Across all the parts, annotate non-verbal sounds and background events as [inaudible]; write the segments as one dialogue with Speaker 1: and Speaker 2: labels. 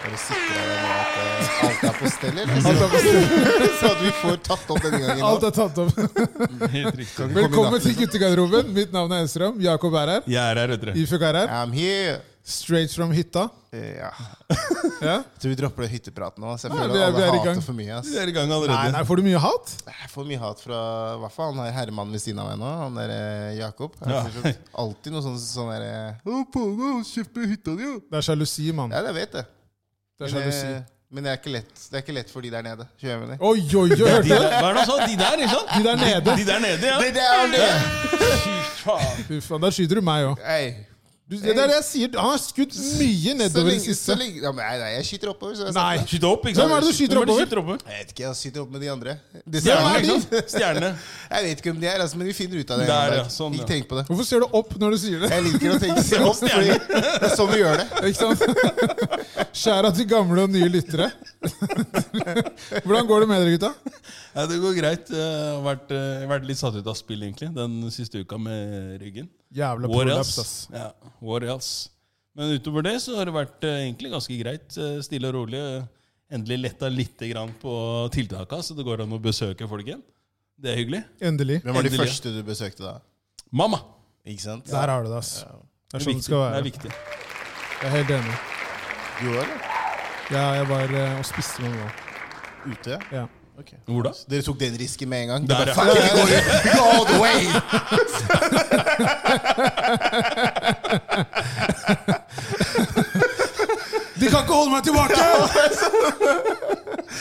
Speaker 1: Bare sikre deg nå at eh, alt er på stell, eller? [laughs] Så- Så at vi får tatt opp denne gangen.
Speaker 2: Alt
Speaker 1: Også.
Speaker 2: er tatt opp.
Speaker 3: Helt
Speaker 1: Kan
Speaker 3: riktig.
Speaker 1: ikke komme
Speaker 2: Velkommen
Speaker 1: i
Speaker 2: til
Speaker 1: natt.
Speaker 2: guttegarderoben. Mitt navn er Estrøm. Jakob er her.
Speaker 3: Jeg er her, vet dere.
Speaker 2: Ifuk er her.
Speaker 1: I'm here.
Speaker 2: Straight from hytta.
Speaker 1: Eh, Ja.
Speaker 2: Ja.
Speaker 1: Jeg tror vi dropper den hyttepraten nå. Så jeg
Speaker 2: Nei,
Speaker 1: føler
Speaker 2: vi er-
Speaker 1: at
Speaker 2: vi er i
Speaker 1: alle
Speaker 2: gang.
Speaker 1: hater for mye.
Speaker 3: Vi
Speaker 1: Ass.
Speaker 3: er i gang
Speaker 2: Nei,
Speaker 3: allerede.
Speaker 2: nei, får du mye hat?
Speaker 1: Jeg får mye hat fra hva faen, han her herremannen ved siden av meg nå. Han der eh, Jakob.
Speaker 3: Ja.
Speaker 1: Ja. Alltid noe sånn, sånn derre Kjeft med hytta di, jo!
Speaker 2: Det er sjalusi, mann.
Speaker 1: Ja, jeg vet det.
Speaker 2: Det er
Speaker 1: Men,
Speaker 2: sjalusi.
Speaker 1: eh, men det, er ikke lett. det er ikke lett for de der nede. Skjønner jeg mener?
Speaker 2: Oi, oi, oi, hørte
Speaker 3: De
Speaker 2: du?
Speaker 3: der, hva er det han sa? De der, ikke sant?
Speaker 2: De der nede.
Speaker 3: De der nede, ja.
Speaker 1: Det, det er det!
Speaker 3: Fy faen.
Speaker 2: Fy faen, der skyter du meg òg.
Speaker 1: Hey.
Speaker 2: Det er det jeg sier. Han har skutt mye
Speaker 1: Så
Speaker 2: nedover i det
Speaker 1: lenge, så
Speaker 2: siste.
Speaker 1: lenge ja, men Nei, nei, jeg skyter oppover. Så jeg,
Speaker 2: Nei.
Speaker 3: Skyt opp, ikke sant?
Speaker 2: Hvem er det du skyter
Speaker 3: Hvem er det
Speaker 2: oppover?
Speaker 3: du oppover?
Speaker 1: jeg vet ikke, jeg skyter opp med de andre. De
Speaker 3: Stjerne,
Speaker 1: stjernene,
Speaker 2: de?
Speaker 3: ikke sant? Stjerne.
Speaker 1: Jeg vet ikke hvem de er, altså, men vi finner ut av det.
Speaker 3: Der,
Speaker 1: Robert.
Speaker 3: ja, sånn, ja.
Speaker 1: ikke tenk på det.
Speaker 2: Hvorfor ser du opp når du sier det?
Speaker 1: Jeg liker å
Speaker 2: [laughs]
Speaker 1: tenke seg opp, fordi det er sånn vi gjør det.
Speaker 2: Ikke sant? [laughs] Skjæra til gamle og nye lyttere. [laughs] Hvordan går det med dere, gutta?
Speaker 3: Ja, det går greit. Jeg har vært, eh, vært litt satt ut av spill, egentlig, den siste uka med ryggen.
Speaker 2: Jævla
Speaker 3: What
Speaker 2: prolaps, ass.
Speaker 3: else? Ja, what else? Men utover det så har det vært eh, egentlig ganske greit. eh, Stille og rolig. eh, Endelig letta litt grann på tiltaka, så det går an å besøke folk igjen. Det er hyggelig.
Speaker 2: Endelig.
Speaker 1: Hvem var de
Speaker 3: Endelig.
Speaker 1: første du besøkte da?
Speaker 3: Mamma!
Speaker 1: Ikke sant?
Speaker 2: Der har du det, ass. Det er
Speaker 3: Det
Speaker 2: sånn
Speaker 3: er,
Speaker 2: det
Speaker 3: viktig.
Speaker 2: skal
Speaker 3: det er
Speaker 2: være.
Speaker 3: viktig.
Speaker 2: Jeg er helt enig.
Speaker 1: Du var det?
Speaker 2: Ja, jeg var eh, og spiste med mamma.
Speaker 1: Ute?
Speaker 2: Ja.
Speaker 1: Ok.
Speaker 3: Hvor da?
Speaker 1: Dere tok den risken med en gang?
Speaker 3: Der,
Speaker 1: Dere
Speaker 3: ja.
Speaker 1: bare, fuck, vi går,
Speaker 2: [laughs]
Speaker 1: vi går all the way!
Speaker 2: De kan ikke holde meg [laughs] tilbake!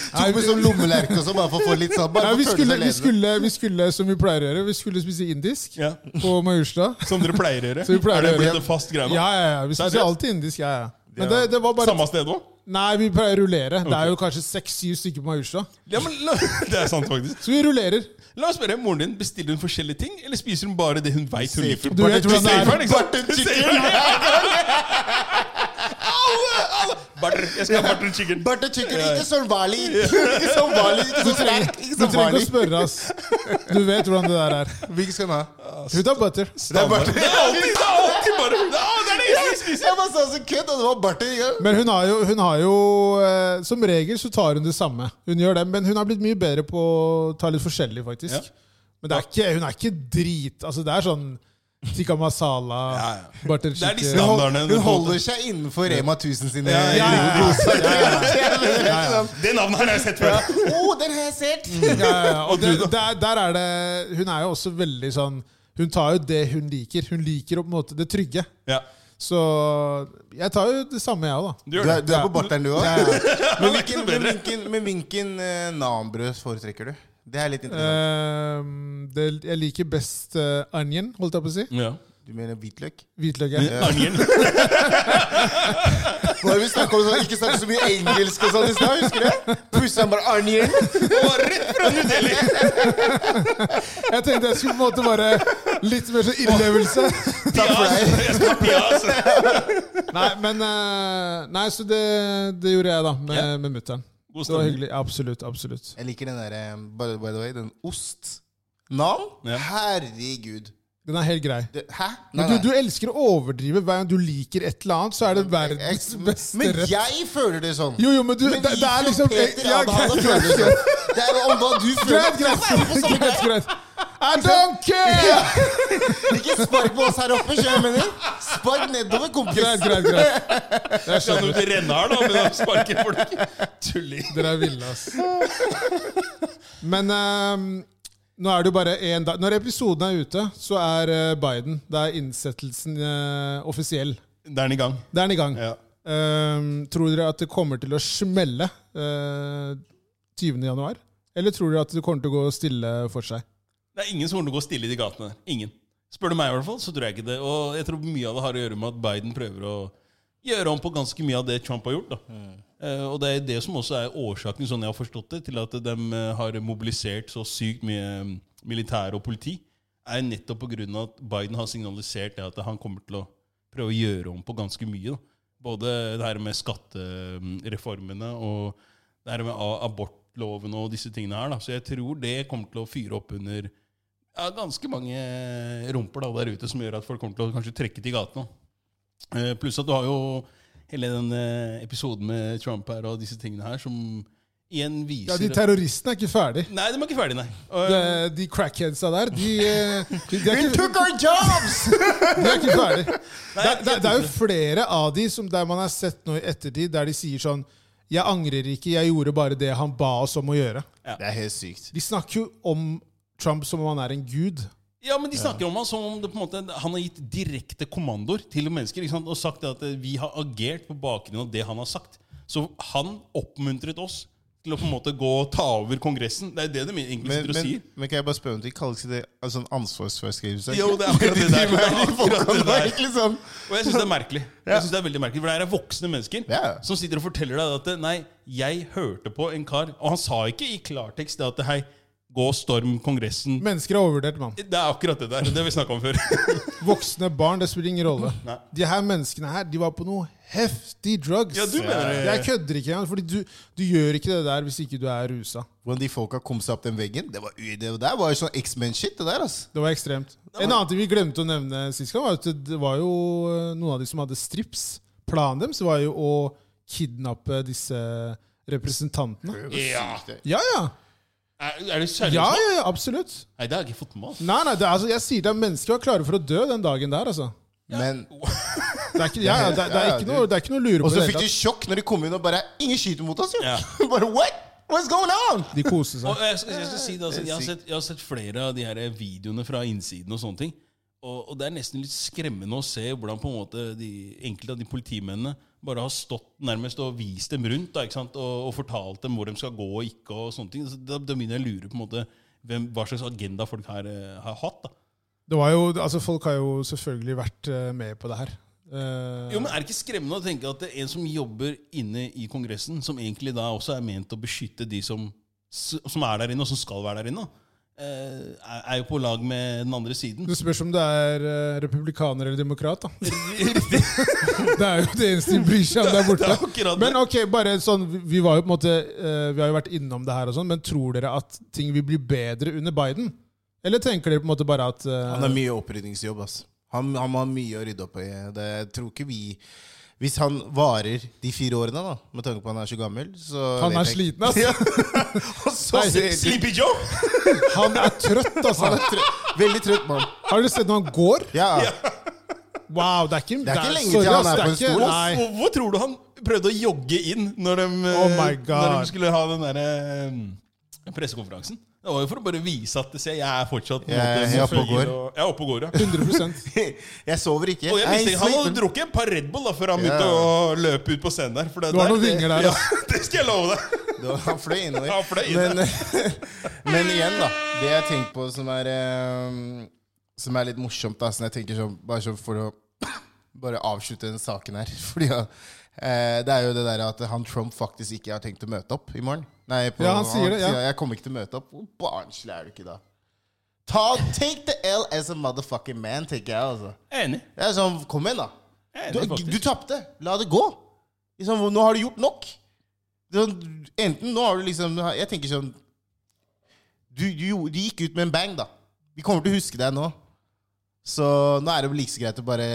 Speaker 1: Tok med sånn lommelerke og sånn, bare for å få litt sånn
Speaker 2: Nei,
Speaker 1: bare
Speaker 2: vi,
Speaker 1: for å føle
Speaker 2: skulle,
Speaker 1: seg
Speaker 2: vi,
Speaker 1: ledende.
Speaker 2: skulle, vi skulle, som vi pleier å gjøre, vi skulle spise indisk
Speaker 3: Ja.
Speaker 2: på Majorstad.
Speaker 3: Som dere pleier å gjøre.
Speaker 2: Så vi pleier
Speaker 3: er det
Speaker 2: å gjøre-
Speaker 3: blitt en fast greie
Speaker 2: Ja,
Speaker 3: nå?
Speaker 2: ja, ja. Vi spiser
Speaker 3: Seriøst?
Speaker 2: alltid indisk. ja, ja. Men det, det var bare
Speaker 3: Samme sted òg?
Speaker 2: Nei, vi pleier å rullere. Det er jo kanskje seks-syv stykker på Majorstad.
Speaker 3: Ja, men la, [laughs] det er sant, faktisk.
Speaker 2: Så vi rullerer.
Speaker 3: La oss spørre, Moren din, bestiller hun forskjellige ting, eller spiser hun bare det hun veit hun liker?
Speaker 2: Du vet hvordan det er.
Speaker 3: Safer, ikke sant? [laughs] Alle, alle. Barter, jeg skal ha barter chicken.
Speaker 1: Barte chicken, ikke sånn Bali! [laughs] Ikke sånn Bali, ikke sånn sterk! Ikke
Speaker 2: Du
Speaker 1: sånn
Speaker 2: trenger
Speaker 1: Bali.
Speaker 2: ikke å spørre, ass. Du vet hvordan det der
Speaker 3: [laughs]
Speaker 2: er.
Speaker 1: Hvilken skal du ha?
Speaker 2: Hun tar butter.
Speaker 1: Det er Barte.
Speaker 3: Det er alltid, det er alltid bare Å, det er det eneste jeg spiser!
Speaker 1: [laughs] Jeg bare sa så kødd, og det var Barte. Ja.
Speaker 2: Men hun har jo, hun har jo eh, Som regel så tar hun det samme. Hun gjør det, Men hun har blitt mye bedre på å ta litt forskjellig, faktisk.
Speaker 3: Ja.
Speaker 2: Men det er ikke, hun er ikke drit Altså, det er sånn tikka masala,
Speaker 3: Ja, ja.
Speaker 2: butter
Speaker 3: Det er de
Speaker 2: [laughs] chicken
Speaker 3: standardene.
Speaker 1: Hun holder seg innenfor Rema 1000 sine
Speaker 3: Ja, ja,
Speaker 2: ja.
Speaker 1: godsaker. [laughs]
Speaker 3: Det navnet her har jeg sett før.
Speaker 1: Å, liksom, den har jeg sett!
Speaker 2: Ja, ja, ja. Og det, der, der er det Hun er jo også veldig sånn Hun tar jo det hun liker. Hun liker jo på en måte det trygge.
Speaker 3: Ja,
Speaker 2: Så jeg tar jo det samme, jeg òg, da.
Speaker 3: du
Speaker 1: Du
Speaker 3: gjør
Speaker 1: er,
Speaker 3: det.
Speaker 1: du er på barteren, du òg? Men hvilken,
Speaker 3: bedre.
Speaker 1: men hvilken, men hvilken eh, nanbrød foretrekker du? Det er litt interessant.
Speaker 2: Ehm, det, jeg liker best eh, onion, holdt jeg på å si.
Speaker 3: Ja.
Speaker 1: Du mener hvitløk?
Speaker 2: Hvitløk. ja.
Speaker 3: [laughs] Onion.
Speaker 1: Nå har vi snakket om sånn, Ikke snakket så mye engelsk og sånn i stad, husker du? Plutselig er det bare onion.
Speaker 3: Og Rett fra New Delhi!
Speaker 2: Jeg tenkte jeg skulle på en måte bare litt mer sånn innlevelse.
Speaker 1: Takk for deg.
Speaker 3: Jeg skal ha pias.
Speaker 2: Nei, men eh, Nei, så det, det gjorde jeg, da, med,
Speaker 3: Ja.
Speaker 2: med mutter'n.
Speaker 3: God
Speaker 2: Det var
Speaker 3: stemning.
Speaker 2: hyggelig. Absolutt. absolutt
Speaker 1: Jeg liker den derre by, by the way, den ost. Nan?
Speaker 3: Ja.
Speaker 1: Herregud.
Speaker 2: Den er helt grei.
Speaker 1: Det, hæ? Nei,
Speaker 2: Men du,
Speaker 1: nei.
Speaker 2: du elsker å overdrive. Hver gang du liker et eller annet, så er det verdens
Speaker 1: Jeg-
Speaker 2: beste
Speaker 1: Men
Speaker 2: rett.
Speaker 1: jeg føler det sånn.
Speaker 2: Jo, jo, men du
Speaker 1: Men
Speaker 2: det, det er liksom
Speaker 1: Peter
Speaker 2: ja,
Speaker 1: hadde han
Speaker 2: greit,
Speaker 1: følt det sånn. Det er om hva du føler.
Speaker 2: Greit, greit.
Speaker 1: sånn.
Speaker 2: greit, greit. I don't care!
Speaker 1: Ikke spark på oss her oppe, kjører jeg mener. Spark nedover,
Speaker 2: Greit,
Speaker 1: kompis.
Speaker 2: greit, greit. Jeg
Speaker 3: Kan du
Speaker 2: skjønner.
Speaker 3: ikke renne her, da? Men de sparker folk. Tulling.
Speaker 2: Dere er ville, ass. Men ehm, nå er det jo bare én dag Når episoden er ute, så er eh, Biden Da er innsettelsen eh, offisiell.
Speaker 3: Da er den i gang.
Speaker 2: Da er den i gang.
Speaker 3: Ja.
Speaker 2: Ehm, tror dere at det kommer til å smelle eh, 20. januar? Eller tror dere at det kommer til å gå stille for seg?
Speaker 3: Det er ingen som kommer til å gå stille i de gatene der. Ingen. Spør du meg, i hvert fall, så tror jeg ikke det. Og jeg tror mye av det har å gjøre med at Biden prøver å gjøre om på ganske mye av det Trump har gjort. da. Eh, og det er det som også er årsaken, sånn jeg har forstått det, til at de eh, har mobilisert så sykt mye mm, militær og politi, er nettopp pga. at Biden har signalisert det at han kommer til å prøve å gjøre om på ganske mye. da. Både det her med skattereformene mm, og det her med a- abortloven og disse tingene her. da. Så jeg tror det kommer til å fyre opp under ja, ganske mange rumper da, der ute som gjør at folk kommer til å kanskje trekke til gatene. Eh, Pluss at du har jo hele den eh, episoden med Trump her og disse tingene her, som igjen viser
Speaker 2: Ja, De terroristene er ikke ferdig.
Speaker 3: Nei, de er ikke ferdig, nei. Og,
Speaker 2: De, de crackheadsa der, de, eh, de, de, er ikke,
Speaker 1: Took our jobs!
Speaker 2: de er ikke ferdig.
Speaker 3: nei,
Speaker 2: Det, det,
Speaker 3: jeg- jeg
Speaker 2: det er
Speaker 3: tror
Speaker 2: jo flere av de som der man har sett nå i ettertid, der de sier sånn Jeg angrer ikke, jeg gjorde bare det han ba oss om å gjøre.
Speaker 1: Det er helt sykt.
Speaker 2: De snakker jo om Trump som om han er en gud.
Speaker 3: Ja, men De snakker om han som om det på en måte, han har gitt direkte kommandoer til mennesker. Ikke sant? Og sagt at eh, vi har agert på bakgrunn av det han har sagt. Så han oppmuntret oss til å på en måte gå og ta over Kongressen. Det er det de egentlig
Speaker 1: Men,
Speaker 3: sitter og
Speaker 1: men,
Speaker 3: sier.
Speaker 1: men kan jeg bare spørre om de kaller ikke det altså, en ansvarsforskrivelse?
Speaker 3: Jo, det er akkurat det der. Det er akkurat det der.
Speaker 1: Liksom.
Speaker 3: Og jeg syns det er merkelig. Jeg synes det er veldig merkelig For det her er voksne mennesker
Speaker 1: Ja.
Speaker 3: som sitter og forteller deg at Nei, jeg hørte på en kar Og han sa ikke i klartekst det at Hei, gå og storm Kongressen.
Speaker 2: Mennesker er overvurdert, mann.
Speaker 3: Det er akkurat det der. Det har vi snakka om før. [laughs]
Speaker 2: Voksne barn, det spiller ingen rolle.
Speaker 3: Nei.
Speaker 2: De her menneskene her, de var på noe heftig drugs.
Speaker 3: Ja, du mener det.
Speaker 2: Jeg kødder ikke engang, fordi du, du gjør ikke det der hvis ikke du er rusa.
Speaker 1: Hvordan de folka kom seg opp den veggen, det var, det der var jo sånn X-Men-shit. det der, altså.
Speaker 2: Det var ekstremt. En annen ting vi glemte å nevne sist gang, var at det var jo eh, noen av de som hadde strips. Planen deres var jo å kidnappe disse representantene.
Speaker 3: Ja.
Speaker 1: Sykt, det.
Speaker 2: Ja, ja.
Speaker 3: Er, er det seriøst?
Speaker 2: Ja,
Speaker 3: nå?
Speaker 2: ja, ja absolutt.
Speaker 3: Nei, det har jeg ikke fått med meg.
Speaker 2: Nei, nei, det er, altså, jeg sier det, mennesker var klare for å dø den dagen der, altså.
Speaker 1: Men,
Speaker 2: Det er ikke, ja, ja, det, det er ikke, noe, det er ikke noe å lure på.
Speaker 1: og så
Speaker 2: i det
Speaker 1: fikk
Speaker 2: hele
Speaker 1: de sjokk når de kom inn og bare Ingen skyter mot oss, jo!
Speaker 3: Ja.
Speaker 1: [laughs] bare what? What's going on?
Speaker 2: tatt. De koste
Speaker 3: Og
Speaker 2: seg.
Speaker 3: jeg, skal, jeg skal si det, altså,
Speaker 1: Det er
Speaker 3: jeg, har
Speaker 1: sykt.
Speaker 3: sett, jeg har sett flere av de her videoene fra innsiden og sånne ting. Og, og det er nesten litt skremmende å se hvordan på en måte de, enkelte av de politimennene bare har stått nærmest og vist dem rundt da, ikke sant? Og, og fortalt dem hvor de skal gå og ikke. og sånne ting. Så da, da begynner jeg å lure på en måte hvem, hva slags agenda folk her eh, har hatt. da.
Speaker 2: Det var jo, altså, folk har jo selvfølgelig vært eh, med på det her. Eh,
Speaker 3: Jo, men Er det ikke skremmende å tenke at det er en som jobber inne i Kongressen, som egentlig da også er ment å beskytte de som, som er der inne, og som skal være der inne, eh, er er jo på lag med den andre siden.
Speaker 2: det spørs om det er eh, republikaner eller demokrat, da.
Speaker 3: [laughs]
Speaker 2: [laughs] Det er jo det eneste de bryr seg om der
Speaker 3: Det er
Speaker 2: borte.
Speaker 3: akkurat det.
Speaker 2: Men ok, bare sånn, vi- vi var jo på en måte eh, Vi har jo vært innom det her og sånn, men tror dere at ting vil bli bedre under Biden? Eller tenker dere på en måte bare at eh,
Speaker 1: Han har mye opprydningsjobb, ass. Han, han har mye å rydde opp i. Det jeg tror ikke vi Hvis han varer de fire årene, da, med tanke på at han er så gammel så vet
Speaker 2: Han er
Speaker 1: jeg ikke.
Speaker 2: sliten, ass.
Speaker 3: [laughs]
Speaker 1: Og [laughs] så
Speaker 2: Nei,
Speaker 1: ser jeg-
Speaker 3: Sleepy [laughs] Joe!
Speaker 2: Han er trøtt,
Speaker 1: Han
Speaker 2: altså.
Speaker 1: er trøtt. Veldig trøtt mann.
Speaker 2: Har dere sett når han går?
Speaker 1: Ja.
Speaker 2: Wow, det er ikke,
Speaker 1: Det er ikke lenge
Speaker 2: sorry,
Speaker 1: til han
Speaker 2: ass,
Speaker 1: er
Speaker 2: det
Speaker 1: på en
Speaker 2: ikke-
Speaker 1: stol, ass.
Speaker 2: Nei.
Speaker 3: Og hvor tror du han prøvde å jogge inn når de, eh,
Speaker 2: Oh my God.
Speaker 3: når de skulle ha den derre eh, pressekonferansen? Det var jo for å bare vise at se, jeg er fortsatt på en
Speaker 1: Jeg-
Speaker 3: måte
Speaker 1: jeg er oppe og
Speaker 3: forfølger
Speaker 1: går.
Speaker 3: og- Jeg er oppe og går, ja. [laughs]
Speaker 2: 100
Speaker 1: [laughs] Jeg sover ikke.
Speaker 3: Og
Speaker 1: Jeg
Speaker 3: jeg
Speaker 1: er
Speaker 3: mistenker, Han hadde
Speaker 1: sliten.
Speaker 3: drukket et par Red Bull da, før han
Speaker 1: Ja.
Speaker 3: begynte å løpe ut på scenen der. For det,
Speaker 2: Det var
Speaker 3: der-
Speaker 2: noen vinger der,
Speaker 3: Ja, [laughs] det skal jeg love deg!
Speaker 1: Det var- Han fløy innover.
Speaker 3: Han fløy inn,
Speaker 1: men, men [laughs] igjen, da. Det jeg tenker på som er, eh, som er litt morsomt, da, som jeg tenker sånn, bare sånn for å [coughs] bare avslutte den saken her [laughs] Fordi ja, eh, Det er jo det der at han Trump faktisk ikke har tenkt å møte opp i morgen. Nei, på,
Speaker 2: Ja, han sier det, ja.
Speaker 1: Jeg kommer ikke til å møte opp. Hvor barnslig er du ikke da? Ta, take the L as a motherfucking man, tenker jeg. altså
Speaker 3: Enig.
Speaker 1: Det er sånn, Kom igjen, da. Du,
Speaker 3: Enig faktisk.
Speaker 1: du tapte. La det gå. Liksom, nå har du gjort nok. Det er sånn, Enten nå har du liksom Jeg tenker sånn Du, du, gjorde- du gikk ut med en bang, da. Vi kommer til å huske deg nå. Så nå er det vel like så greit å bare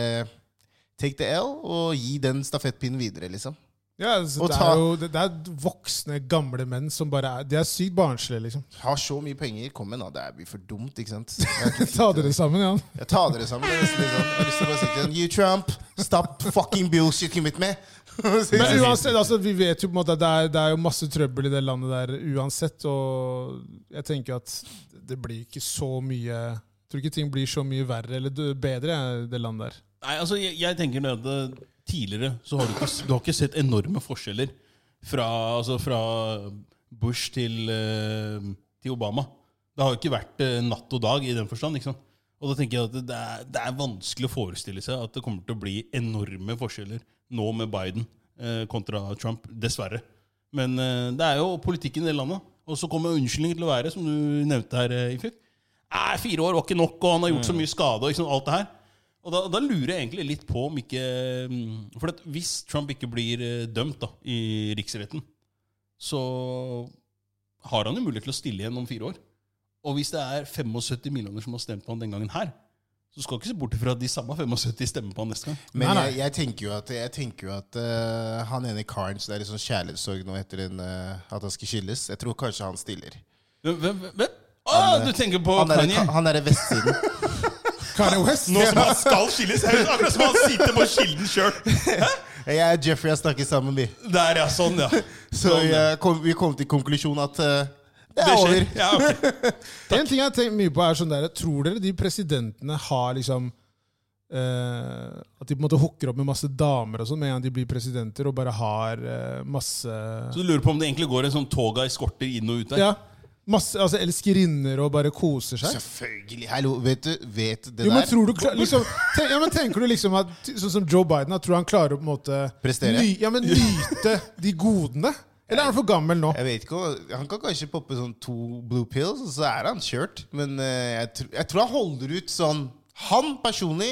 Speaker 1: take the L og gi den stafettpinnen videre, liksom.
Speaker 2: ja, altså,
Speaker 1: Og
Speaker 2: det,
Speaker 1: ta-
Speaker 2: er jo, det, det er voksne, gamle menn som bare er De er sykt barnslige, liksom.
Speaker 1: Har så mye penger. Kom igjen, da. Det er- blir for dumt, ikke sant? Jeg,
Speaker 2: Ta dere sammen, ja.
Speaker 1: jeg tar dere sammen. det er nesten Liksom. Jeg har lyst til å bare si til dem, You Trump, stop fucking bullshitting with me. [laughs]
Speaker 2: Men uansett, altså, vi vet jo på en måte at det er, det er jo masse trøbbel i det landet der uansett, og jeg tenker at det blir ikke så mye Jeg tror ikke ting blir så mye verre eller dø- bedre i det landet der.
Speaker 3: Nei, altså, jeg, jeg tenker det at eh, tidligere så har du ikke, du har ikke sett enorme forskjeller fra, altså, fra Bush til, eh, til Obama. Det har jo ikke vært eh, natt og dag i den forstand. ikke sant? Og da tenker jeg at det er, det er vanskelig å forestille seg at det kommer til å bli enorme forskjeller nå med Biden eh, kontra Trump, dessverre. Men eh, det er jo politikken i det landet. Og så kommer unnskyldningen til å være, som du nevnte her, eh, Ifif. Nei, fire år var ikke nok, og han har gjort så mye skade. og ikke sant, alt det her. Og da, da lurer jeg egentlig litt på om ikke mm, For at hvis Trump ikke blir eh, dømt da, i riksretten, så har han jo mulighet til å stille igjen om fire år. Og hvis det er 75 millioner som har stemt på han den gangen her, Så du skal ikke se bort ifra at de samme 75 stemmer på han neste gang.
Speaker 1: Men
Speaker 2: Nei, nei.
Speaker 1: Jeg, jeg tenker jo at, jeg tenker jo at eh, han ene karen som det er litt sånn kjærlighetssorg nå etter en, eh, at han skal skilles Jeg tror kanskje han stiller.
Speaker 3: Hvem? hvem, hvem? Ah, du tenker på
Speaker 1: Han er,
Speaker 3: Kanye?
Speaker 1: han er i Vestsiden.
Speaker 2: [laughs] Kanye West.
Speaker 3: Nå som han skal skilles, er det akkurat som han sitter på kilden sjøl.
Speaker 1: Jeg og Jeffrey har snakket sammen, vi.
Speaker 3: [laughs] Der, ja. Sånn, ja.
Speaker 1: Så
Speaker 3: Sånn, ja.
Speaker 1: jeg kom, vi kom til konklusjonen at eh, det
Speaker 3: Det
Speaker 1: er
Speaker 3: skjer.
Speaker 1: over.
Speaker 3: Ja, ok.
Speaker 2: En ting jeg har tenkt mye på er sånn der, Tror dere de presidentene har liksom eh, At de på en måte hooker opp med masse damer og sånn med en gang de blir presidenter, og bare har eh, masse
Speaker 3: Så du lurer på om det egentlig går en sånn tog av eskorter inn og ut der?
Speaker 2: Ja, masse altså, elskerinner og bare koser seg?
Speaker 1: Selvfølgelig. Hallo, vet du vet du det
Speaker 2: Jo, men
Speaker 1: der?
Speaker 2: tror du klar, liksom, ten, ja, men tenker du liksom at Sånn som Joe Biden, at tror han klarer å på en måte
Speaker 1: Prestere?
Speaker 2: Ny, ja, men nyte de godene? Eller er han for gammel nå?
Speaker 1: Jeg vet ikke, Han kan kanskje poppe sånn to blue pills, og så er han kjørt. Men eh, jeg, tr jeg tror han holder ut sånn Han personlig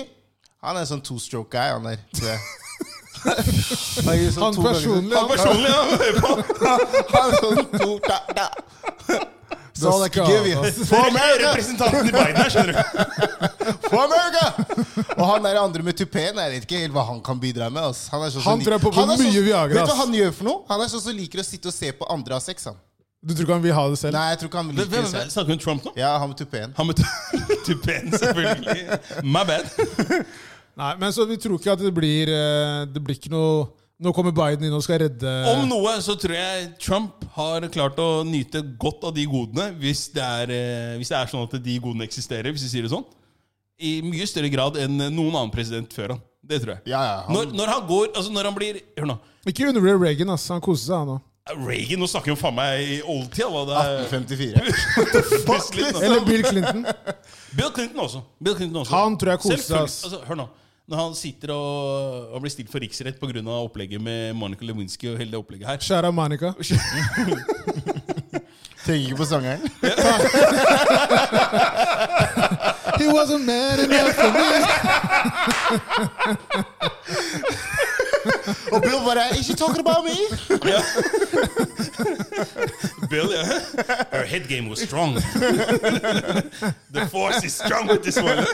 Speaker 1: Han er sånn two-stroke guy, han der. tror jeg. Han, gjør sånn
Speaker 2: Han
Speaker 1: to ganger-
Speaker 2: personlig,
Speaker 3: Han personlig, ja. hør
Speaker 1: [laughs]
Speaker 3: på.
Speaker 1: Han er sånn to da, da. Så han er ikke
Speaker 2: skal
Speaker 1: gøy, vi.
Speaker 2: han,
Speaker 1: For America!
Speaker 3: Representanten i Biden her, skjønner du.
Speaker 1: [laughs] For America! Og han der andre med tupeen, jeg vet ikke helt hva han kan bidra med. ass. Han, er sånn som
Speaker 2: Han tror jeg popper
Speaker 1: han er sånn-
Speaker 2: mye
Speaker 1: Vet
Speaker 2: Viagra,
Speaker 1: du hva
Speaker 2: ass.
Speaker 1: han gjør for noe? Han er sånn som liker å sitte og se på andre ha sex. han.
Speaker 2: Du tror ikke han vil ha det selv?
Speaker 1: Nei, jeg tror ikke han
Speaker 3: Hvem-
Speaker 1: liker
Speaker 3: hvem-
Speaker 1: det.
Speaker 3: Snakker hun Trump nå?
Speaker 1: Ja, han med tupeen.
Speaker 3: Han med [laughs] tu- tupeen, selvfølgelig. My bad.
Speaker 2: Nei, men så vi tror ikke at det blir eh, Det blir ikke noe Nå kommer Biden inn og skal redde
Speaker 3: Om noe så tror jeg Trump har klart å nyte godt av de godene, hvis det er, eh, hvis det er sånn at de godene eksisterer, hvis vi sier det sånn. I mye større grad enn noen annen president før han. Det tror jeg.
Speaker 1: Ja, ja, han-
Speaker 3: Når, når han går Altså, når han blir Hør nå.
Speaker 2: Ikke undervurder Reagan, ass. Han koser seg, han òg.
Speaker 3: Reagan, nå snakker vi om faen meg i oldtida. hva det er. altså.
Speaker 1: 1854.
Speaker 3: [laughs] Plutselig nå.
Speaker 2: Eller Bill Clinton.
Speaker 3: Bill Clinton også. Bill Clinton også.
Speaker 2: Han tror jeg koser seg,
Speaker 3: Selvfølgelig.
Speaker 2: ass.
Speaker 3: Altså, hør nå. Når han sitter og, og blir stilt for riksrett pga. opplegget med Monica Lewinsky og hele det opplegget her
Speaker 2: Skjæra Monica.
Speaker 1: Tenker ikke på
Speaker 3: [laughs]
Speaker 1: sangeren.
Speaker 2: [laughs] He wasn't mad enough for me.
Speaker 1: Og Bill bare Ikke talking about me!
Speaker 3: ja. Bill, ja. Her head game was strong. The force is strong with this one.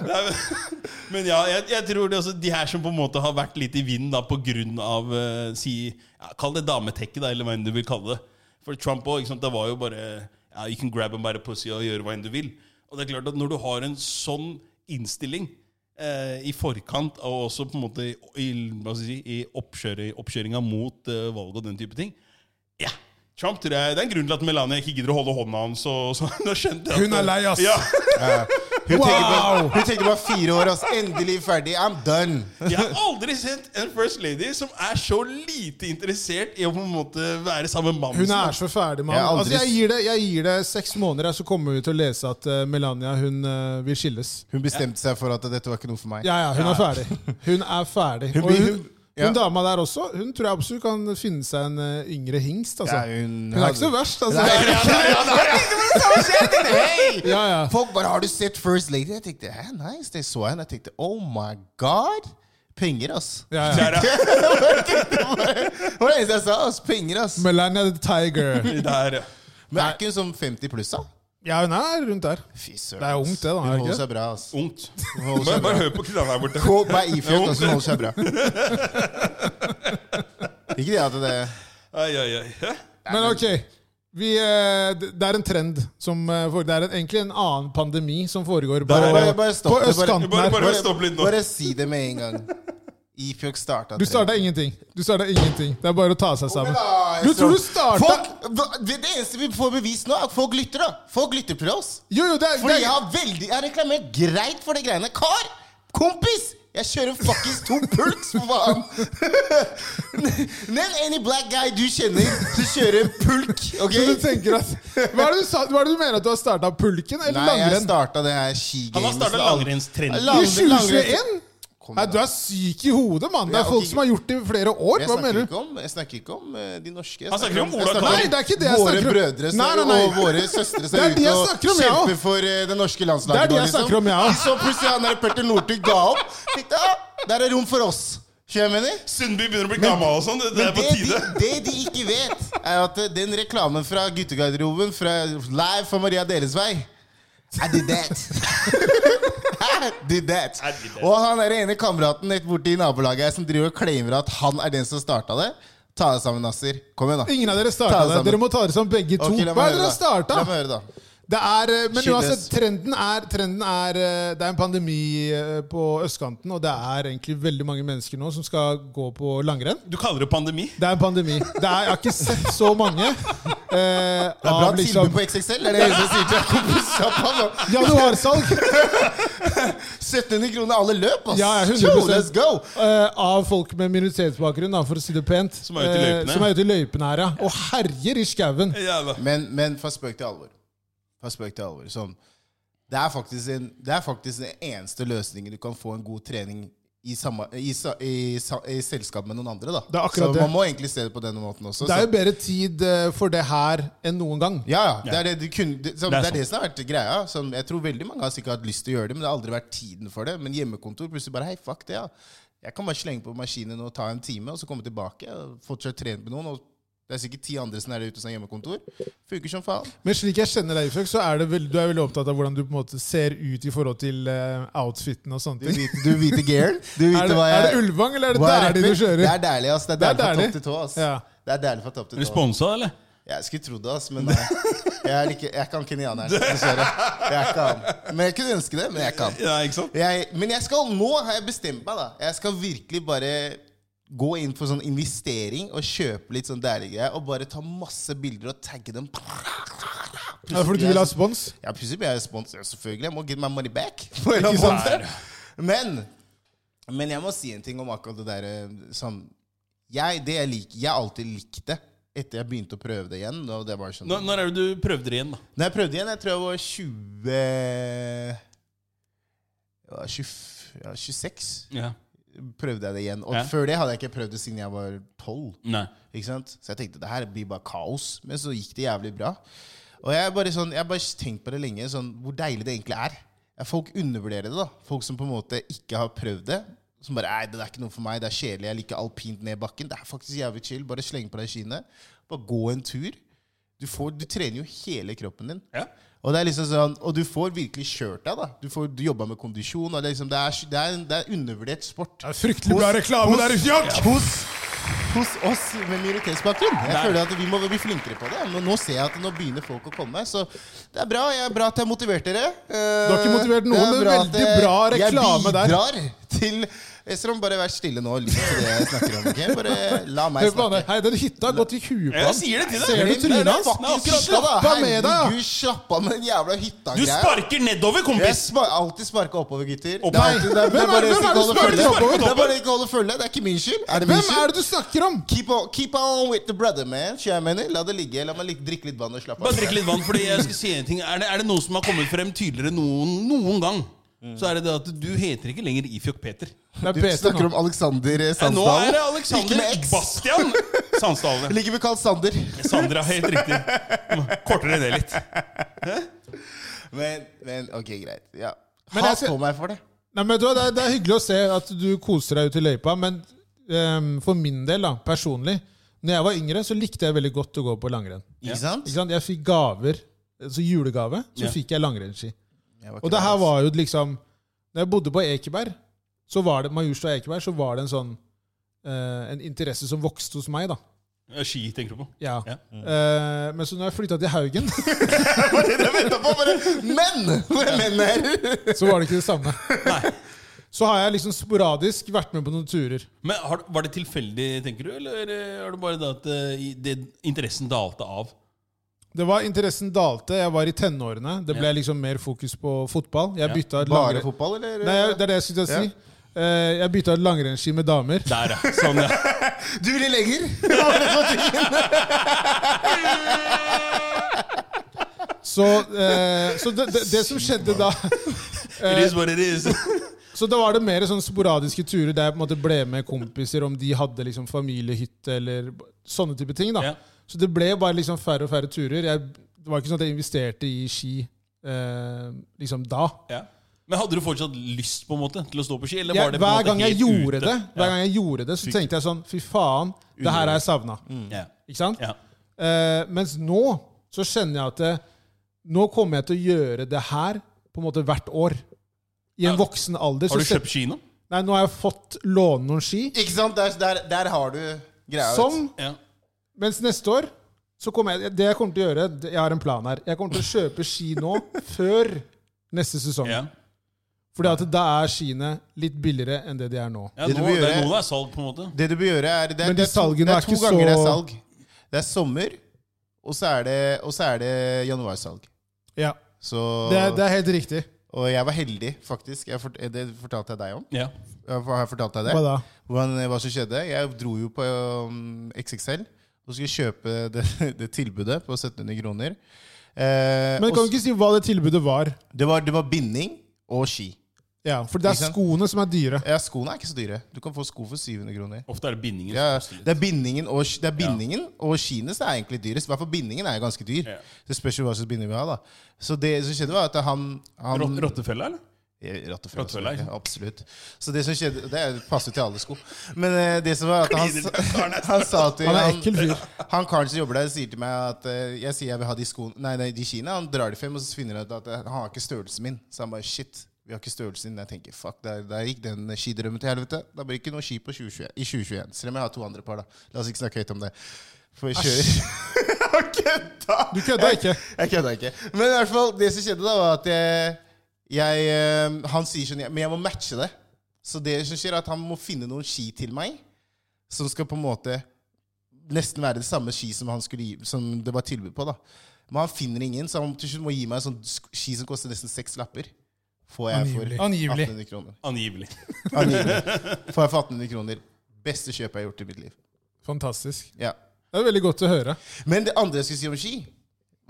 Speaker 3: Nei, men, men ja, jeg, jeg tror det også de her som på en måte har vært litt i vinden da, på grunn av eh, si, ja, Kall det dametekket, da, eller hva enn du vil kalle det. For Trump òg, det var jo bare ja, You can grab him by the pussy og gjøre hva enn du vil. Og det er klart at når du har en sånn innstilling eh, i forkant, og også på en måte i, i, hva skal jeg si, i oppkjøring- oppkjøringa mot eh, valget og den type ting Ja, Trump tror jeg, Det er en grunn til at Melania ikke gidder å holde hånda hans. Og, så, [laughs] nå skjønte jeg at-
Speaker 2: Hun er lei, ass.
Speaker 3: Ja,
Speaker 1: Hun tenkte bare,
Speaker 2: Wow!
Speaker 1: hun tenkte bare fire år, ass. Endelig ferdig. I'm done.
Speaker 3: Jeg har aldri sett en first lady som er så lite interessert i å på en måte være sammen med mammen
Speaker 2: Hun er så ferdig med
Speaker 1: Jeg har
Speaker 2: ham.
Speaker 1: aldri-
Speaker 2: Altså, jeg, gir det, jeg gir det seks måneder, så kommer vi til å lese at eh, Melania hun eh, vil skilles.
Speaker 1: Hun bestemte seg for at dette var ikke noe for meg.
Speaker 2: Ja, ja, hun er ferdig. Hun er ferdig.
Speaker 1: Hun
Speaker 2: Og
Speaker 1: blir-
Speaker 2: hun,
Speaker 1: ja.
Speaker 2: hun dama der også, hun tror jeg absolutt kan finne seg en eh, yngre hingst. Altså.
Speaker 1: Ja, hun-
Speaker 2: Hun er ikke så verst, altså.
Speaker 1: Nei, ja, ja, ja, ja, ja. Jeg tenkte, Hei!
Speaker 2: [laughs] Ja, ja.
Speaker 1: Folk bare 'Har du sett First Lady?' Jeg tenkte Hæ, nice. Det så jeg. Jeg tenkte Oh my god! Penger, ass.
Speaker 2: Ja, ja.
Speaker 3: Der, ja.
Speaker 1: Det var det eneste jeg sa. ass Penger, ass.
Speaker 2: Melania the Tiger.
Speaker 3: Der, ja.
Speaker 1: Men er ikke hun som 50 pluss, da?
Speaker 2: Ja, hun er rundt der.
Speaker 1: Fy søren.
Speaker 2: Det er
Speaker 1: ass.
Speaker 2: ungt, det da, er
Speaker 1: Hun
Speaker 2: det
Speaker 1: holder
Speaker 2: ikke?
Speaker 1: seg bra, ass.
Speaker 3: Ungt.
Speaker 1: holder
Speaker 3: Bare,
Speaker 1: seg
Speaker 3: bare hør på knallene her borte.
Speaker 1: Hun er ifjørt, ass. Hun holder seg
Speaker 2: [laughs]
Speaker 1: bra. Ikke det at det
Speaker 3: Ai, ai, ai. Hæ?
Speaker 2: Men ok, vi, eh, d- det er en trend som eh, foregår. Det er en, egentlig en annen pandemi som foregår på,
Speaker 3: er
Speaker 1: Bare, bare stopp
Speaker 2: på
Speaker 1: det, bare-
Speaker 2: østkanten
Speaker 3: bare-
Speaker 2: her.
Speaker 1: Bare,
Speaker 3: stopp litt nå.
Speaker 1: bare si det med en gang. Ifjøk starta
Speaker 2: Du starta ingenting. Du starta ingenting. Det er bare å ta seg sammen. Du tror du starta
Speaker 1: Folk, det, det eneste vi får bevis nå, er at folk lytter. da Folk lytter til oss.
Speaker 2: Jo, jo, det er,
Speaker 1: Fordi
Speaker 2: det
Speaker 1: jeg
Speaker 2: er
Speaker 1: har veldig Jeg har reklamert greit for de greiene. Kar! Kompis! Jeg kjører fuckings to pulks, for
Speaker 2: [laughs]
Speaker 1: faen! Nevn any black guy du kjenner som kjører pulk. ok?
Speaker 2: Så du tenker
Speaker 1: [laughs]
Speaker 2: at Hva er det du, sa, hva er det du mener at du har starta? Pulken eller
Speaker 1: Nei, jeg
Speaker 2: langrenn?
Speaker 1: starta det her skigamet.
Speaker 3: Han har starta langrennstrenden.
Speaker 1: La-
Speaker 2: I
Speaker 1: Langrenn- langrenn-
Speaker 2: 2021?
Speaker 1: Kom
Speaker 2: Nei,
Speaker 1: igjen,
Speaker 2: du
Speaker 1: da.
Speaker 2: er syk i hodet, mann. Det
Speaker 1: Ja,
Speaker 2: er folk
Speaker 1: ok.
Speaker 2: som har gjort det i flere år.
Speaker 1: Jeg
Speaker 2: Hva
Speaker 1: snakker,
Speaker 2: mener du?
Speaker 1: ikke om, jeg snakker ikke om eh, de norske. Jeg
Speaker 3: Han snakker om Ola
Speaker 1: jeg
Speaker 3: Kari.
Speaker 2: Nei, det er ikke det jeg
Speaker 1: våre
Speaker 2: snakker om.
Speaker 1: brødre som-
Speaker 2: Nei, nei, nei.
Speaker 1: og våre søstre som
Speaker 2: Det er
Speaker 1: er
Speaker 2: de
Speaker 1: ute
Speaker 2: jeg
Speaker 1: og
Speaker 2: snakker om, jeg
Speaker 1: kjemper
Speaker 2: også.
Speaker 1: for eh, det norske landslaget.
Speaker 2: Det er de
Speaker 1: nå,
Speaker 2: jeg snakker om, jeg også.
Speaker 1: De så plutselig han der Petter Northug ga opp. Tenkte, ah, der er rom for oss. Skjønner du hva jeg mener?
Speaker 3: Sundby begynner å bli gammel og sånn. Det,
Speaker 1: Men
Speaker 3: det er på
Speaker 1: det,
Speaker 3: tide.
Speaker 1: de, det de ikke vet, er at eh, den reklamen fra guttegarderoben fra Live fra Maria Deres vei I did that. [laughs] I did that.
Speaker 3: I did that.
Speaker 1: Og han er ene kameraten rett borti nabolaget her som driver og claimer at han er den som starta det. Ta deg sammen, Nasser. Kom igjen, da.
Speaker 2: Ingen av dere
Speaker 1: Ta
Speaker 2: starta
Speaker 1: det
Speaker 2: det.
Speaker 1: sammen.
Speaker 2: Dere må ta dere sammen begge to.
Speaker 1: Ok, la meg
Speaker 2: Hva er
Speaker 1: høre
Speaker 2: det dere
Speaker 1: da.
Speaker 2: starta?
Speaker 1: La meg høre, da.
Speaker 2: Det er, eh, men
Speaker 1: Skytes.
Speaker 2: uansett, trenden er, trenden er eh, Det er en pandemi eh, på østkanten, og det er egentlig veldig mange mennesker nå som skal gå på langrenn.
Speaker 3: Du kaller det pandemi?
Speaker 2: Det er en pandemi. Det er, jeg har ikke sett så mange. [laughs] Eh,
Speaker 1: Det er bra
Speaker 2: av
Speaker 1: tilbud
Speaker 2: liksom
Speaker 1: på XXL. Det er det eneste jeg sier
Speaker 2: [laughs]
Speaker 1: til kompissjappa nå.
Speaker 2: Januarsalg!
Speaker 1: 1700 kroner alle løp, ass!
Speaker 2: Ja, ja, 100%.
Speaker 1: Yo, let's go!
Speaker 2: Eh, av folk med minoritetsbakgrunn, da, for å si det pent.
Speaker 3: Som er ute i løypene.
Speaker 2: Eh, som er ute i løypene her, ja. Og herjer i skauen.
Speaker 3: Jævla.
Speaker 1: Men, men fra spøk til alvor. Fra spøk til alvor. Sånn. Det, er faktisk en, det er faktisk den eneste løsningen du kan få en god trening i, samme, i, sa- i, sa- i selskap med noen andre. Da.
Speaker 2: er akkurat
Speaker 1: så
Speaker 2: det.
Speaker 1: man må egentlig se det på denne måten også.
Speaker 2: Det er
Speaker 1: så-
Speaker 2: jo bedre tid eh, for det her enn noen gang.
Speaker 1: ja, ja. Det er det, du kunne, det, sånn,
Speaker 3: Det
Speaker 1: det,
Speaker 3: er
Speaker 1: er det som har vært greia. Sånn, jeg tror veldig mange har sikkert hatt lyst til å gjøre det, men det har aldri vært tiden for det. Men hjemmekontor plutselig bare Hei, fuck det, ja. Jeg kan bare slenge på maskinen og ta en time, og så komme tilbake. og Fortsatt trene med noen. Og det er sikkert ti andre som er der ute som har hjemmekontor. Funker som faen.
Speaker 2: Men slik jeg kjenner deg, Isak, så er det vel, du er veldig opptatt av hvordan du på en måte ser ut i forhold til eh, outfiten og sånne
Speaker 1: Du
Speaker 2: ting.
Speaker 1: vite, du vite gearen. Du vite
Speaker 2: Er det,
Speaker 1: hva jeg
Speaker 2: er det Ulvang, eller er det
Speaker 1: hva jeg
Speaker 2: Dæhlie
Speaker 1: rapper.
Speaker 2: du kjører?
Speaker 1: Det er deilig, ass. Det er
Speaker 2: Det er
Speaker 1: deilig fra
Speaker 2: deilig.
Speaker 1: topp til tå, ass.
Speaker 2: Ja.
Speaker 1: Det er deilig fra topp til tå.
Speaker 3: Responsa, eller?
Speaker 1: Jeg skulle trodd det, ass, men nei. Jeg er, ikke, jeg er ikke han kenyaneren, dessverre. Jeg er ikke han. Men jeg kunne ønske det, men jeg er ikke han.
Speaker 3: Ja, ikke sant?
Speaker 1: Jeg, men jeg skal, nå har jeg bestemt meg, da. Jeg skal virkelig bare gå inn for sånn investering og kjøpe litt sånn deilig greier. Og bare ta masse bilder og tagge dem.
Speaker 2: Ja, fordi du vil ha spons?
Speaker 1: Ja, plutselig blir jeg spons. Ja, selvfølgelig. Jeg må get my money back. [laughs] På en eller annen måte. Men, men jeg må si en ting om akkurat det derre sånn jeg, det jeg, liker, jeg har alltid likt det etter jeg begynte å prøve det igjen. Og det var sånn,
Speaker 3: Når, når er det du prøvde det igjen, da?
Speaker 1: Når jeg prøvde igjen, jeg tror jeg var 20 jeg var 20, ja, 26.
Speaker 3: Ja.
Speaker 1: Prøvde jeg det igjen. Og
Speaker 3: Ja.
Speaker 1: før det hadde jeg ikke prøvd det siden jeg var 12.
Speaker 3: Nei.
Speaker 1: Ikke sant? Så jeg tenkte det her blir bare kaos. Men så gikk det jævlig bra. Og jeg har bare, sånn, jeg har bare tenkt på det lenge, sånn, hvor deilig det egentlig er. Ja, Folk undervurderer det. da Folk som på en måte ikke har prøvd det. Som bare Nei, det er ikke noe for meg. Det er kjedelig. Jeg liker alpint ned bakken. Det er faktisk jævlig chill. Bare sleng på deg skiene. Bare gå en tur. Du, får, du trener jo hele kroppen din.
Speaker 3: Ja.
Speaker 1: Og, det er liksom sånn, og du får virkelig kjørt deg. da Du, får, du jobber med kondisjon. Og det, er liksom, det, er, det, er, en- det er undervurdert sport.
Speaker 2: Det er fryktelig bra reklame der ute, Jack!
Speaker 1: Hos, hos oss med minoritetsbakgrunn. Jeg
Speaker 3: Nei.
Speaker 1: føler at vi må bli flinkere på det. Men nå ser jeg at nå begynner folk å komme. Så det er bra. Jeg er bra at jeg har motivert dere. Eh, Du
Speaker 2: har ikke motivert noen, men veldig bra reklame der.
Speaker 1: Jeg bidrar til Estrom, bare vær stille nå og lytt til det jeg snakker om. ok? Bare la meg
Speaker 2: Hør på
Speaker 1: snakke.
Speaker 2: han der. Hei, den hytta har gått i huet på
Speaker 3: Jeg
Speaker 2: han.
Speaker 3: sier det til deg!
Speaker 2: Ser du
Speaker 3: Det er
Speaker 2: trynet
Speaker 3: det.
Speaker 2: hans?
Speaker 3: Det er akkurat det.
Speaker 1: Slapp av
Speaker 2: Slapp av med deg, da.
Speaker 1: Herregud, slapp av med den jævla
Speaker 3: Du
Speaker 1: hytta-greia.
Speaker 3: sparker nedover,
Speaker 1: Jeg
Speaker 3: kompis!
Speaker 1: spa- alltid sparka oppover, gutter.
Speaker 3: Opp-
Speaker 1: Det er alltid- det er- det er
Speaker 2: Hvem er-
Speaker 1: bare dere som
Speaker 2: hvem
Speaker 1: ikke
Speaker 2: er det som
Speaker 1: holder følge.
Speaker 2: sparker oppover?
Speaker 1: Det er bare dere som ikke holder følge. Det er ikke min skyld. Er det min
Speaker 2: Hvem
Speaker 1: skyld?
Speaker 2: er det du snakker om?
Speaker 1: Keep on, keep on with the brother, man. Skjønner jeg mener? La det ligge. La meg ligge, drikke litt vann og slappe
Speaker 3: Bare drikk litt vann, fordi jeg skal si en ting. Er det, er det noe som har kommet frem tydeligere noen, noen gang, så er det det at du heter ikke lenger Ifjok Peter.
Speaker 2: Det er
Speaker 1: Du
Speaker 2: Peter
Speaker 1: snakker
Speaker 2: nå.
Speaker 1: om Alexander eh,
Speaker 3: Nå er
Speaker 1: Sandsdalen.
Speaker 3: det Alexander
Speaker 1: Ikke med X.
Speaker 3: Bastian Sandsdalen.
Speaker 1: Like ved Carl Sander.
Speaker 3: Sandra, helt riktig. Kortere ned litt.
Speaker 1: Men, men ok, greit. Ja.
Speaker 2: Men
Speaker 1: Ha
Speaker 2: jeg skal-
Speaker 1: på meg for det.
Speaker 2: Nei, men vet du, hva, det, er, det er hyggelig å se at du koser deg ute i løypa, men ehm, for min del, da, personlig Når jeg var yngre, så likte jeg veldig godt å gå på langrenn.
Speaker 1: Ikke
Speaker 3: Ja.
Speaker 1: sant?
Speaker 2: Ikke sant? Jeg fikk gaver, altså julegave, så
Speaker 3: Ja.
Speaker 2: fikk jeg langrennsski.
Speaker 1: Jeg var ikke
Speaker 2: Og det her
Speaker 1: der,
Speaker 2: var jo liksom Når jeg bodde på Ekeberg, så var det Majorstua Ekeberg, så var det en sånn eh, En interesse som vokste hos meg, da.
Speaker 3: Ja, Ski tenker du på?
Speaker 2: Ja.
Speaker 3: Ja.
Speaker 2: Eh, men så når jeg flytta til Haugen, [laughs]
Speaker 1: [laughs] altså. Men! Hvor er menn her?
Speaker 2: så var det ikke det samme. Så har jeg liksom sporadisk vært med på noen turer.
Speaker 3: Men har, Var det tilfeldig, tenker du, eller eh, er det bare det at eh, i- det, interessen dalte av?
Speaker 2: Det var Interessen dalte. Jeg var i tenårene. Det ble
Speaker 3: Ja.
Speaker 2: liksom mer fokus på fotball. Jeg
Speaker 3: Ja.
Speaker 2: bytta et
Speaker 1: Bare
Speaker 2: langrenn...
Speaker 1: fotball, eller?
Speaker 2: Nei, det er det jeg skulle til å si. Eh, jeg bytta et langrennsski med damer.
Speaker 3: Der, ja. Sånn, [laughs] ja.
Speaker 1: [laughs] Du ville
Speaker 2: [laughs]
Speaker 1: lenger?
Speaker 2: Så, eh, så det, det, det som skjedde da [laughs]
Speaker 3: It is what it is.
Speaker 2: Så da var det mer sånn sporadiske turer der jeg på en måte ble med kompiser, om de hadde liksom familiehytte eller b- sånne type ting. da.
Speaker 3: Ja.
Speaker 2: Så det ble bare liksom færre og færre turer. Jeg, det var ikke sånn at jeg investerte i ski eh, liksom da.
Speaker 3: Ja. Men hadde du fortsatt lyst på en måte til å stå på ski? Eller var
Speaker 2: Jeg,
Speaker 3: det på en
Speaker 2: hver
Speaker 3: måte
Speaker 2: gang jeg
Speaker 3: helt
Speaker 2: gjorde
Speaker 3: ute?
Speaker 2: det, hver gang jeg gjorde det, så tenkte jeg sånn Fy faen, det her har jeg savna.
Speaker 3: Mm. Ja.
Speaker 2: Ikke sant?
Speaker 3: Ja.
Speaker 2: Eh, mens nå så kjenner jeg at det, Nå kommer jeg til å gjøre det her på en måte hvert år. I en
Speaker 3: Ja.
Speaker 2: voksen alder.
Speaker 3: Har
Speaker 2: så
Speaker 3: du
Speaker 2: set-
Speaker 3: kjøpt kino?
Speaker 2: Nei, nå har jeg fått låne noen ski.
Speaker 1: Ikke sant? Der, der, der har du greia. vet du.
Speaker 2: Som
Speaker 3: Ja.
Speaker 2: Mens neste år så kommer jeg Det jeg kommer til å gjøre det- Jeg har en plan her. Jeg kommer til å kjøpe ski
Speaker 1: [laughs]
Speaker 2: nå før neste sesong.
Speaker 3: ja.
Speaker 2: Fordi at da er skiene litt billigere enn det de er nå.
Speaker 3: ja
Speaker 1: Det du
Speaker 3: nå,
Speaker 1: bør
Speaker 3: det er
Speaker 1: gjøre-
Speaker 3: nå det er salg, på en måte.
Speaker 1: Det du bør gjøre, er Det er,
Speaker 2: Men
Speaker 1: det
Speaker 2: de
Speaker 1: er, to, det
Speaker 2: salgene er
Speaker 1: er to
Speaker 2: ikke
Speaker 1: ganger det er
Speaker 2: så-
Speaker 1: salg. Det er sommer, og så er det, og så er det januarsalg.
Speaker 2: Ja,
Speaker 1: Så,
Speaker 2: Det er, det er helt riktig.
Speaker 1: Og jeg var heldig, faktisk. Jeg fort, det fortalte jeg deg om.
Speaker 3: Ja.
Speaker 1: Jeg har jeg fortalt deg det?
Speaker 2: Hva da?
Speaker 1: Hvordan, hva som skjedde? Jeg dro jo på um, XXL og skulle kjøpe det, [laughs] det tilbudet på 1700 kroner. Eh,
Speaker 2: Men
Speaker 1: og
Speaker 2: kan
Speaker 1: s-
Speaker 2: du ikke si hva det tilbudet var?
Speaker 1: det, var, det var binding og ski.
Speaker 2: Ja, For det er
Speaker 1: Ikke sant?
Speaker 2: skoene som er dyre.
Speaker 1: Ja, skoene er ikke så dyre. Du kan få sko for 700 kroner.
Speaker 3: Ofte er det bindingen.
Speaker 1: Ja,
Speaker 3: som koster litt.
Speaker 1: det er bindingen og, sk- det er bindingen, og skiene som er egentlig dyrest. I hvert fall bindingen er jo ganske dyr.
Speaker 3: Ja.
Speaker 1: Det spørs jo hva slags binding vi har. da Så det som skjedde, var at han, han
Speaker 3: Rot- Rottefella, eller?
Speaker 1: Rottefelle.
Speaker 3: Rottefelle,
Speaker 1: selvfølgelig,
Speaker 3: ja.
Speaker 1: Absolutt. Så det som skjedde Det passer jo til alle sko. Men eh, det som var at han,
Speaker 3: Kliner
Speaker 1: han, sa til
Speaker 2: Han er ekkel fyr.
Speaker 1: han karen som jobber der, sier til meg at eh, jeg sier jeg vil ha de skoene Nei, nei, de skiene. Han drar de frem, og så finner han ut at eh, han har ikke størrelsen min. Så han bare shit, vi har ikke størrelsen din. Jeg tenker fuck, der, der gikk den skidrømmen til helvete. Da blir det ikke noe ski på 2021, i 2021. Selv om jeg har to andre par, da. La oss ikke snakke høyt om det. For jeg [laughs] kjører Han kødda!
Speaker 2: Du kødda ikke.
Speaker 1: Jeg kødda ikke. Men i hvert fall, det som skjedde, da var at jeg, jeg eh, Han sier sånn Men jeg må matche det. Så det som skjer, er at han må finne noen ski til meg som skal på en måte nesten være det samme ski som, han skulle gi, som det var tilbud på. da Men han finner ingen, så han til slutt må gi meg en sånn sk- ski som koster nesten seks lapper. Får jeg for
Speaker 2: Angivelig. Angivelig.
Speaker 1: 1800 kroner.
Speaker 3: Angivelig.
Speaker 1: Angivelig. Får jeg for 1800 kroner. Beste kjøp jeg har gjort i mitt liv.
Speaker 2: Fantastisk.
Speaker 1: Ja.
Speaker 2: Det er veldig godt å høre.
Speaker 1: Men det andre jeg skulle si om ski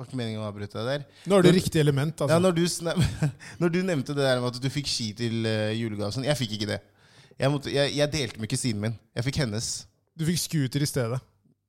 Speaker 1: Var ikke meningen å avbryte deg der.
Speaker 2: Nå er det riktig element.
Speaker 1: Ja,
Speaker 2: altså.
Speaker 1: når du, sna- [laughs] når du nevnte det der med at du fikk ski til eh, julegave og sånn, Jeg fikk ikke det. Jeg, måtte, jeg, jeg delte med kusinen min. Jeg fikk hennes.
Speaker 2: Du fikk scooter i stedet.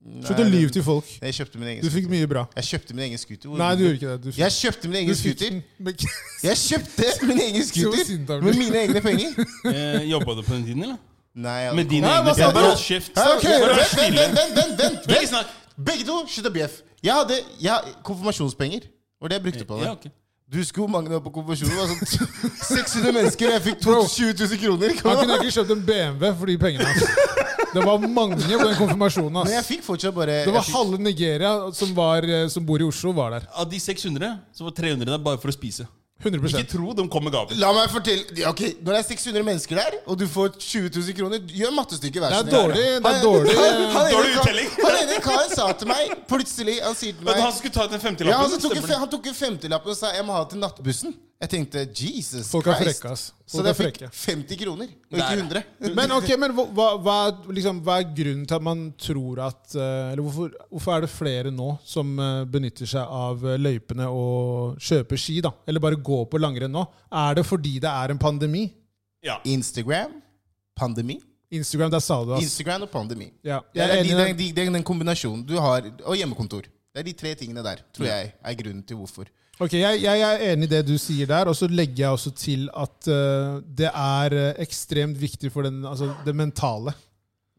Speaker 2: Slutt
Speaker 1: Nei,
Speaker 2: å
Speaker 1: det-
Speaker 2: lyve til folk.
Speaker 1: Jeg kjøpte min egen
Speaker 2: Du fikk
Speaker 1: scooter.
Speaker 2: mye bra.
Speaker 1: Jeg kjøpte min egen scooter. Hvor-
Speaker 2: Nei, du gjorde ikke det. Du fikk,
Speaker 1: Jeg kjøpte min egen
Speaker 2: du fikk [laughs]
Speaker 1: scooter!
Speaker 2: den.
Speaker 1: Jeg kjøpte min egen
Speaker 2: sint
Speaker 1: scooter
Speaker 2: han
Speaker 1: Med
Speaker 2: blir.
Speaker 1: mine egne
Speaker 2: [laughs]
Speaker 1: penger!
Speaker 3: Eh, Jobba du på den tiden, eller?
Speaker 1: Nei, jeg
Speaker 3: Med dine
Speaker 2: Nei,
Speaker 3: egne
Speaker 2: hva sa du?
Speaker 3: penger? Hold kjeft.
Speaker 1: Hæ, ok,
Speaker 3: Bare vær
Speaker 1: vent, vent,
Speaker 3: stille.
Speaker 1: vent, vent, vent, vent,
Speaker 3: Ikke
Speaker 1: vent.
Speaker 3: snakk.
Speaker 1: Begge to, slutt å bjeff. Jeg hadde jeg, konfirmasjonspenger. Det var det jeg brukte på det.
Speaker 3: Ja, ok.
Speaker 1: Du husker hvor mange det var på konfirmasjonen? [laughs] Det var sånn 600 mennesker, og jeg fikk 20 000 kroner. Kom
Speaker 2: Han
Speaker 1: igjen.
Speaker 2: kunne egentlig kjøpt en BMW for de pengene. ass. Det var mange på den konfirmasjonen.
Speaker 1: Men jeg
Speaker 2: ass.
Speaker 1: fikk fortsatt bare
Speaker 2: Det var
Speaker 1: jeg fikk-
Speaker 2: halve Nigeria som, var, eh, som bor i Oslo, var der.
Speaker 3: Av de 600, så var 300 der bare for å spise.
Speaker 2: 100
Speaker 3: Ikke tro de kom med gaver.
Speaker 1: La meg fortelle ja, Ok, Når det er 600 mennesker der, og du får 20 000 kroner Gjør mattestykket hver
Speaker 2: Det er dårlig. Det er dårlig.
Speaker 3: Dårlig uttelling.
Speaker 1: Han ene karen sa til meg plutselig Han sier til
Speaker 3: Men
Speaker 1: meg
Speaker 3: han skulle ta ut den
Speaker 1: ja, han, tok
Speaker 3: 50-lappen.
Speaker 1: en,
Speaker 3: stemmer
Speaker 1: fe-
Speaker 3: det?
Speaker 1: han tok en femtilapp og sa 'jeg må ha det til nattbussen'. Jeg tenkte Jesus
Speaker 2: Folk er
Speaker 1: Christ.
Speaker 2: frekke, ass.
Speaker 1: Så
Speaker 2: Folk
Speaker 1: jeg
Speaker 2: er
Speaker 1: fikk
Speaker 2: frekke.
Speaker 1: 50 kroner, og
Speaker 3: Der.
Speaker 1: ikke 100.
Speaker 2: Men ok, men hva, hva, hva er- liksom, hva er grunnen til at man tror at eh, Eller hvorfor, hvorfor er det flere nå som eh, benytter seg av eh, løypene og kjøper ski, da? Eller bare går på langrenn nå? Er det fordi det er en pandemi?
Speaker 3: Ja.
Speaker 1: Instagram, pandemi.
Speaker 2: Instagram, der sa du det. ass.
Speaker 1: Instagram og pandemi.
Speaker 2: Ja,
Speaker 1: Det
Speaker 2: jeg
Speaker 1: er,
Speaker 2: er
Speaker 1: de,
Speaker 2: enig.
Speaker 1: det,
Speaker 2: i
Speaker 1: er
Speaker 2: det.
Speaker 1: de, det er den kombinasjonen du har, og hjemmekontor. Det er de tre tingene der, tror jeg, er grunnen til hvorfor.
Speaker 2: Ok, jeg, jeg er enig i det du sier der, og så legger jeg også til at eh, det er eh, ekstremt viktig for den, altså, det mentale.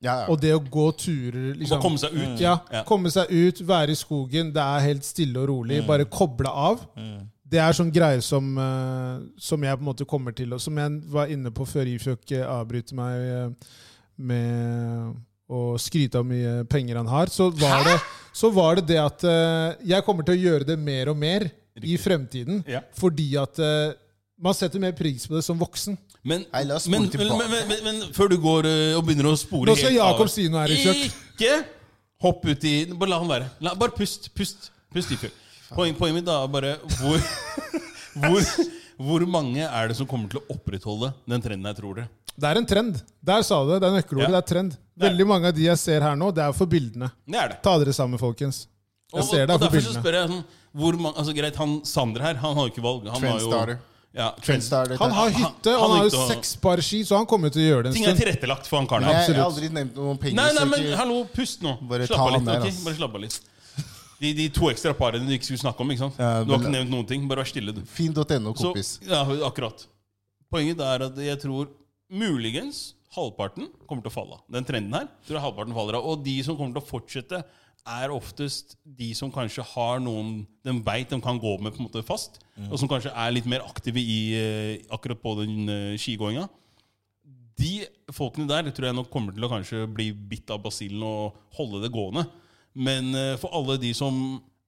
Speaker 1: Ja, ja.
Speaker 2: Og det å gå turer
Speaker 3: Bare
Speaker 2: liksom.
Speaker 3: komme seg ut.
Speaker 2: Ja,
Speaker 3: Ja.
Speaker 2: komme seg ut, være i skogen, det er helt stille og rolig.
Speaker 3: Mm.
Speaker 2: Bare koble av. Det er sånn greier som, eh, som jeg på en måte kommer til, og som jeg var inne på før Ifjok eh, avbryter meg eh, med å skryte av mye penger han har. Så var det så var det, det at eh, jeg kommer til å gjøre det mer og mer i fremtiden.
Speaker 3: Ja.
Speaker 2: Fordi at eh, man setter mer pris på det som voksen.
Speaker 3: Men,
Speaker 1: Nei, la oss spole
Speaker 3: men, men,
Speaker 1: tilbake.
Speaker 3: men, men, men før du går ø, og begynner å spore
Speaker 2: Nå skal
Speaker 3: helt av-
Speaker 2: Jakob si noe her i kjøkk.
Speaker 3: Ikke hopp ut i Bare la han være. La, bare pust. Pust. Pust i fjor. Poen, poenget mitt da er bare hvor, [laughs] hvor, hvor mange er det som kommer til å opprettholde den trenden her, tror dere?
Speaker 2: Det er en trend. Der sa du det. Det er nøkkelordet.
Speaker 3: Ja.
Speaker 2: Det er trend.
Speaker 3: er
Speaker 2: Veldig mange av de jeg ser her nå, det er for bildene.
Speaker 3: Det er det.
Speaker 2: Ta dere sammen, folkens. Jeg
Speaker 3: Og-
Speaker 2: ser det
Speaker 3: og
Speaker 2: er for
Speaker 3: derfor så
Speaker 2: bildene.
Speaker 3: spør jeg sånn hvor mange, altså Greit, han Sander her, han har jo ikke valg. Han har jo-
Speaker 1: Trendstarter.
Speaker 3: Ja,
Speaker 1: Trendstarter.
Speaker 2: Han har hytte, og
Speaker 3: han
Speaker 2: han har
Speaker 3: gikk
Speaker 2: jo
Speaker 3: og-
Speaker 2: seks par ski, så han kommer jo til å gjøre det en
Speaker 3: Ting er
Speaker 2: stund.
Speaker 3: tilrettelagt for han karen
Speaker 1: Jeg,
Speaker 3: her.
Speaker 1: jeg har
Speaker 2: Absolutt.
Speaker 1: aldri nevnt noe om penger.
Speaker 3: Nei, nei,
Speaker 1: så
Speaker 3: men
Speaker 1: ikke-
Speaker 3: hallo, pust nå.
Speaker 1: Bare
Speaker 3: slapp
Speaker 1: ta
Speaker 3: av
Speaker 1: han
Speaker 3: litt.
Speaker 1: der,
Speaker 3: ok?
Speaker 1: ass.
Speaker 3: Bare slapp av litt. De, de to ekstra parene du ikke skulle snakke om. ikke sant?
Speaker 1: Ja,
Speaker 3: Du har
Speaker 1: men-
Speaker 3: ikke nevnt noen ting. Bare vær stille, du.
Speaker 1: Finn.no,
Speaker 3: Så,
Speaker 1: kompis.
Speaker 3: ja, akkurat. Poenget er at jeg tror muligens halvparten kommer til å falle av. Den trenden her tror jeg halvparten faller av. Og de som kommer til å fortsette, er oftest de som kanskje har noen de veit de kan gå med på en måte fast,
Speaker 1: Mm.
Speaker 3: og som kanskje er litt mer aktive i, eh, akkurat på den eh, skigåinga. De folkene der tror jeg nok kommer til å kanskje bli bitt av basillen og holde det gående. Men eh, for alle de som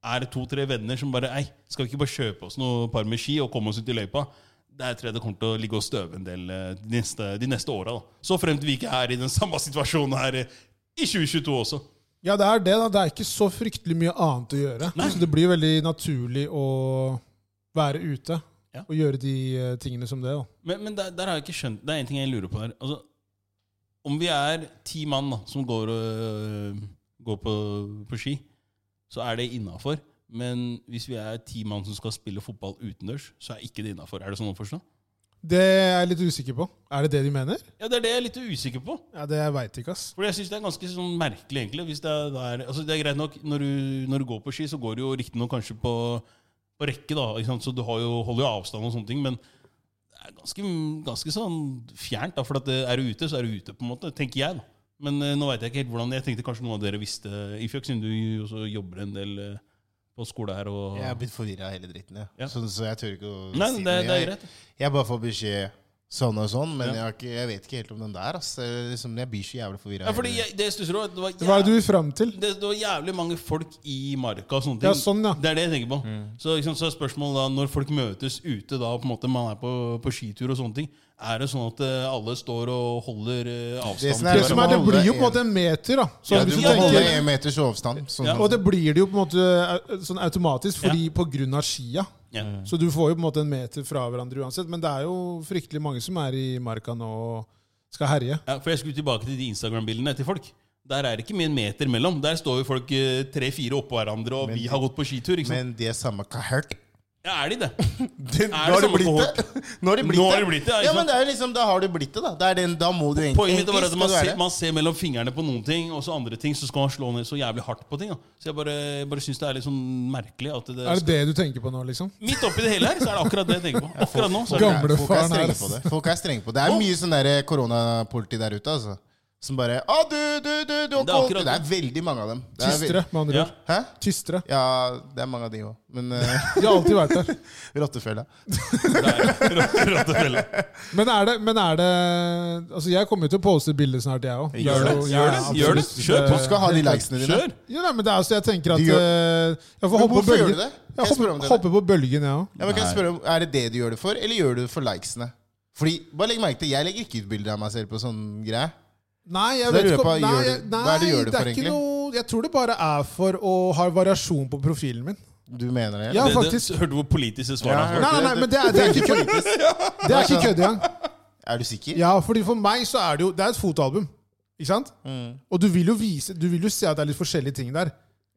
Speaker 3: er to-tre venner som bare Ei, skal vi ikke bare kjøpe oss noe par med ski og komme oss ut i løypa? Der tror jeg det kommer til å ligge og støve en del eh, de neste, de neste åra. da. Så fremt vi ikke er i den samme [laughs] situasjonen her eh, i 2022 også.
Speaker 2: Ja, det er det. da. Det er ikke så fryktelig mye annet å gjøre.
Speaker 3: Nei.
Speaker 2: Så det blir veldig naturlig å være ute
Speaker 3: Ja.
Speaker 2: og gjøre de eh, tingene som det. da.
Speaker 3: Men, men der, der har jeg ikke skjønt Det er en ting jeg lurer på her. Altså, om vi er ti mann da, som går, øh, går på, på ski, så er det innafor. Men hvis vi er ti mann som skal spille fotball utendørs, så er ikke det innafor. Er det sånn å forstå?
Speaker 2: Det er jeg litt usikker på. Er det det de mener?
Speaker 3: Ja, Det er det jeg er litt usikker på.
Speaker 2: Ja, Det jeg veit ikke, ass.
Speaker 3: For jeg synes det er ganske sånn merkelig, egentlig. Hvis det er, det er, altså det er greit nok, når du, når du går på ski, så går du jo riktignok kanskje på, på rekke, da, ikke sant? så du har jo, holder jo avstand og sånne ting, men det er ganske, ganske sånn fjernt. da, For at det, er du ute, så er du ute, på en måte, tenker jeg. da. Men eh, nå veit jeg ikke helt hvordan Jeg tenkte kanskje noen av dere visste, Ifjok, siden du jo også jobber en del eh, på skole her. og...
Speaker 1: Jeg er blitt forvirra av hele dritten, jeg.
Speaker 3: Ja.
Speaker 1: Så, så jeg tør ikke å
Speaker 3: Nei,
Speaker 1: si
Speaker 3: det, det er
Speaker 1: Jeg-
Speaker 3: greit.
Speaker 1: Jeg bare får beskjed sånn og sånn, men
Speaker 3: Ja.
Speaker 1: jeg, har ikke, jeg vet ikke helt om den der. ass. Det er Liksom, jeg blir så jævlig forvirra.
Speaker 3: Ja, fordi jeg, det jeg stusser over, at det var
Speaker 2: Hva er det du vil fram til?
Speaker 3: det, det var jævlig mange folk i marka og sånne ting.
Speaker 2: Ja, sånn, ja.
Speaker 3: Det er det jeg tenker på. Så, ikke sant, så er spørsmålet da, når folk møtes ute da, på en måte man er på, på skitur og sånne ting, er det sånn at eh, alle står og holder eh,
Speaker 1: Det
Speaker 3: avstand?
Speaker 1: som er-
Speaker 2: Det
Speaker 3: til
Speaker 2: som
Speaker 3: hverandre?
Speaker 2: er, det
Speaker 1: holde
Speaker 2: blir jo på
Speaker 1: en-
Speaker 2: en måte en meter, da. Så
Speaker 3: Ja,
Speaker 2: hvis
Speaker 1: du
Speaker 2: du
Speaker 1: må holde
Speaker 2: tenker,
Speaker 1: en meters avstand. Sånn,
Speaker 3: Ja.
Speaker 1: som-
Speaker 2: og det blir det jo på en måte eh, sånn automatisk fordi på grunn av skia.
Speaker 3: ja.
Speaker 2: Så du får jo på en måte en meter fra hverandre uansett. Men det er jo fryktelig mange som er i marka nå og skal herje.
Speaker 3: ja, For jeg skulle tilbake til de Instagram-bildene til folk. Der er det ikke mye en meter mellom. Der står jo folk eh, tre-fire oppå hverandre, og
Speaker 1: Men-
Speaker 3: vi har gått på skitur. ikke sant?
Speaker 1: Men det er samme kahert
Speaker 3: ja, er de det?
Speaker 1: det, Nå har
Speaker 3: Er [laughs] det
Speaker 1: det
Speaker 3: samme
Speaker 1: blitt det! [laughs] Nå har det blitt
Speaker 3: Nå har
Speaker 1: det.
Speaker 3: det blitt det, ja, ikke
Speaker 1: Ja,
Speaker 3: sant?
Speaker 1: men det er jo liksom, Da har det blitt det, da. Det er den, da må du egentlig
Speaker 3: Poenget mitt var at
Speaker 1: egentlig skal
Speaker 3: man
Speaker 1: du
Speaker 3: ser,
Speaker 1: være-
Speaker 3: man ser mellom fingrene på noen ting, og så andre ting, så skal man slå ned så jævlig hardt på ting. Da. Så jeg bare, bare syns det er litt sånn merkelig at det,
Speaker 2: Er det det du tenker på nå, liksom?
Speaker 3: Midt oppi det hele her, så er det akkurat det jeg tenker på. Akkurat nå så er det
Speaker 2: Gamle
Speaker 1: Folk er
Speaker 2: faren her,
Speaker 1: strenge
Speaker 2: ass.
Speaker 1: på det. Folk er strenge på det. Det er mye sånn der koronapoliti der ute, altså. Som bare Å, du, du, du, du
Speaker 3: Det er
Speaker 1: det, er
Speaker 3: akkurat
Speaker 1: det er veldig mange av dem. Det er
Speaker 2: Tystere, med andre
Speaker 3: Ja.
Speaker 2: ord.
Speaker 1: veld- Hæ?
Speaker 2: Tystere.
Speaker 1: Ja, det er mange av de òg. Men [laughs] uh,
Speaker 2: De har alltid vært der.
Speaker 1: rottefella.
Speaker 3: der. [laughs] Rotte- Rottefelle.
Speaker 2: Men er det, men er det Altså, jeg kommer jo til å poste bilder snart, jeg òg.
Speaker 1: Gjør det,
Speaker 3: gjør det, gjør det. Kjør
Speaker 1: Du skal ha de likesene dine.
Speaker 3: Kjør!
Speaker 2: Ja, nei, men det er altså, Jeg tenker at
Speaker 1: Du
Speaker 2: eh, Jeg får
Speaker 1: Men
Speaker 2: hoppe på
Speaker 1: hvorfor gjør
Speaker 2: bølgen.
Speaker 1: du det? Kan
Speaker 2: Jeg
Speaker 1: jeg spørre om
Speaker 2: hopper,
Speaker 1: det?
Speaker 2: hopper på bølgen, jeg òg.
Speaker 1: Ja, men kan jeg
Speaker 3: Nei.
Speaker 1: spørre om, Er det det du gjør det for, eller gjør du det for likesene? Fordi, bare legg merke til, Jeg legger ikke ut bilder av meg selv på sånn greie.
Speaker 2: Nei, jeg
Speaker 1: Så da
Speaker 2: vet
Speaker 1: lurer jeg
Speaker 2: ikke
Speaker 1: på,
Speaker 2: om- nei,
Speaker 1: gjør
Speaker 2: jeg-
Speaker 1: du-
Speaker 2: nei,
Speaker 1: hva er det du gjør det
Speaker 2: det
Speaker 1: for,
Speaker 2: er ikke
Speaker 1: egentlig?
Speaker 2: noe Jeg tror det bare er for å ha variasjon på profilen min.
Speaker 1: Du mener det?
Speaker 2: Ja,
Speaker 3: Det- det-
Speaker 2: faktisk.
Speaker 3: Hørte du hvor politisk
Speaker 1: Ja,
Speaker 3: det svaret
Speaker 1: jeg
Speaker 3: var?
Speaker 2: Nei,
Speaker 1: hørte
Speaker 2: nei, nei, men det er- det er ikke
Speaker 1: politisk.
Speaker 2: [laughs] Det er ikke kødd engang.
Speaker 1: Er du sikker?
Speaker 2: Ja, fordi for meg så er det jo Det er et fotoalbum. Ikke sant?
Speaker 1: Mm.
Speaker 2: Og du vil jo vise Du vil jo se at det er litt forskjellige ting der.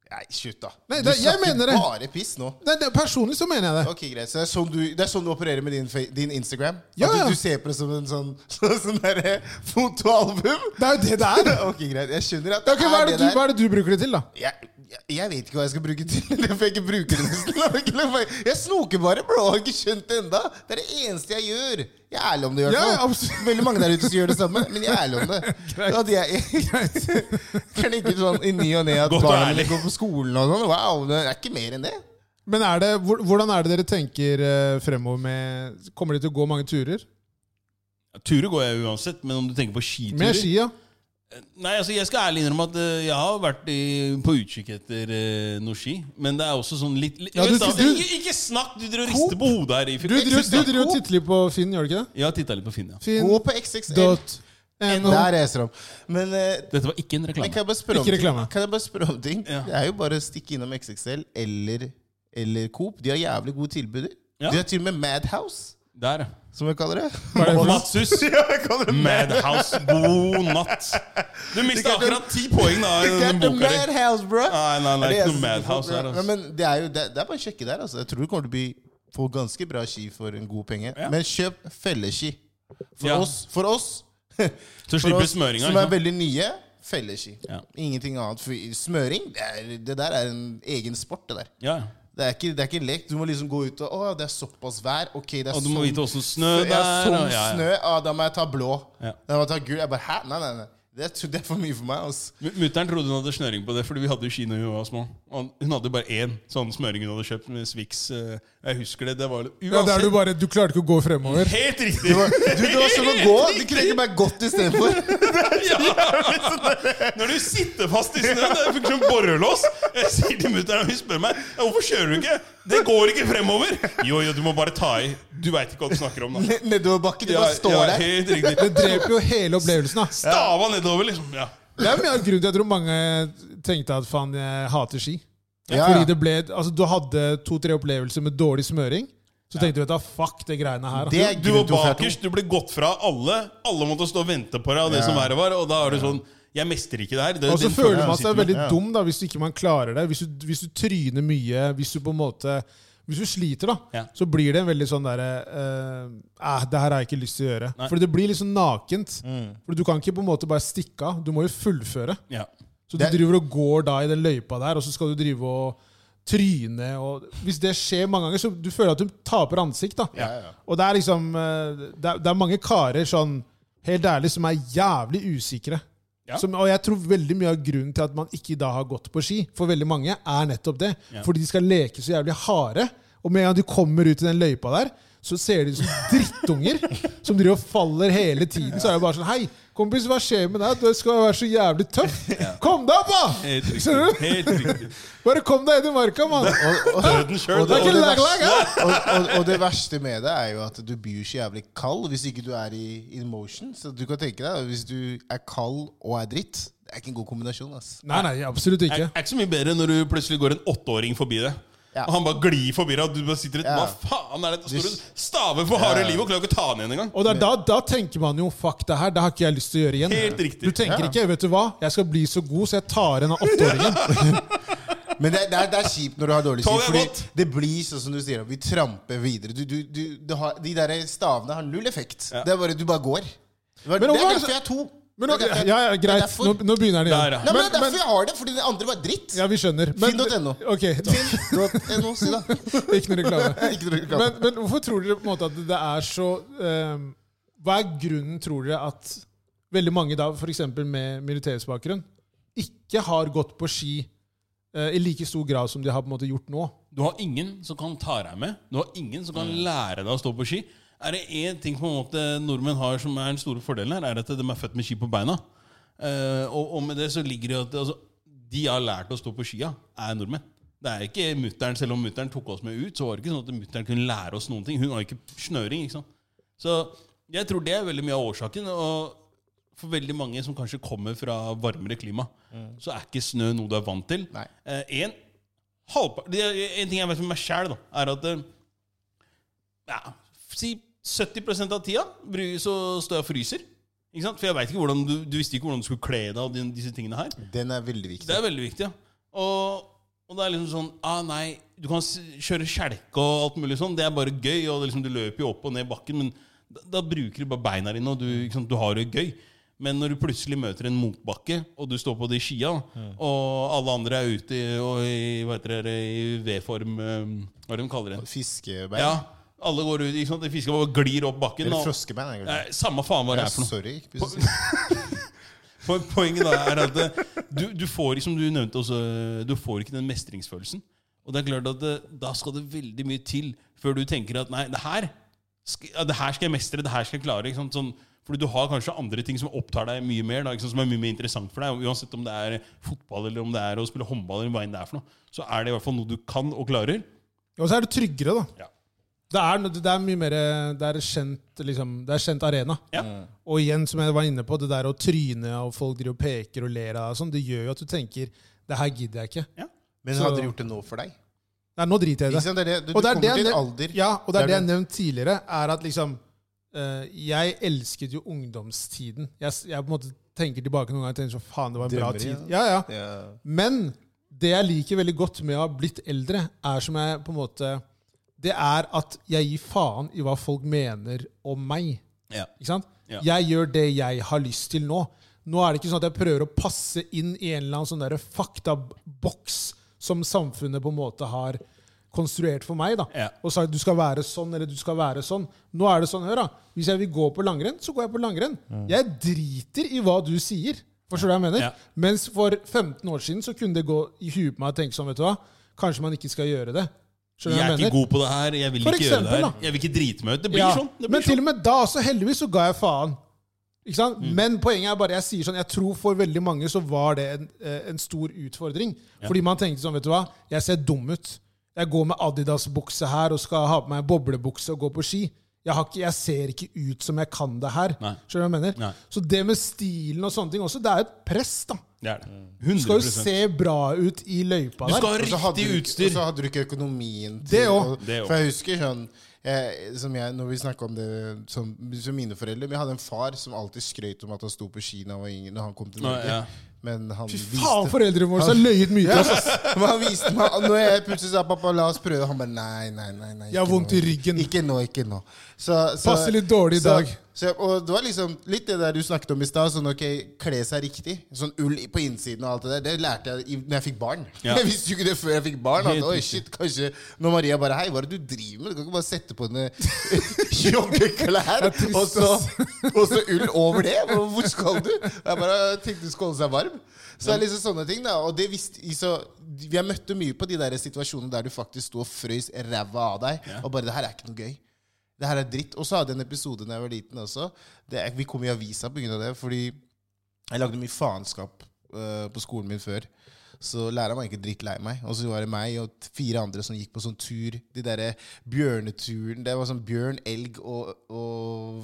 Speaker 1: Nei, slutt, da.
Speaker 2: Nei,
Speaker 1: du
Speaker 2: det- jeg mener det.
Speaker 1: bare piss nå.
Speaker 2: Nei, det, personlig så mener jeg det.
Speaker 1: Ok, greit. Så det er sånn du, det er sånn du opererer med din, fe- din Instagram? At
Speaker 2: Ja, ja.
Speaker 1: Du, du ser på det som en sånn, [laughs] sånn, sånn derre fotoalbum? [laughs]
Speaker 2: Det er jo det det er.
Speaker 1: ok, greit. Jeg skjønner at
Speaker 2: Ok, hva, er det du,
Speaker 1: der.
Speaker 2: hva er det du bruker det til, da?
Speaker 1: Jeg, jeg, jeg vet ikke hva jeg skal bruke til. [laughs] Det får jeg ikke bruke det nesten. [laughs] Jeg snoker bare, bro. Jeg har ikke skjønt det enda Det er det eneste jeg gjør. Jeg er ærlig om det. i hvert
Speaker 2: Ja,
Speaker 1: fall.
Speaker 2: ja, absolutt.
Speaker 1: Veldig mange der ute som gjør det samme, men jeg er ærlig
Speaker 2: [laughs]
Speaker 1: om det. At jeg, [laughs] jeg klikker sånn i ny og ne at
Speaker 3: Godt og
Speaker 1: barna
Speaker 3: ærlig.
Speaker 1: mine går på skolen og sånn. Wow, det er ikke mer enn det.
Speaker 2: Men er det, hvor- Hvordan er det dere tenker eh, fremover med Kommer de til å gå mange turer?
Speaker 3: Ja, Turer går jeg uansett, men om du tenker på skiturer
Speaker 2: Med skia?
Speaker 3: Nei, altså Jeg skal ærlig innrømme at eh, jeg har vært i, på utkikk etter uh, noe ski. Men det er også sånn litt, litt
Speaker 2: Ja, du-
Speaker 3: Vent da,
Speaker 2: du-
Speaker 3: ikke, ikke snakk! Du driver og rister på hodet her.
Speaker 2: Du
Speaker 3: Ifjok.
Speaker 2: driver du driver og titter litt på Finn, gjør du ikke det?
Speaker 3: Jeg har titta litt på Finn, ja.
Speaker 1: Gå på XXL.
Speaker 2: Finn.no.
Speaker 1: Der reiser de. Men eh,
Speaker 3: Dette var ikke en
Speaker 1: men
Speaker 3: reklame.
Speaker 1: kan jeg bare spørre om
Speaker 2: Ikke reklame.
Speaker 1: ting? Kan jeg bare spørre om ting?
Speaker 3: Ja.
Speaker 1: Det er jo bare å stikke innom XXL eller, eller Coop. De har jævlig gode tilbuder.
Speaker 3: Ja.
Speaker 1: De har til og med Madhouse,
Speaker 3: Der, ja.
Speaker 1: som jeg kaller det.
Speaker 2: Hva
Speaker 1: [laughs]
Speaker 2: er det for noe?
Speaker 3: Matsus, Madhouse, god natt. Du mista
Speaker 1: Ikke at du-
Speaker 3: akkurat ti poeng da, i
Speaker 1: Get
Speaker 3: den
Speaker 1: the
Speaker 3: boka di.
Speaker 1: madhouse, bro!
Speaker 3: Nei, nei,
Speaker 1: Det er
Speaker 3: nei,
Speaker 1: det
Speaker 3: ikke noe
Speaker 1: jeg synes
Speaker 3: Madhouse
Speaker 1: folk-
Speaker 3: her. Altså.
Speaker 1: Nei, men det er jo det, det er bare å sjekke der. altså Jeg tror du kommer til å bli, få ganske bra ski for en god penge.
Speaker 3: Ja.
Speaker 1: Men kjøp felleski. For
Speaker 3: Ja.
Speaker 1: oss, for oss,
Speaker 3: Så
Speaker 1: for
Speaker 3: slipper du
Speaker 1: oss
Speaker 3: smøringa.
Speaker 1: som
Speaker 3: ikke
Speaker 1: er
Speaker 3: sant?
Speaker 1: veldig nye, felleski.
Speaker 3: Ja.
Speaker 1: Ingenting annet. For smøring, det, er, det der er en egen sport, det der.
Speaker 3: Ja, ja.
Speaker 1: Det er ikke, det er ikke en lek. Du må liksom gå ut og Å, det er såpass vær. Ok, det er
Speaker 3: Og du må
Speaker 1: sånn-
Speaker 3: vite åssen snø
Speaker 1: Så-
Speaker 3: det er.
Speaker 1: Ja, sånn
Speaker 3: og- ja, ja.
Speaker 1: snø. Ja, da må jeg ta blå.
Speaker 3: Ja.
Speaker 1: Da må jeg ta gul. Jeg bare Hæ? Nei, nei, nei. Det er, det er for mye for meg.
Speaker 3: [laughs]
Speaker 1: ass.
Speaker 3: Mutter'n trodde hun hadde snøring på det, fordi vi hadde jo kino da hun var små. Og Hun hadde bare én sånn smøring hun hadde kjøpt med Swix. eh, Jeg husker det. Det var
Speaker 2: Ja,
Speaker 1: altså-
Speaker 2: der du
Speaker 3: uansett
Speaker 2: bare, du klarte ikke å gå fremover.
Speaker 3: Helt
Speaker 1: Det
Speaker 3: riktig!
Speaker 1: var, du, det var som å gå. Du kunne egentlig bare gått istedenfor.
Speaker 3: [laughs] Ja, men sånn der, når du sitter fast i snøen Det funker som borrelås. Jeg sier til mutter'n, og hun spør meg "Ja, hvorfor kjører du ikke. Det går ikke fremover. Jo, jo, du må bare ta i. Du veit ikke hva du snakker
Speaker 1: [laughs]
Speaker 3: om, da.
Speaker 1: Ned- [laughs] Nedoverbakke. Du bare står
Speaker 3: ja,
Speaker 1: der.
Speaker 3: Helt riktig.
Speaker 2: Det dreper jo hele opplevelsen. da.
Speaker 3: Stava nedover, liksom. Ja.
Speaker 2: Det er mye av grunnen til jeg tror mange tenkte at faen, jeg hater ski.
Speaker 1: Ja, ja.
Speaker 2: Fordi det ble, altså Du hadde to-tre opplevelser med dårlig smøring. Så tenkte du vet du, fuck det greiene her.
Speaker 1: Det
Speaker 2: da.
Speaker 1: er
Speaker 3: Du
Speaker 1: grunnen
Speaker 3: var
Speaker 1: til hvorfor jeg
Speaker 3: bakerst, du ble gått fra alle. Alle måtte stå og vente på deg, og det
Speaker 1: Ja.
Speaker 3: som verre var. Og da er du sånn Jeg mestrer ikke det her. Det,
Speaker 2: Og så
Speaker 3: den
Speaker 2: føler
Speaker 3: følelsen
Speaker 2: man
Speaker 3: du
Speaker 2: seg
Speaker 3: sitter med.
Speaker 2: veldig
Speaker 1: ja.
Speaker 2: dum da, hvis du ikke man klarer det. Hvis du, hvis du tryner mye, hvis du på en måte hvis du sliter, da,
Speaker 3: Ja.
Speaker 2: så blir det en veldig sånn derre eh, «Eh, Det her har jeg ikke lyst til å gjøre.
Speaker 3: Nei.
Speaker 2: Fordi det blir litt sånn nakent.
Speaker 1: Mm.
Speaker 2: For du kan ikke på en måte bare stikke av. Du må jo fullføre.
Speaker 3: Ja.
Speaker 2: Så du
Speaker 1: Det-
Speaker 2: driver og går da i den løypa der, og så skal du drive og tryne og Hvis det skjer mange ganger, så du føler at du taper ansikt, da.
Speaker 1: Ja, ja.
Speaker 2: Og det er liksom eh, Det er, det er mange karer sånn Helt ærlig som er jævlig usikre.
Speaker 3: Ja.
Speaker 2: Som, og jeg tror veldig mye av grunnen til at man ikke da har gått på ski, for veldig mange, er nettopp det.
Speaker 3: Ja.
Speaker 2: Fordi de skal leke så jævlig harde. Og med en gang de kommer ut i den løypa der, så ser de ut som [laughs] drittunger som driver og faller hele tiden. Så er det bare sånn Hei, kompis, hva skjer med deg? Du skal være så jævlig tøff. Kom deg opp, da!
Speaker 3: Helt
Speaker 2: Ser
Speaker 3: riktig.
Speaker 2: du?
Speaker 3: Helt riktig.
Speaker 2: Bare kom deg inn i marka,
Speaker 3: [laughs]
Speaker 2: mann.
Speaker 1: Og, og,
Speaker 3: Døden selv,
Speaker 1: og, det-
Speaker 3: det-
Speaker 1: og, det
Speaker 2: Lag, lag,
Speaker 1: verste- og, og, og det verste med det er jo at du blir jo ikke jævlig kald hvis ikke du er i in motion. Så du kan tenke deg, hvis du er kald og er dritt, det er ikke en god kombinasjon. ass.
Speaker 2: Nei, nei, absolutt
Speaker 3: Det
Speaker 2: ikke.
Speaker 3: er ikke så mye bedre når du plutselig går en åtteåring forbi deg.
Speaker 1: Ja.
Speaker 3: Og han bare glir forbi deg, og du bare sitter og
Speaker 1: Ja.
Speaker 3: Hva faen er det? Står
Speaker 1: Du-
Speaker 3: og staver for harde
Speaker 1: Ja.
Speaker 3: livet og klarer ikke å ta han igjen engang.
Speaker 2: Og da, da, da tenker man jo 'fuck det her', det har ikke jeg lyst til å gjøre igjen.
Speaker 3: Helt riktig.
Speaker 2: Du tenker ikke 'vet du hva, jeg skal bli så god, så jeg tar
Speaker 1: [laughs]
Speaker 2: en av åtteåringen'.
Speaker 1: Men det, er- det, er, det er kjipt når du har dårlig tid,
Speaker 3: Toget er
Speaker 1: fordi
Speaker 3: gått.
Speaker 1: det blir sånn som du sier, at vi tramper videre. Du, du, du, du har, de der stavene har null effekt.
Speaker 3: Ja.
Speaker 1: Det er bare du bare går. Det, var, det
Speaker 2: Men
Speaker 1: er
Speaker 2: hvorfor-
Speaker 1: derfor jeg er to.
Speaker 2: Men
Speaker 1: Det
Speaker 2: ok,
Speaker 1: er derfor jeg-
Speaker 2: ja, ja,
Speaker 1: det er
Speaker 2: greit,
Speaker 1: derfor-
Speaker 2: nå, nå begynner det
Speaker 3: Der,
Speaker 2: igjen.
Speaker 3: ja.
Speaker 1: Nei, men Det er
Speaker 2: Men-
Speaker 1: derfor jeg har det, fordi det andre var dritt.
Speaker 2: Ja, vi skjønner. Men-
Speaker 1: Finn.no. [laughs]
Speaker 2: Ok,
Speaker 1: Finn.no, si
Speaker 2: [laughs]
Speaker 1: da.
Speaker 2: ikke noe reklame.
Speaker 1: Ikke noe reklame.
Speaker 2: Men, men hvorfor tror dere på en måte at det er så ehm, Hva er grunnen, tror dere, at veldig mange da, f.eks. med militærsbakgrunn, ikke har gått på ski eh, i like stor grad som de har på en måte gjort nå?
Speaker 3: Du har ingen som kan ta deg med. Du har ingen som kan lære deg å stå på ski. Er det én ting på en måte nordmenn har som er den store fordelen her, er at de er født med ski på beina. Eh, og, og med det så ligger det at altså, de har lært å stå på skia, er nordmenn. Det er ikke mutteren, Selv om mutter'n tok oss med ut, så var det ikke sånn at mutter'n kunne lære oss noen ting. Hun har jo ikke snøring. ikke sant? Så jeg tror det er veldig mye av årsaken. Og for veldig mange som kanskje kommer fra varmere klima, så er ikke snø noe du er vant til.
Speaker 1: Nei.
Speaker 3: Eh, en, halvpa- det er- en ting jeg vet med meg sjæl, er at eh, ja, Si 70 av tida bry- så står jeg og fryser. Ikke sant? For jeg vet ikke hvordan du, du visste ikke hvordan du skulle kle deg og din- disse tingene her.
Speaker 1: Den er veldig viktig.
Speaker 3: Det er veldig viktig, ja. Og, og det er liksom sånn ah, Nei, du kan s- kjøre skjelke og alt mulig sånn. Det er bare gøy. Og det liksom, du løper jo opp og ned bakken, men da, da bruker du bare beina dine, og du, ikke sant, du har det gøy. Men når du plutselig møter en motbakke, og du står på de skia, og alle andre er ute i, og i, hva heter det, i V-form eh, Hva er det de kaller det?
Speaker 1: Fiskebein.
Speaker 3: Ja, alle går ut, ikke sant? De fisker bare glir opp bakken.
Speaker 1: Eller
Speaker 3: Og,
Speaker 1: froskebein. er det kanskje.
Speaker 3: nei, samme faen hva det
Speaker 1: Ja,
Speaker 3: er for noe.
Speaker 1: sorry. ikke precis.
Speaker 3: Po- Poenget da er at eh, du, du får som du nevnte også, eh, du får ikke den mestringsfølelsen. Og det er klart at eh, da skal det veldig mye til før du tenker at nei, det her skal, ja, det her skal jeg mestre, det her skal jeg klare. Ikke sant? Sånn, fordi du har kanskje andre ting som opptar deg mye mer, da, ikke sant? som er mye mer interessant for deg. Uansett om det er fotball eller om det er å spille håndball, eller hva enn det er for noe, så er det i hvert fall noe du kan og klarer.
Speaker 2: Og så er det tryggere, da.
Speaker 3: Ja.
Speaker 2: Det er, no- det er mye mer Det er kjent, liksom, det er kjent arena.
Speaker 3: Ja.
Speaker 2: Og igjen, som jeg var inne på, det der å tryne og folk driver og peker og ler av deg, og sånn, det gjør jo at du tenker det her gidder jeg ikke.
Speaker 3: Ja.
Speaker 1: Men hadde de gjort det nå for deg?
Speaker 2: Nei, nå driter jeg i
Speaker 1: Ikke
Speaker 2: det.
Speaker 1: sant? Det er det, du,
Speaker 2: Og
Speaker 1: du
Speaker 2: det er
Speaker 1: kommer
Speaker 2: det jeg
Speaker 1: til en
Speaker 2: nev-
Speaker 1: alder
Speaker 2: Ja, og det
Speaker 1: der
Speaker 2: er det jeg
Speaker 1: du-
Speaker 2: nevnte tidligere, er at liksom eh, Jeg elsket jo ungdomstiden. Jeg, s- jeg på en måte tenker tilbake noen ganger og tenker sånn faen, det var en bra
Speaker 1: Drømmer
Speaker 2: tid.
Speaker 1: igjen.
Speaker 2: Ja, ja.
Speaker 1: ja.
Speaker 2: Men det jeg liker veldig godt med å ha blitt eldre, er som jeg på en måte Det er at jeg gir faen i hva folk mener om meg.
Speaker 3: Ja.
Speaker 2: Ikke sant?
Speaker 3: Ja.
Speaker 2: Jeg gjør det jeg har lyst til nå. Nå er det ikke sånn at jeg prøver å passe inn i en eller annen sånn derre faktaboks som samfunnet på en måte har konstruert for meg. da.
Speaker 3: Ja.
Speaker 2: Og sagt du skal være sånn eller du skal være sånn.
Speaker 3: Mm.
Speaker 2: Nå er det sånn, hør da. Hvis jeg vil gå på langrenn, så går jeg på langrenn. Jeg driter i hva du sier. Forstår du hva jeg mener?
Speaker 3: Ja.
Speaker 2: Mens for 15 år siden så kunne det gå i huet på meg og tenke sånn, vet du hva, kanskje man ikke skal gjøre det. Skjønner du
Speaker 3: Jeg
Speaker 2: hva
Speaker 3: er
Speaker 2: jeg
Speaker 3: ikke
Speaker 2: mener?
Speaker 3: god på det her. Jeg vil
Speaker 2: For
Speaker 3: ikke
Speaker 2: eksempel,
Speaker 3: gjøre det her.
Speaker 2: da.
Speaker 3: Jeg vil ikke drite meg ut. Det blir
Speaker 2: Ja,
Speaker 3: sånn. Det blir
Speaker 2: Men til
Speaker 3: sånn. Mm.
Speaker 2: og med da, så heldigvis, så ga jeg faen. Ikke sant? Men poenget er bare jeg sier sånn, jeg tror for veldig mange så var det en, eh, en stor utfordring. Fordi man tenkte sånn, vet du hva, jeg ser dum ut. Jeg går med Adidas-bukse her og skal ha på meg en boblebukse og gå på ski. Jeg, har ikke, jeg ser ikke ut som jeg kan det her.
Speaker 3: Nei.
Speaker 2: Skjønner du hva jeg mener?
Speaker 3: Nei.
Speaker 2: Så det med stilen og sånne ting også, det er et press, da.
Speaker 3: Det er det.
Speaker 2: Du skal
Speaker 3: 100
Speaker 2: jo se bra ut i løypa
Speaker 3: Du
Speaker 2: der.
Speaker 3: skal ha
Speaker 1: Og så hadde
Speaker 3: riktig
Speaker 1: du ikke- Og
Speaker 3: utstyr.
Speaker 1: så hadde du ikke økonomien til
Speaker 2: Det også.
Speaker 1: og-
Speaker 3: Det også.
Speaker 1: For jeg husker sånn eh, som jeg, Når vi snakka om det som, som mine foreldre Men Jeg hadde en far som alltid skrøt om at han sto på ski da han var yngre. Når han kom til
Speaker 3: Nå,
Speaker 1: Norge.
Speaker 3: ja.
Speaker 1: Men han viste
Speaker 2: Faen, foreldrene våre har løyet mye til oss. ass. [laughs]
Speaker 1: Men han viste meg Når jeg plutselig sa 'pappa, la oss prøve', han bare 'nei, nei, nei'. nei
Speaker 2: Jeg har
Speaker 1: ikke
Speaker 2: vondt
Speaker 1: nå.
Speaker 2: i ryggen.
Speaker 1: Ikke nå, ikke nå. Så, så,
Speaker 2: Passer litt dårlig i
Speaker 1: så-
Speaker 2: dag.
Speaker 1: Så, og det var liksom litt det der du snakket om i stad. Sånn ok, kle seg riktig. Sånn ull i- på innsiden og alt det der. Det lærte jeg i, når jeg fikk barn.
Speaker 3: Ja.
Speaker 1: [laughs] Jeg visste jo ikke det før jeg fikk barn. At,
Speaker 3: Helt
Speaker 1: Oi,
Speaker 3: riktig.
Speaker 1: shit, kanskje Når Maria bare 'hei, hva er det du driver med?' Du kan ikke bare sette på henne [laughs] joggeklær og, så- og så ull over det? Hvor hvor skal du? Jeg bare tenkte du skulle holde seg varm. Så det er liksom sånne ting, da. Og det visste så, Jeg møtte mye på de der situasjonene der du faktisk sto og frøs ræva av deg. Og bare 'det her er ikke noe gøy'. Det her er dritt. Og så hadde jeg en episode da jeg var liten også. Det, er- vi kom i avisa pga. det. Fordi jeg lagde mye faenskap eh, på skolen min før. Så læreren var egentlig drittlei meg. Og så var det meg og t- fire andre som gikk på sånn tur. De derre bjørneturen. Det var sånn bjørn, elg og, og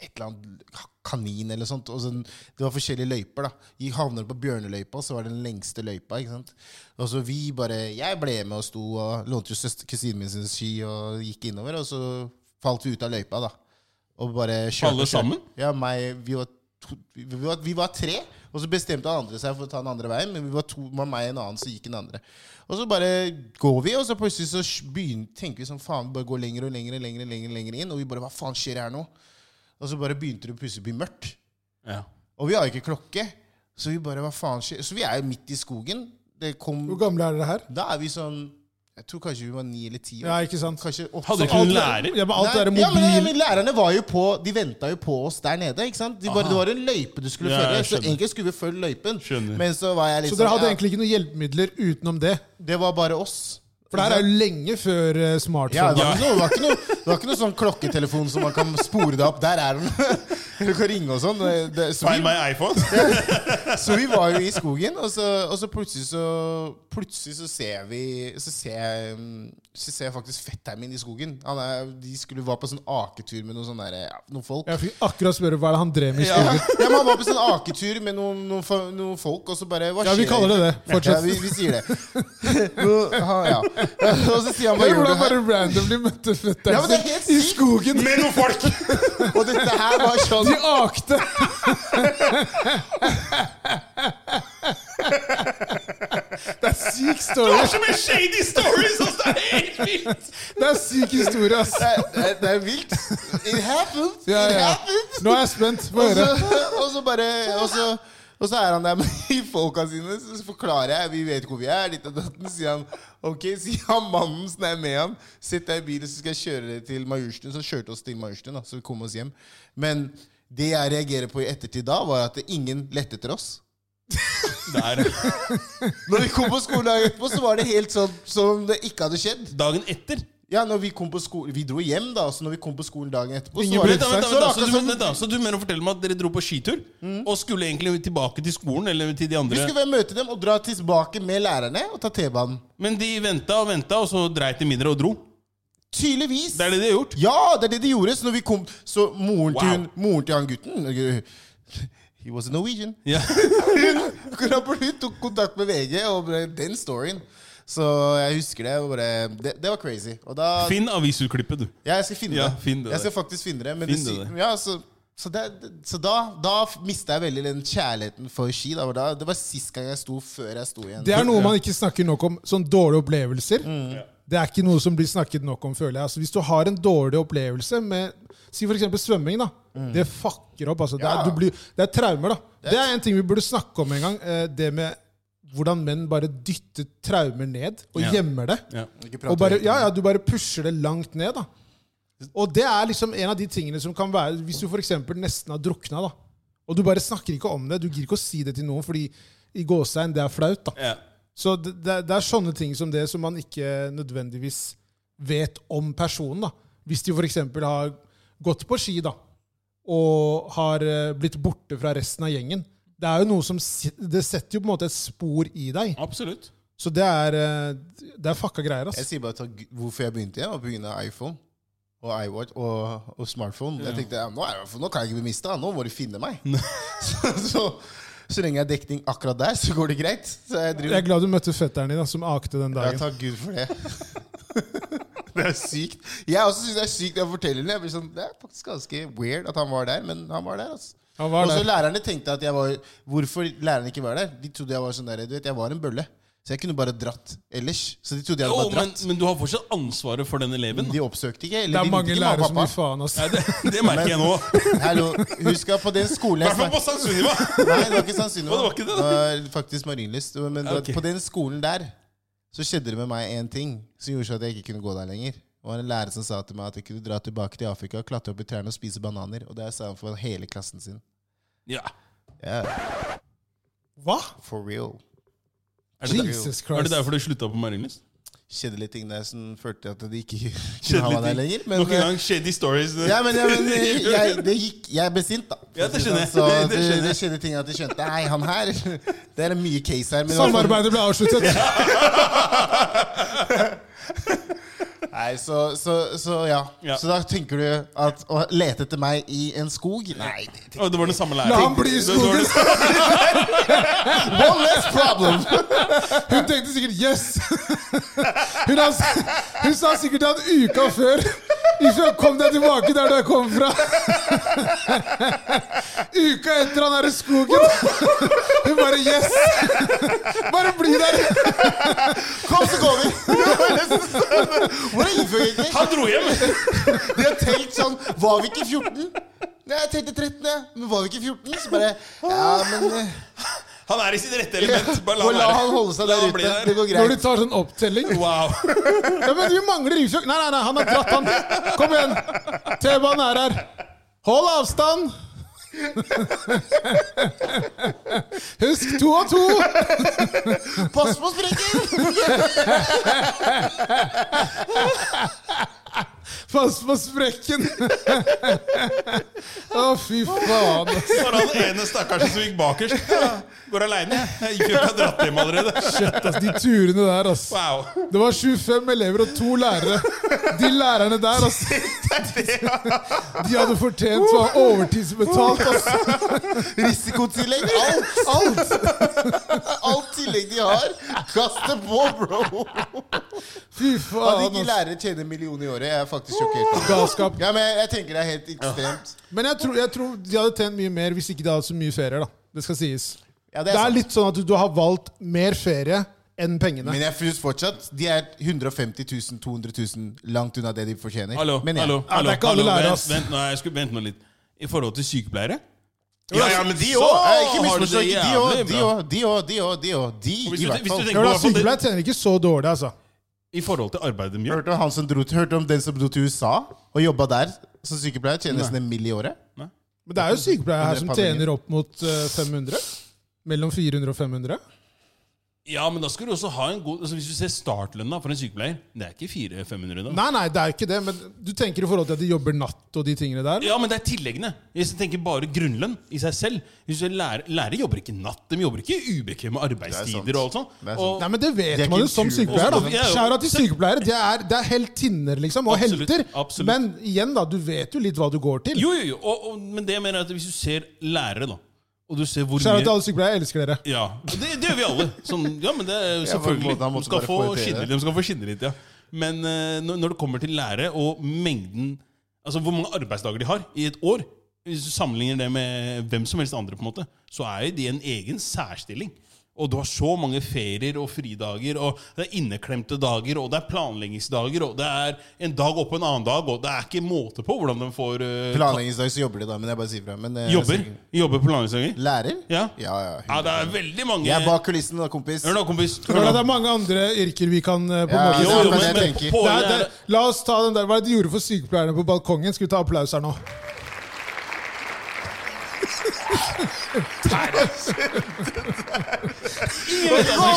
Speaker 1: et eller annet ka- kanin eller sånt. Og sånn, det var forskjellige løyper. da. Vi havner på bjørneløypa, så var det den lengste løypa. ikke sant? Og så vi bare, Jeg ble med og sto og lånte jo søster- kusinen min sin ski og gikk innover. Og så falt vi ut av løypa, da. Og bare kjørte.
Speaker 3: Alle
Speaker 1: og kjørte.
Speaker 3: sammen?
Speaker 1: Ja, meg, vi var, to, vi, vi, var, vi var tre, og så bestemte han andre seg for å ta den andre veien. Men vi var to, var meg og en annen, så gikk den andre. Og så bare går vi, og så plutselig så begynner, tenker vi sånn faen, vi bare går lenger og lenger og lenger, og lenger, og lenger inn. Og vi bare hva faen skjer her nå? Og så bare begynte det plutselig å bli mørkt.
Speaker 3: Ja.
Speaker 1: Og vi har ikke klokke, så vi bare hva faen skjer? Så vi er jo midt i skogen. Det kom,
Speaker 2: Hvor gamle er dere her?
Speaker 1: da er vi sånn Jeg tror kanskje vi var ni eller ti.
Speaker 2: Ja, ikke sant?
Speaker 1: Kanskje åtte.
Speaker 3: Hadde ikke
Speaker 2: Alt-
Speaker 3: noen lærer?
Speaker 2: Ja, men alt
Speaker 1: Nei,
Speaker 2: er
Speaker 1: ja, men,
Speaker 2: mobil.
Speaker 1: men lærerne var jo på De venta jo på oss der nede. ikke sant? De bare, det var en løype du skulle
Speaker 3: Ja,
Speaker 1: følge.
Speaker 3: jeg
Speaker 1: Så
Speaker 3: skjønner.
Speaker 1: egentlig skulle vi følge løypen.
Speaker 3: Skjønner.
Speaker 1: Men så var jeg litt
Speaker 2: Så dere
Speaker 1: sånn,
Speaker 2: hadde
Speaker 1: ja,
Speaker 2: egentlig ikke noen hjelpemidler utenom det?
Speaker 1: Det var bare oss.
Speaker 2: For det her er jo lenge før eh,
Speaker 1: ja,
Speaker 2: smartphone.
Speaker 1: det, var ikke noe, det, var ikke noe, det var ikke noe sånn klokketelefon som man kan spore deg opp. Der er den! [laughs] Eller du kan ringe og sånn. Det- det- Så,
Speaker 3: Find
Speaker 1: vi-
Speaker 3: my iPhone.
Speaker 1: så vi var jo i skogen, og så, og så plutselig så Plutselig så ser vi Så ser jeg, mm, så ser jeg faktisk fetteren min i skogen. Han er, de skulle være på sånn aketur med noen sånne der, ja, noen folk.
Speaker 2: Jeg fikk akkurat spørre hva er det han drev med i
Speaker 1: Ja.
Speaker 2: skogen.
Speaker 1: ja, men Han var på sånn aketur med noen, noen, fo- noen folk, og så bare Hva
Speaker 2: Ja, vi kaller det det. Fortsett.
Speaker 1: Ja, vi, vi sier det. [laughs] Nå- ha, ja. Og så sier han hva
Speaker 2: Hør
Speaker 1: gjør du
Speaker 2: hvordan
Speaker 1: her?
Speaker 2: bare randomly møtte
Speaker 1: Ja, men
Speaker 2: fetteren
Speaker 1: det er
Speaker 2: sin
Speaker 1: helt
Speaker 2: i
Speaker 1: sykt. [laughs]
Speaker 2: skogen!
Speaker 3: Med noen folk!
Speaker 1: Og dette her var sånn
Speaker 2: [laughs] De akte! Det er syk
Speaker 3: Du
Speaker 2: story.
Speaker 3: har så mye shady stories! ass. Det er helt vilt!
Speaker 2: Det er syk historie, ass.
Speaker 1: Det er- det er- det er vilt. It happened.
Speaker 2: Ja,
Speaker 1: It
Speaker 2: ja.
Speaker 1: happened.
Speaker 2: Nå er jeg spent. Få
Speaker 1: Og
Speaker 2: høre.
Speaker 1: så, [laughs] og så bare og så, og så er han der med de folka sine, så forklarer jeg Vi vet ikke hvor vi er. Ditt og datten, sier han Ok, sier han mannen som er med han. Sett deg i bilen, så skal jeg kjøre deg til Majorstuen. Så kjørte oss til Majorstuen, da, så vi kom oss hjem. Men det jeg reagerer på i ettertid da, var at ingen lette etter oss.
Speaker 3: Der.
Speaker 1: Når vi kom på skoledagen etterpå, så var det helt sånn som om det ikke hadde skjedd.
Speaker 3: Dagen etter
Speaker 1: Ja, når Vi kom på sko vi dro hjem, da, så når vi kom på skolen dagen etterpå,
Speaker 2: Ingen
Speaker 1: så var det
Speaker 3: Vent da, vent
Speaker 1: så
Speaker 3: da, vent da.
Speaker 1: var det
Speaker 3: Så, du,
Speaker 1: akkurat som-
Speaker 3: vent da. så du mener å fortelle meg at dere dro på skitur og skulle egentlig tilbake til skolen eller til de
Speaker 1: Vi
Speaker 3: andre?
Speaker 1: skulle vel møte dem og dra tilbake med lærerne og ta T-banen.
Speaker 3: Men de venta og venta, og så dreit de mindre og dro.
Speaker 1: Tydeligvis.
Speaker 3: Det er det de har gjort.
Speaker 1: Ja, det er det de gjorde. Så når vi kom Så moren, til,
Speaker 3: Wow.
Speaker 1: hun, moren til han gutten uh, He was a Norwegian. [laughs]
Speaker 3: Ja.
Speaker 1: Hun, hun tok kontakt med VG og ble- den storyen. Så jeg husker det. Og bare, det, det var crazy. Og da
Speaker 3: [laughs] Finn avisutklippet, du.
Speaker 1: Ja, jeg skal finne
Speaker 3: Ja,
Speaker 1: det.
Speaker 3: finn det
Speaker 1: jeg skal
Speaker 3: der.
Speaker 1: faktisk finne det. Men
Speaker 3: Finn
Speaker 1: det,
Speaker 3: det
Speaker 1: sy- ja, så, så, det, det- så da, da mista jeg veldig den kjærligheten for ski. Da, Og da, det var sist gang jeg sto før jeg sto igjen.
Speaker 2: Det er noe man ikke snakker nok om. Sånn dårlige opplevelser. Det er ikke noe som blir snakket nok om, føler jeg. Altså, hvis du har en dårlig opplevelse med Si for eksempel svømming, da. Det fucker opp. Altså. Det,
Speaker 1: Ja.
Speaker 2: er, du blir, det er traumer, da. Det er en ting vi burde snakke om en gang. eh, Det med hvordan menn bare dytter traumer ned og
Speaker 3: Ja.
Speaker 2: gjemmer det.
Speaker 3: Ja.
Speaker 1: Ikke prate
Speaker 2: Og bare,
Speaker 1: høyt.
Speaker 2: ja, ja, du bare pusher det langt ned, da. Og det er liksom en av de tingene som kan være Hvis du f.eks. nesten har drukna, da. Og Og du bare snakker ikke om det. Du gir ikke å si det til noen, fordi i gåsetegn, det er flaut. da.
Speaker 3: Ja.
Speaker 2: Så det, det, er- det er sånne ting som det som man ikke nødvendigvis vet om personen. da. Hvis de f.eks. har gått på ski da, og har eh, blitt borte fra resten av gjengen. Det er jo noe som, sit- det setter jo på en måte et spor i deg.
Speaker 3: Absolutt.
Speaker 2: Så det er, eh, det er fucka greier.
Speaker 1: Jeg
Speaker 2: ass.
Speaker 1: sier bare til hvorfor jeg begynte igjen, var pga. iPhone og iWatch og, og smartphone. Jeg tenkte ja, nå, er jeg, nå kan jeg ikke bli mista, nå må de finne meg. [laughs] så, så, så lenge jeg har dekning akkurat der, så går det greit. Så jeg
Speaker 2: Jeg er
Speaker 1: driver
Speaker 2: glad du møtte fetteren din da, som akte den
Speaker 1: Ja,
Speaker 2: dagen.
Speaker 1: takk Gud for det. [laughs] det er sykt. Jeg også syns det er sykt når jeg forteller det. Jeg blir sånn, det er faktisk ganske weird at han var der, men han var der, altså.
Speaker 2: Han var
Speaker 1: Og så
Speaker 2: der.
Speaker 1: lærerne tenkte at jeg var Hvorfor lærerne ikke var der? De trodde jeg var sånn der, du vet, jeg var en bølle. Så jeg kunne bare dratt ellers. Så de trodde jeg
Speaker 3: Jo,
Speaker 2: Oh
Speaker 1: hadde bare
Speaker 3: men,
Speaker 1: dratt.
Speaker 3: men du har fortsatt ansvaret for denne eleven. da.
Speaker 1: De oppsøkte ikke.
Speaker 2: Det
Speaker 1: Eller de
Speaker 2: er
Speaker 1: ringte
Speaker 2: mange
Speaker 1: ikke mamma
Speaker 2: lærere
Speaker 1: og
Speaker 2: som gir
Speaker 1: pappa.
Speaker 2: faen. ass.
Speaker 3: Ja, det, det merker jeg nå. I
Speaker 1: Hallo, husk at på den skolen jeg
Speaker 3: hvert fall på
Speaker 1: snakket
Speaker 3: St. Sunniva.
Speaker 1: Nei, det var ikke Sandsynlig.
Speaker 3: [laughs] Å, det var ikke det,
Speaker 1: det var faktisk Marienlyst. Men det var-
Speaker 3: Ok.
Speaker 1: på den skolen der så skjedde det med meg en ting som gjorde så at jeg ikke kunne gå der lenger. Det var en lærer som sa til meg at jeg kunne dra tilbake til Afrika, klatre opp i trærne og spise bananer. Og det sa han for hele klassen sin.
Speaker 3: Ja.
Speaker 1: Ja,
Speaker 2: Hva?
Speaker 1: for real.
Speaker 3: Er, det der,
Speaker 2: Jesus
Speaker 3: er det
Speaker 2: Christ.
Speaker 3: derfor du slutta på Marienlyst?
Speaker 1: Kjedelige ting der som førte til at de ikke [laughs] kunne ha meg der
Speaker 3: Kjedelige ting.
Speaker 1: lenger. Men, eh,
Speaker 3: Nok en gang shady stories.
Speaker 1: Ja, men, ja, men eh, jeg, det gikk, jeg er besint, da.
Speaker 3: Ja, det skjønner jeg.
Speaker 1: Så
Speaker 3: Det-
Speaker 1: det,
Speaker 3: det
Speaker 1: sånn,
Speaker 3: skjønner jeg.
Speaker 1: det skjedde ting at jeg skjønte Nei, han her Det er mye case her. Men altså,
Speaker 2: Samarbeidet ble avsluttet.
Speaker 3: [laughs]
Speaker 1: Nei, så, så, så ja.
Speaker 3: Ja.
Speaker 1: Så da tenker du at å lete etter meg i en skog Nei. det-
Speaker 3: Å, det var den samme læreren.
Speaker 2: La han bli i
Speaker 3: Det var den-
Speaker 2: skogen!
Speaker 1: [laughs] One less problem!
Speaker 2: Hun tenkte sikkert 'yes'. [laughs] Hun, har, hun sa sikkert at uka før Ifra kom deg tilbake der du kom fra. [laughs] Uka etter han er i skogen. [laughs] Hun bare 'yes'. [laughs] Bare bli der.
Speaker 1: Kom, så [laughs] går vi! Hvor er innføringen?
Speaker 3: Han dro hjem!
Speaker 1: De har telt sånn Var vi ikke 14? Nei, jeg tenkte 13, jeg. Men var vi ikke 14? Så bare Ja, men eh,
Speaker 3: Han er i sitt rette element. Bare la
Speaker 1: og
Speaker 3: han
Speaker 1: La
Speaker 3: være.
Speaker 1: han holde seg
Speaker 3: La
Speaker 1: der
Speaker 3: han bli
Speaker 1: ute. Det går
Speaker 2: Når du
Speaker 1: greit.
Speaker 2: tar sånn opptelling
Speaker 1: [laughs]
Speaker 3: Wow.
Speaker 2: Ja, men vi mangler Rivsjøk. Nei, nei, nei, han har dratt, han. Kom igjen. T-banen er her. Hold avstand. [laughs] Husk to og to.
Speaker 1: Pass på sprekken!
Speaker 2: Pass på sprekken. [laughs] Å, fy faen. ass.
Speaker 3: Så var det han ene stakkarsen som gikk bakerst. Går aleine. Jeg gikk jo ikke og dratt hjem allerede.
Speaker 2: Shit, ass. De turene der, ass.
Speaker 3: Wow.
Speaker 2: Det var 25 elever og to lærere. De lærerne der,
Speaker 1: [laughs]
Speaker 2: ass. De hadde fortjent å ha overtidsbetalt, ass.
Speaker 1: Risikotillegg. Alt! Alt
Speaker 3: [laughs]
Speaker 1: Alt tillegg de har. Kast det på, bro!
Speaker 2: Fy
Speaker 1: At
Speaker 2: faen,
Speaker 1: ikke
Speaker 2: ass.
Speaker 1: lærere tjener en million i året, jeg er faktisk sjokkert.
Speaker 2: Galskap.
Speaker 1: Ja, men jeg tenker det er helt ekstremt.
Speaker 2: Men jeg tror, jeg tror de hadde tjent mye mer hvis ikke de hadde hatt så mye ferier. da. Det skal sies.
Speaker 1: Ja,
Speaker 2: Det er
Speaker 1: sant.
Speaker 2: litt sånn at du, du har valgt mer ferie enn pengene.
Speaker 1: Men jeg synes fortsatt de er 150 000, 200 000 langt unna det de fortjener.
Speaker 3: Hallo,
Speaker 1: Men jeg-
Speaker 3: hallo.
Speaker 2: Ja, det er ikke alle lærere,
Speaker 3: Vent,
Speaker 2: ass.
Speaker 3: vent, nå, jeg skulle vent nå litt. I forhold til sykepleiere
Speaker 1: Ja, ja, men de
Speaker 3: Så
Speaker 1: òg! Ikke
Speaker 3: har du
Speaker 1: misforstå. ikke
Speaker 3: det
Speaker 1: De
Speaker 3: jævlig
Speaker 1: òg, de
Speaker 3: bra.
Speaker 1: òg, de òg, de òg, de òg. De,
Speaker 3: Og
Speaker 1: i
Speaker 3: hvis du-
Speaker 1: hvert
Speaker 3: hvis du
Speaker 1: fall.
Speaker 3: tenker-
Speaker 2: Ja, da, Sykepleier tjener ikke så dårlig, altså.
Speaker 3: I forhold til arbeidet de gjør.
Speaker 1: Hørte om, han som dro, til- hørte om den som dro til USA og jobba der som sykepleier? Tjener nesten en mill. i året.
Speaker 2: Men det er jo sykepleiere her
Speaker 1: Under
Speaker 2: som
Speaker 1: pandemien.
Speaker 2: tjener opp mot eh, 500. Mellom 400 og 500.
Speaker 3: Ja, men da skal du også ha en god altså Hvis du ser startlønna for en sykepleier, det er ikke 400-500 da.
Speaker 2: Nei, nei, det er jo ikke det, men du tenker i forhold til at de jobber natt og de tingene der?
Speaker 3: Ja, men det er tilleggene. Hvis du tenker bare grunnlønn i seg selv. Hvis du lærer, lærere jobber ikke natt. De jobber ikke i
Speaker 1: Det
Speaker 3: ubekvemme
Speaker 1: er sant.
Speaker 3: arbeidstider og alt sånt.
Speaker 1: Det er sant.
Speaker 3: Og,
Speaker 2: Nei, men Det vet
Speaker 1: Det er
Speaker 2: man jo
Speaker 1: ikke
Speaker 2: som
Speaker 1: tur-
Speaker 2: sykepleier.
Speaker 3: Også- ja,
Speaker 2: da
Speaker 3: jo.
Speaker 2: Skjæra til sykepleiere. Det er, det er heltinner, liksom. Og
Speaker 3: Absolutt,
Speaker 2: helter.
Speaker 3: absolutt.
Speaker 2: Men igjen, da. Du vet jo litt hva du går til.
Speaker 3: jo, jo, jo. Og, og, men det jeg mener er at hvis du ser lærere, da, og du ser hvor
Speaker 2: Skjæra
Speaker 3: mye
Speaker 2: til alle sykepleiere. Jeg elsker dere.
Speaker 3: Ja, det, det gjør vi alle. Sånn, ja, men det er jo
Speaker 1: Ja, på en
Speaker 3: selvfølgelig.
Speaker 1: måte, han
Speaker 3: De
Speaker 1: måtte
Speaker 3: skal,
Speaker 1: bare
Speaker 3: få
Speaker 1: poengtere
Speaker 3: skinne,
Speaker 1: det.
Speaker 3: de skal få skinne litt, ja. Men eh, når, når det kommer til lære og mengden Altså hvor mange arbeidsdager de har i et år Hvis du sammenligner det med hvem som helst andre, på en måte, så er jo de en egen særstilling. Og du har så mange ferier og fridager, og det er inneklemte dager, og det er planleggingsdager, og det er en dag oppå en annen dag, og det er ikke måte på hvordan de får eh,
Speaker 1: Planleggingsdag så jobber de da, men jeg bare sier fra. Men, eh,
Speaker 3: ta- jobber. Jobber på planleggingsdager.
Speaker 1: Lærer?
Speaker 3: Ja.
Speaker 1: ja.
Speaker 3: Ja,
Speaker 1: ja.
Speaker 3: det er veldig mange
Speaker 1: Jeg er bak kulissen, da, kompis.
Speaker 3: Hør nå, kompis. Hør
Speaker 2: Tror
Speaker 3: nå.
Speaker 2: du det er mange andre yrker vi kan eh, på en
Speaker 1: Ja,
Speaker 2: måte
Speaker 1: jo,
Speaker 2: snakke
Speaker 1: jo,
Speaker 2: om?
Speaker 1: men-
Speaker 2: Det er-
Speaker 1: tenker.
Speaker 3: poenget
Speaker 2: det
Speaker 3: er
Speaker 2: er- La oss ta den der. Hva er det de gjorde for sykepleierne på balkongen? Skal vi ta applaus her nå?
Speaker 1: Gå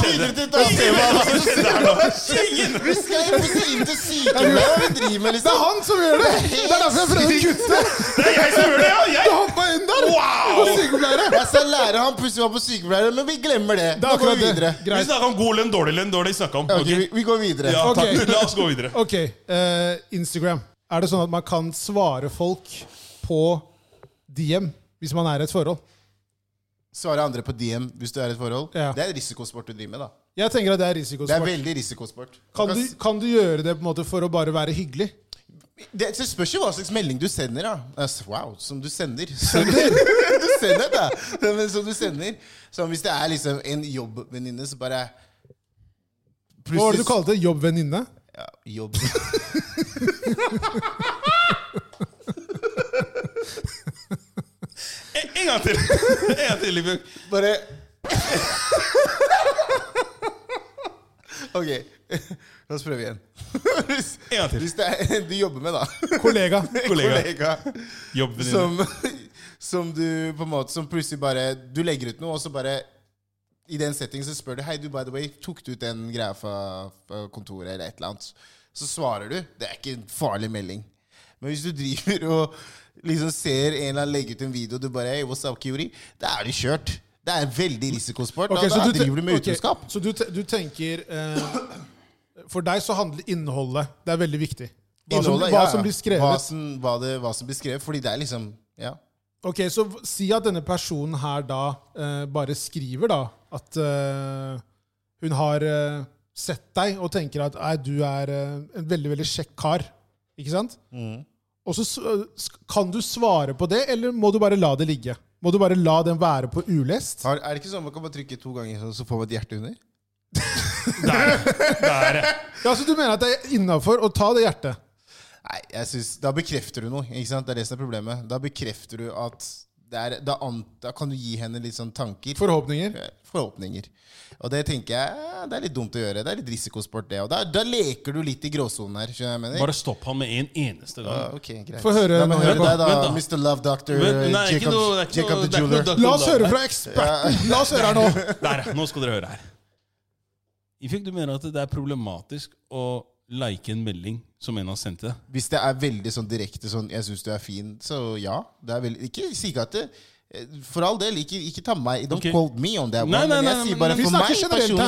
Speaker 1: videre til et annet tema. hva som skjer. Vi skal jo ikke inn til sykepleier. Hva vi driver med,
Speaker 2: Det er
Speaker 1: liksom?
Speaker 2: han som gjør det!
Speaker 1: [laughs]
Speaker 2: Det er derfor jeg prøvde å kutte!
Speaker 3: Det er jeg som gjør det, ja!
Speaker 2: Du
Speaker 3: Jeg.
Speaker 2: hoppa inn der! Og sykepleiere!
Speaker 1: Jeg skal lære han plutselig var på sykepleier, men vi glemmer det.
Speaker 2: Det er
Speaker 1: Nå går
Speaker 2: akkurat
Speaker 1: vi
Speaker 2: det.
Speaker 1: videre.
Speaker 3: Vi
Speaker 2: Greit.
Speaker 3: snakka om god lønn, dårlig lønn, dårlig snakka om.
Speaker 1: Ja, ok,
Speaker 3: ok?
Speaker 1: vi- Vi går videre.
Speaker 3: Ja,
Speaker 2: Ok.
Speaker 3: takk. [laughs] La oss gå videre.
Speaker 2: Ok, eh, Instagram. Er det sånn at man kan svare folk på DM hvis man er i et forhold?
Speaker 1: Svare andre på DM hvis du er i et forhold.
Speaker 2: Ja.
Speaker 1: Det er risikosport du driver med, da.
Speaker 2: Jeg tenker at det er
Speaker 1: Det er
Speaker 2: risikosport.
Speaker 1: veldig risikosport.
Speaker 2: Kan du, kan du gjøre det på en måte for å bare være hyggelig?
Speaker 1: Det, det spørs jo hva slags melding du sender, da. Altså, Wow, som du sender. [laughs] du sender da. Men som du sender. Som hvis det er liksom en jobbvenninne, så bare
Speaker 2: Hva var det du kalte det? Jobbvenninne?
Speaker 1: Ja, jobb.
Speaker 3: En, en gang til! En gang til, Livbjørg.
Speaker 1: Bare Ok, la oss prøve igjen. Hvis,
Speaker 3: En gang til.
Speaker 1: hvis det er en du jobber med, da.
Speaker 2: Kollega.
Speaker 1: [laughs]
Speaker 3: Kollega.
Speaker 1: Kollega.
Speaker 3: Jobbvenninne.
Speaker 1: Som, [laughs] som du på en måte Som plutselig bare Du legger ut noe, og så bare I den settingen så spør du Hei, du, by the way, tok du ut den greia fra, fra kontoret, eller et eller annet? Så svarer du. Det er ikke en farlig melding. Men hvis du driver [laughs] og liksom ser en eller annen legge ut en video, og du bare Hey, what's up, Kyori? Da er det kjørt. Det er veldig risikosport.
Speaker 2: Ok,
Speaker 1: da,
Speaker 2: så
Speaker 1: da
Speaker 2: te-
Speaker 1: driver du med
Speaker 2: ok,
Speaker 1: utroskap.
Speaker 2: Så du, te- du tenker eh, For deg så handler innholdet Det er veldig viktig. Hva, som,
Speaker 1: Innholdet,
Speaker 2: hva
Speaker 1: ja, ja.
Speaker 2: som blir
Speaker 1: Hva
Speaker 2: skrevet.
Speaker 1: som, hva, det, hva som blir skrevet. Fordi det er liksom Ja.
Speaker 2: Ok, Så v- si at denne personen her da eh, bare skriver da at eh, hun har eh, sett deg og tenker at nei, du er eh, en veldig, veldig kjekk kar. Ikke sant? Og så s- sk- kan du svare på det, eller må du bare la det ligge? Må du bare la den være på ulest?
Speaker 1: Har, er det ikke sånn man kan bare trykke to ganger, så- så får man et hjerte under?
Speaker 3: Der. Der.
Speaker 2: Ja, Så du mener at det er innafor å ta det hjertet?
Speaker 1: Nei, jeg synes, Da bekrefter du noe. ikke sant? Det er det som er problemet. Da bekrefter du at det er, da, an, da kan du gi henne litt sånn tanker.
Speaker 2: Forhåpninger?
Speaker 1: Forhåpninger. Og det tenker jeg eh, det er litt dumt å gjøre. Det er litt risikosport, det. Og da, da leker du litt i gråsonen her. skjønner du hva jeg mener?
Speaker 3: Bare stopp han med en eneste gang.
Speaker 1: Ja, ok, greit.
Speaker 2: Få høre
Speaker 1: La meg
Speaker 2: nå,
Speaker 1: høre
Speaker 2: Jakob.
Speaker 1: deg, da.
Speaker 3: Vent
Speaker 1: Mr. Love Doctor.
Speaker 3: Men, nei, ikke
Speaker 1: Jacob,
Speaker 3: noe, det er ikke
Speaker 1: Jacob
Speaker 3: noe,
Speaker 1: the
Speaker 3: det er ikke
Speaker 1: Jeweler.
Speaker 3: noe
Speaker 2: La oss høre fra eksperten! La oss høre her nå.
Speaker 3: Der, nå skal dere høre her. Ifjok, du mener at det er problematisk å like en melding som en har sendt til deg?
Speaker 1: Hvis det er veldig sånn direkte sånn 'jeg syns du er fin', så ja. Det er veldig, ikke si ikke at det eh, For all del, ikke, ikke ta meg Don't
Speaker 3: Ok.
Speaker 1: quote me on that one.
Speaker 3: Nei, nei,
Speaker 1: men
Speaker 3: nei,
Speaker 1: jeg sier
Speaker 3: men
Speaker 1: bare
Speaker 3: vi
Speaker 1: for
Speaker 2: snakker
Speaker 1: meg
Speaker 2: generelt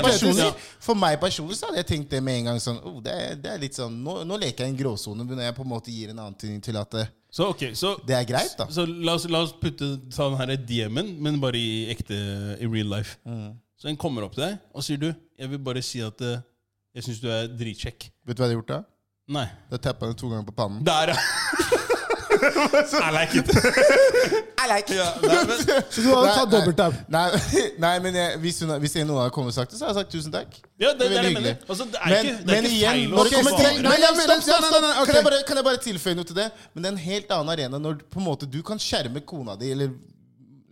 Speaker 1: personlig For meg
Speaker 2: nå.
Speaker 3: Hypotetisk,
Speaker 1: personlig
Speaker 3: ja.
Speaker 1: For meg personlig så hadde jeg tenkt det med en gang. sånn, oh, det, er, det er litt sånn, Nå, nå leker jeg i en gråsone når jeg på en måte gir en antydning til at eh, det,
Speaker 3: Så ok, så,
Speaker 1: det er greit. da
Speaker 3: så la, oss, la oss putte ta den her DM-en, men bare i ekte i real life.
Speaker 1: Mm.
Speaker 3: Så den kommer opp til deg og sier du, jeg vil bare si at eh, jeg syns du er dritkjekk.
Speaker 1: Vet du hva jeg har gjort da?
Speaker 3: Nei.
Speaker 1: Da tappa jeg henne to ganger på pannen. [laughs]
Speaker 3: Der, ja! I like it. I like it. Ja, nei, men,
Speaker 2: Så du hadde
Speaker 1: [laughs] Nei,
Speaker 2: tatt
Speaker 1: nei.
Speaker 2: dobbeltau?
Speaker 1: Nei, [laughs] nei men jeg, hvis, hun, hvis noen hadde kommet og sagt det, så har jeg sagt tusen takk.
Speaker 3: ja, det, det, er det
Speaker 1: Veldig
Speaker 3: jeg
Speaker 1: hyggelig.
Speaker 3: mener. Altså, det er
Speaker 1: Men,
Speaker 3: ikke, det er
Speaker 1: men
Speaker 3: ikke
Speaker 1: igjen
Speaker 3: feil å
Speaker 1: når det kommer
Speaker 3: svare.
Speaker 1: til,
Speaker 2: Nei,
Speaker 1: nei,
Speaker 2: jeg
Speaker 1: nei,
Speaker 2: mener-
Speaker 1: stopp, stopp,
Speaker 2: nei,
Speaker 1: stopp.
Speaker 2: nei, nei, ok.
Speaker 1: Kan, jeg bare, kan jeg bare tilføye noe til det? Men det er en helt annen arena når på en måte, du kan skjerme kona di eller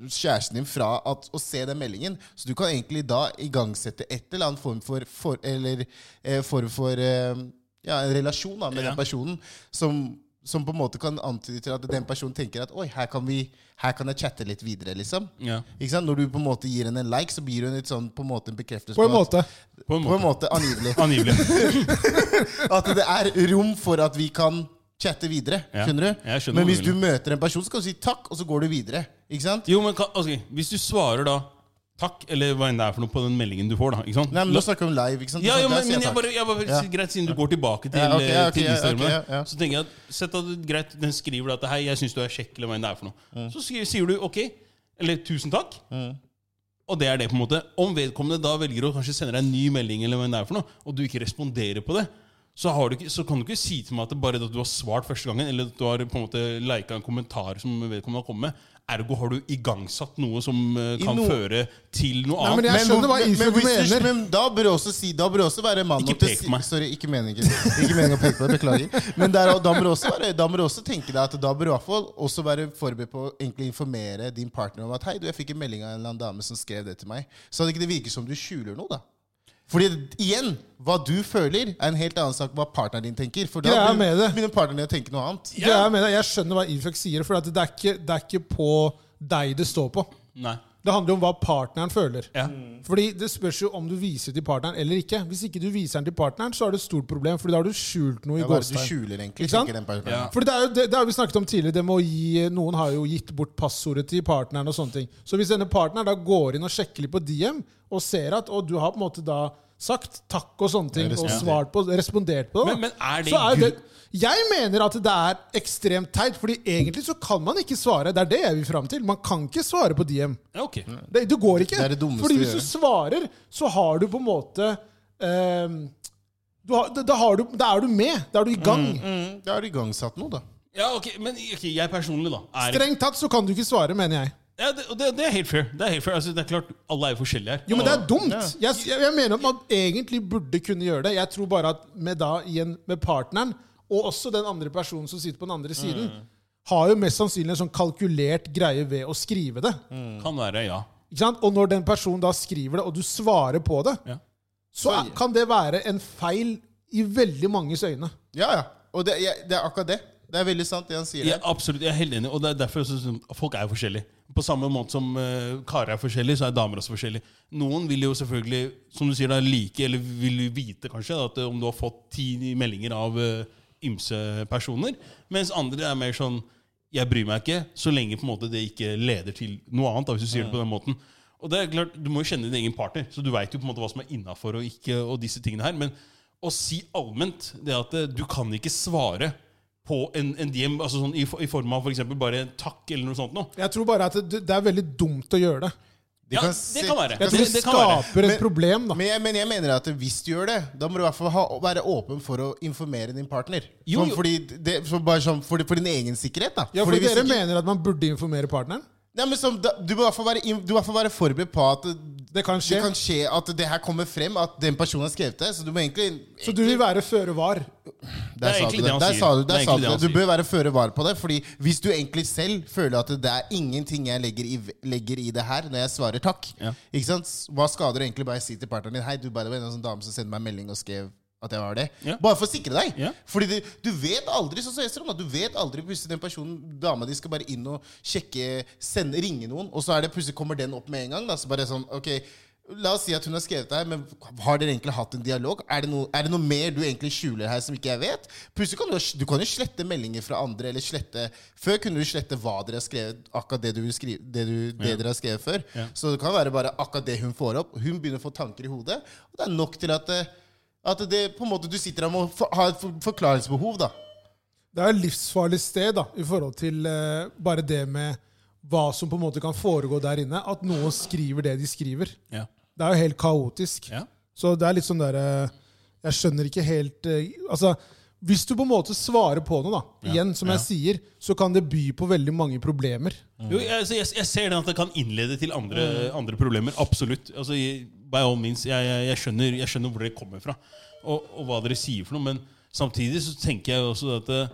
Speaker 1: kjæresten din fra at, å se den meldingen. Så du kan egentlig da igangsette et eller annet form for, for Eller eh, form for eh, ja, en relasjon da, med
Speaker 3: Ja.
Speaker 1: den personen som, som på en måte kan antyde til at den personen tenker at Oi, her kan, vi, her kan jeg chatte litt videre, liksom.
Speaker 3: Ja,
Speaker 1: Ikke sant? Når du på en måte gir henne en like, så blir hun et sånn, på en måte en bekreftelse
Speaker 2: På en måte.
Speaker 3: på en
Speaker 1: På en
Speaker 3: måte.
Speaker 1: måte angivelig.
Speaker 3: Angivelig.
Speaker 1: At det er rom for at vi kan chatte videre.
Speaker 3: Ja.
Speaker 1: Skjønner du?
Speaker 3: Jeg skjønner
Speaker 1: Men
Speaker 3: hva du
Speaker 1: hvis du
Speaker 3: vil.
Speaker 1: møter en person, så kan du si takk, og så går du videre. Ikke sant?
Speaker 3: Jo, men kan- altså, Hvis du svarer da takk, eller hva enn det er for noe på den meldingen du får, da ikke sant?
Speaker 1: Nei, men Nå snakker vi om live. ikke sant?
Speaker 3: ja,
Speaker 1: Du
Speaker 3: jo,
Speaker 1: snakker-
Speaker 3: men,
Speaker 1: sier
Speaker 3: men jeg
Speaker 1: takk.
Speaker 3: bare, jeg bare
Speaker 1: Ja.
Speaker 3: Greit, siden du går tilbake til,
Speaker 1: Ja, ok, ja,
Speaker 3: eh, til
Speaker 1: ok, ja,
Speaker 3: Instagram,
Speaker 1: ok, ja, ja.
Speaker 3: så tenker jeg at, sett at du- greit, den skriver at Hei, jeg syns du er kjekk, eller hva enn det er for noe.
Speaker 1: Mm.
Speaker 3: Så skriver, sier du ok, eller tusen takk. Og det er det, på en måte. Om vedkommende da velger å kanskje sende deg en ny melding, eller hva enn det er for noe, og du ikke responderer på det, så, har du ikke, så kan du ikke si til meg at det bare er at du har svart første gangen, eller at du har på en måte lika en kommentar som vedkommende har kommet med, ergo har du igangsatt noe som eh,
Speaker 1: I
Speaker 3: kan
Speaker 1: noe-
Speaker 3: føre til noe
Speaker 2: Nei, men
Speaker 3: annet.
Speaker 1: hvor-
Speaker 2: jeg skjønner hva
Speaker 1: men-
Speaker 2: Isak
Speaker 1: men hvis du-
Speaker 2: mener.
Speaker 1: Men da bør du også si Da bør du også være mann
Speaker 3: Ikke
Speaker 1: nok til å
Speaker 3: pek
Speaker 1: si-
Speaker 3: på meg.
Speaker 1: Sorry, ikke meningen, ikke meningen å peke på deg. Beklager. Men der, da, bør du også være, da bør du også tenke deg at da bør du i hvert fall også være forberedt på å egentlig informere din partner om at Hei, du, jeg fikk en melding av en eller annen dame som skrev det til meg. Så at ikke det virker som du skjuler noe, da. Fordi igjen, hva du føler, er en helt annen sak enn hva partneren din tenker. For da
Speaker 2: Greia med
Speaker 1: begynner
Speaker 2: det.
Speaker 1: begynner partneren din å tenke noe annet.
Speaker 2: Det er med deg. Jeg skjønner hva Ifjok sier, for at det, er ikke, det er ikke på deg det står på.
Speaker 3: Nei.
Speaker 2: Det handler om hva partneren føler.
Speaker 3: Ja.
Speaker 1: Mm.
Speaker 2: Fordi Det spørs jo om du viser til partneren eller ikke. Hvis ikke du viser den til partneren, så er det et stort problem, Fordi da har du skjult noe i
Speaker 1: Ja, hva er det du
Speaker 2: gåstegn.
Speaker 1: skjuler, egentlig?
Speaker 2: Ikke sant?
Speaker 1: Ikke den personen.
Speaker 3: Ja.
Speaker 2: Fordi det, er jo, det, det har vi snakket om tidligere. Det med å gi, noen har jo gitt bort passordet til partneren. og sånne ting. Så hvis denne partneren da går inn og sjekker litt på DM, og ser at og du har på en måte da sagt takk og sånne ting, og
Speaker 1: Respondert.
Speaker 2: svart på, respondert på det,
Speaker 3: Men- men er det
Speaker 2: så er jo
Speaker 3: gru-
Speaker 2: det jeg mener at det er ekstremt teit, Fordi egentlig så kan man ikke svare. Det er det jeg vil fram til. Man kan ikke svare på DM.
Speaker 3: Ja, ok.
Speaker 1: Mm.
Speaker 2: Det, det går ikke.
Speaker 1: Det er det dummeste
Speaker 2: Fordi
Speaker 1: å
Speaker 2: hvis du
Speaker 1: gjøre.
Speaker 2: svarer, så har du på en måte ehm, du har, da, da, har du, da er du med. Da er du i gang.
Speaker 1: Mm, da har du igangsatt noe, da.
Speaker 3: Ja, ok, Men ok, jeg personlig, da. Er,
Speaker 2: Strengt tatt så kan du ikke svare, mener jeg.
Speaker 3: ja, det, og det, det er helt fair. Det er helt fair. Altså, det er klart, Alle er jo forskjellige her.
Speaker 2: Jo, men det er dumt.
Speaker 1: Ja.
Speaker 2: Jeg, jeg, jeg mener at man egentlig burde kunne gjøre det. Jeg tror bare at med, da, igjen, med partneren, og også den andre personen som sitter på den andre siden,
Speaker 1: Mm.
Speaker 2: har jo mest sannsynlig en sånn kalkulert greie ved å skrive det.
Speaker 1: Mm.
Speaker 3: Kan være, ja.
Speaker 2: Ikke sant? Og når den personen da skriver det, og du svarer på det,
Speaker 3: Ja.
Speaker 2: så er, kan det være en feil i veldig manges øyne.
Speaker 1: Ja, ja. Og det, jeg, det er akkurat det. Det er veldig sant, det han sier.
Speaker 3: Ja,
Speaker 1: der.
Speaker 3: absolutt, jeg er helt enig. Og det er derfor jeg synes folk er jo forskjellige. På samme måte som eh, karer er forskjellige, så er damer også forskjellige. Noen vil jo selvfølgelig, som du sier, da, like, eller vil vite kanskje, da, at eh, om du har fått ti meldinger av eh, ymse personer. Mens andre er mer sånn Jeg bryr meg ikke, så lenge på en måte det ikke leder til noe annet. Da, hvis du sier det på den måten. Og det er klart, Du må jo kjenne din egen partner, så du veit jo på en måte hva som er innafor og ikke. og disse tingene her, Men å si allment det at eh, du kan ikke svare på en, en DM altså sånn, i, for- i form av for eksempel bare en takk eller noe sånt. Nå.
Speaker 2: Jeg tror bare at det, det er veldig dumt å gjøre det.
Speaker 1: De
Speaker 3: Ja,
Speaker 1: kan
Speaker 3: det
Speaker 1: se-
Speaker 3: kan være.
Speaker 2: Jeg tror det,
Speaker 3: det kan være.
Speaker 2: skaper
Speaker 1: Men-
Speaker 2: et problem, da.
Speaker 1: Men jeg, men jeg mener at hvis du gjør det, da må du i hvert fall ha, være åpen for å informere din partner.
Speaker 3: Jo,
Speaker 1: Sånn
Speaker 3: jo.
Speaker 1: fordi det, så bare sånn for, for din egen sikkerhet, da.
Speaker 2: Ja, for
Speaker 1: Fordi hvis
Speaker 2: dere
Speaker 1: ikke-
Speaker 2: mener at man burde informere partneren?
Speaker 1: Nei, men som, da, du må i hvert fall være, in- du må i hvert fall være forberedt på at det,
Speaker 2: Det kan skje.
Speaker 1: kan skje at det her kommer frem, at den personen har skrevet det. Så du må egentlig
Speaker 2: Så du vil være føre var?
Speaker 1: Der
Speaker 3: Det er
Speaker 1: sa du
Speaker 3: egentlig
Speaker 1: det.
Speaker 3: det han
Speaker 1: Der
Speaker 3: sier.
Speaker 1: sa du,
Speaker 3: Det er
Speaker 1: der sa
Speaker 3: egentlig
Speaker 1: du
Speaker 3: det han
Speaker 1: det. Du
Speaker 3: sier.
Speaker 1: bør være føre var på det. Fordi hvis du egentlig selv føler at det er ingenting jeg legger i, legger i det her når jeg svarer takk,
Speaker 3: Ja.
Speaker 1: ikke sant? hva skader det egentlig bare å si til partneren din Hei, du bare var en sånn dame som sendte meg en melding og skrev at jeg var det.
Speaker 3: Ja.
Speaker 1: Bare for å sikre deg.
Speaker 3: Ja.
Speaker 1: Fordi du, du vet aldri, sånn som jeg ser om, da, du vet aldri plutselig den personen, dama di skal bare inn og sjekke, sende, ringe noen, og så er det plutselig kommer den opp med en gang. Da, så bare sånn, ok, La oss si at hun har skrevet det her, men har dere egentlig hatt en dialog? Er det, noe, er det noe mer du egentlig skjuler her som ikke jeg vet? Plutselig kan du, du kan jo slette meldinger fra andre, eller slette Før kunne du slette hva dere har skrevet, akkurat det, du vil skrive, det, du, det dere har skrevet før.
Speaker 3: Ja.
Speaker 1: Så det kan være bare akkurat det hun får opp. Hun begynner å få tanker i hodet, og det er nok til at eh, at det på en måte du sitter der med å for, ha et for- forklaringsbehov, da.
Speaker 2: Det er et livsfarlig sted da, i forhold til eh, bare det med hva som på en måte kan foregå der inne. At noen skriver det de skriver.
Speaker 3: Ja.
Speaker 2: Det er jo helt kaotisk.
Speaker 3: Ja.
Speaker 2: Så det er litt sånn derre Jeg skjønner ikke helt eh, Altså, hvis du på en måte svarer på noe, da, igjen, som jeg sier, så kan det by på veldig mange problemer.
Speaker 3: Jo, jeg, altså, jeg, jeg ser den at det kan innlede til andre, andre problemer. Absolutt. Altså, jeg- by all means, jeg, jeg, jeg, skjønner, jeg skjønner hvor dere kommer fra, og, og hva dere sier for noe. Men samtidig så tenker jeg også at eh,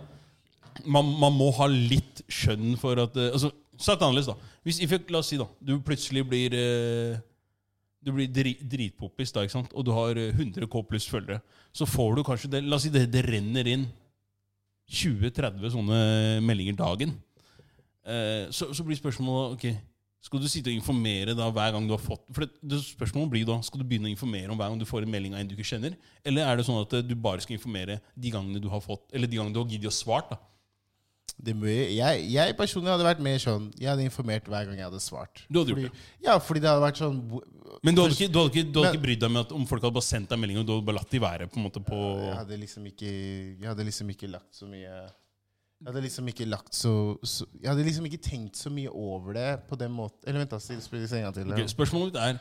Speaker 3: man, man må ha litt skjønn for at eh, altså, Sagt annerledes, da. Hvis, if- la oss si da, du plutselig blir eh, du blir dri, dritpoppis, da, ikke sant? og du har eh, 100 K pluss følgere. Så får du kanskje det, La oss si det, det renner inn 20-30 sånne meldinger dagen. Eh, så, så blir spørsmålet ok, Skal du sitte og informere da hver gang du har fått For det, det spørsmålet blir da Skal du begynne å informere om hver gang du får en melding av en du ikke kjenner? Eller er det sånn at eh, du bare skal informere de gangene du har fått Eller de gangene du har giddet å svart? da
Speaker 1: Det må, jeg, jeg personlig hadde vært mer sånn Jeg hadde informert hver gang jeg hadde svart.
Speaker 3: Du hadde
Speaker 1: fordi,
Speaker 3: gjort det.
Speaker 1: Ja, fordi det hadde vært sånn hvor-
Speaker 3: Men du hadde ikke, du hadde ikke, du hadde
Speaker 1: Men-
Speaker 3: ikke brydd deg med at om folk hadde bare sendt deg meldinger, og du hadde bare latt de være? på en måte på...
Speaker 1: Jeg hadde liksom ikke Jeg hadde liksom ikke lagt så mye Jeg hadde liksom ikke lagt så, så Jeg hadde liksom ikke tenkt så mye over det på den måten Eller vent, da. Spill spill det en gang til.
Speaker 3: Ok, spørsmålet mitt er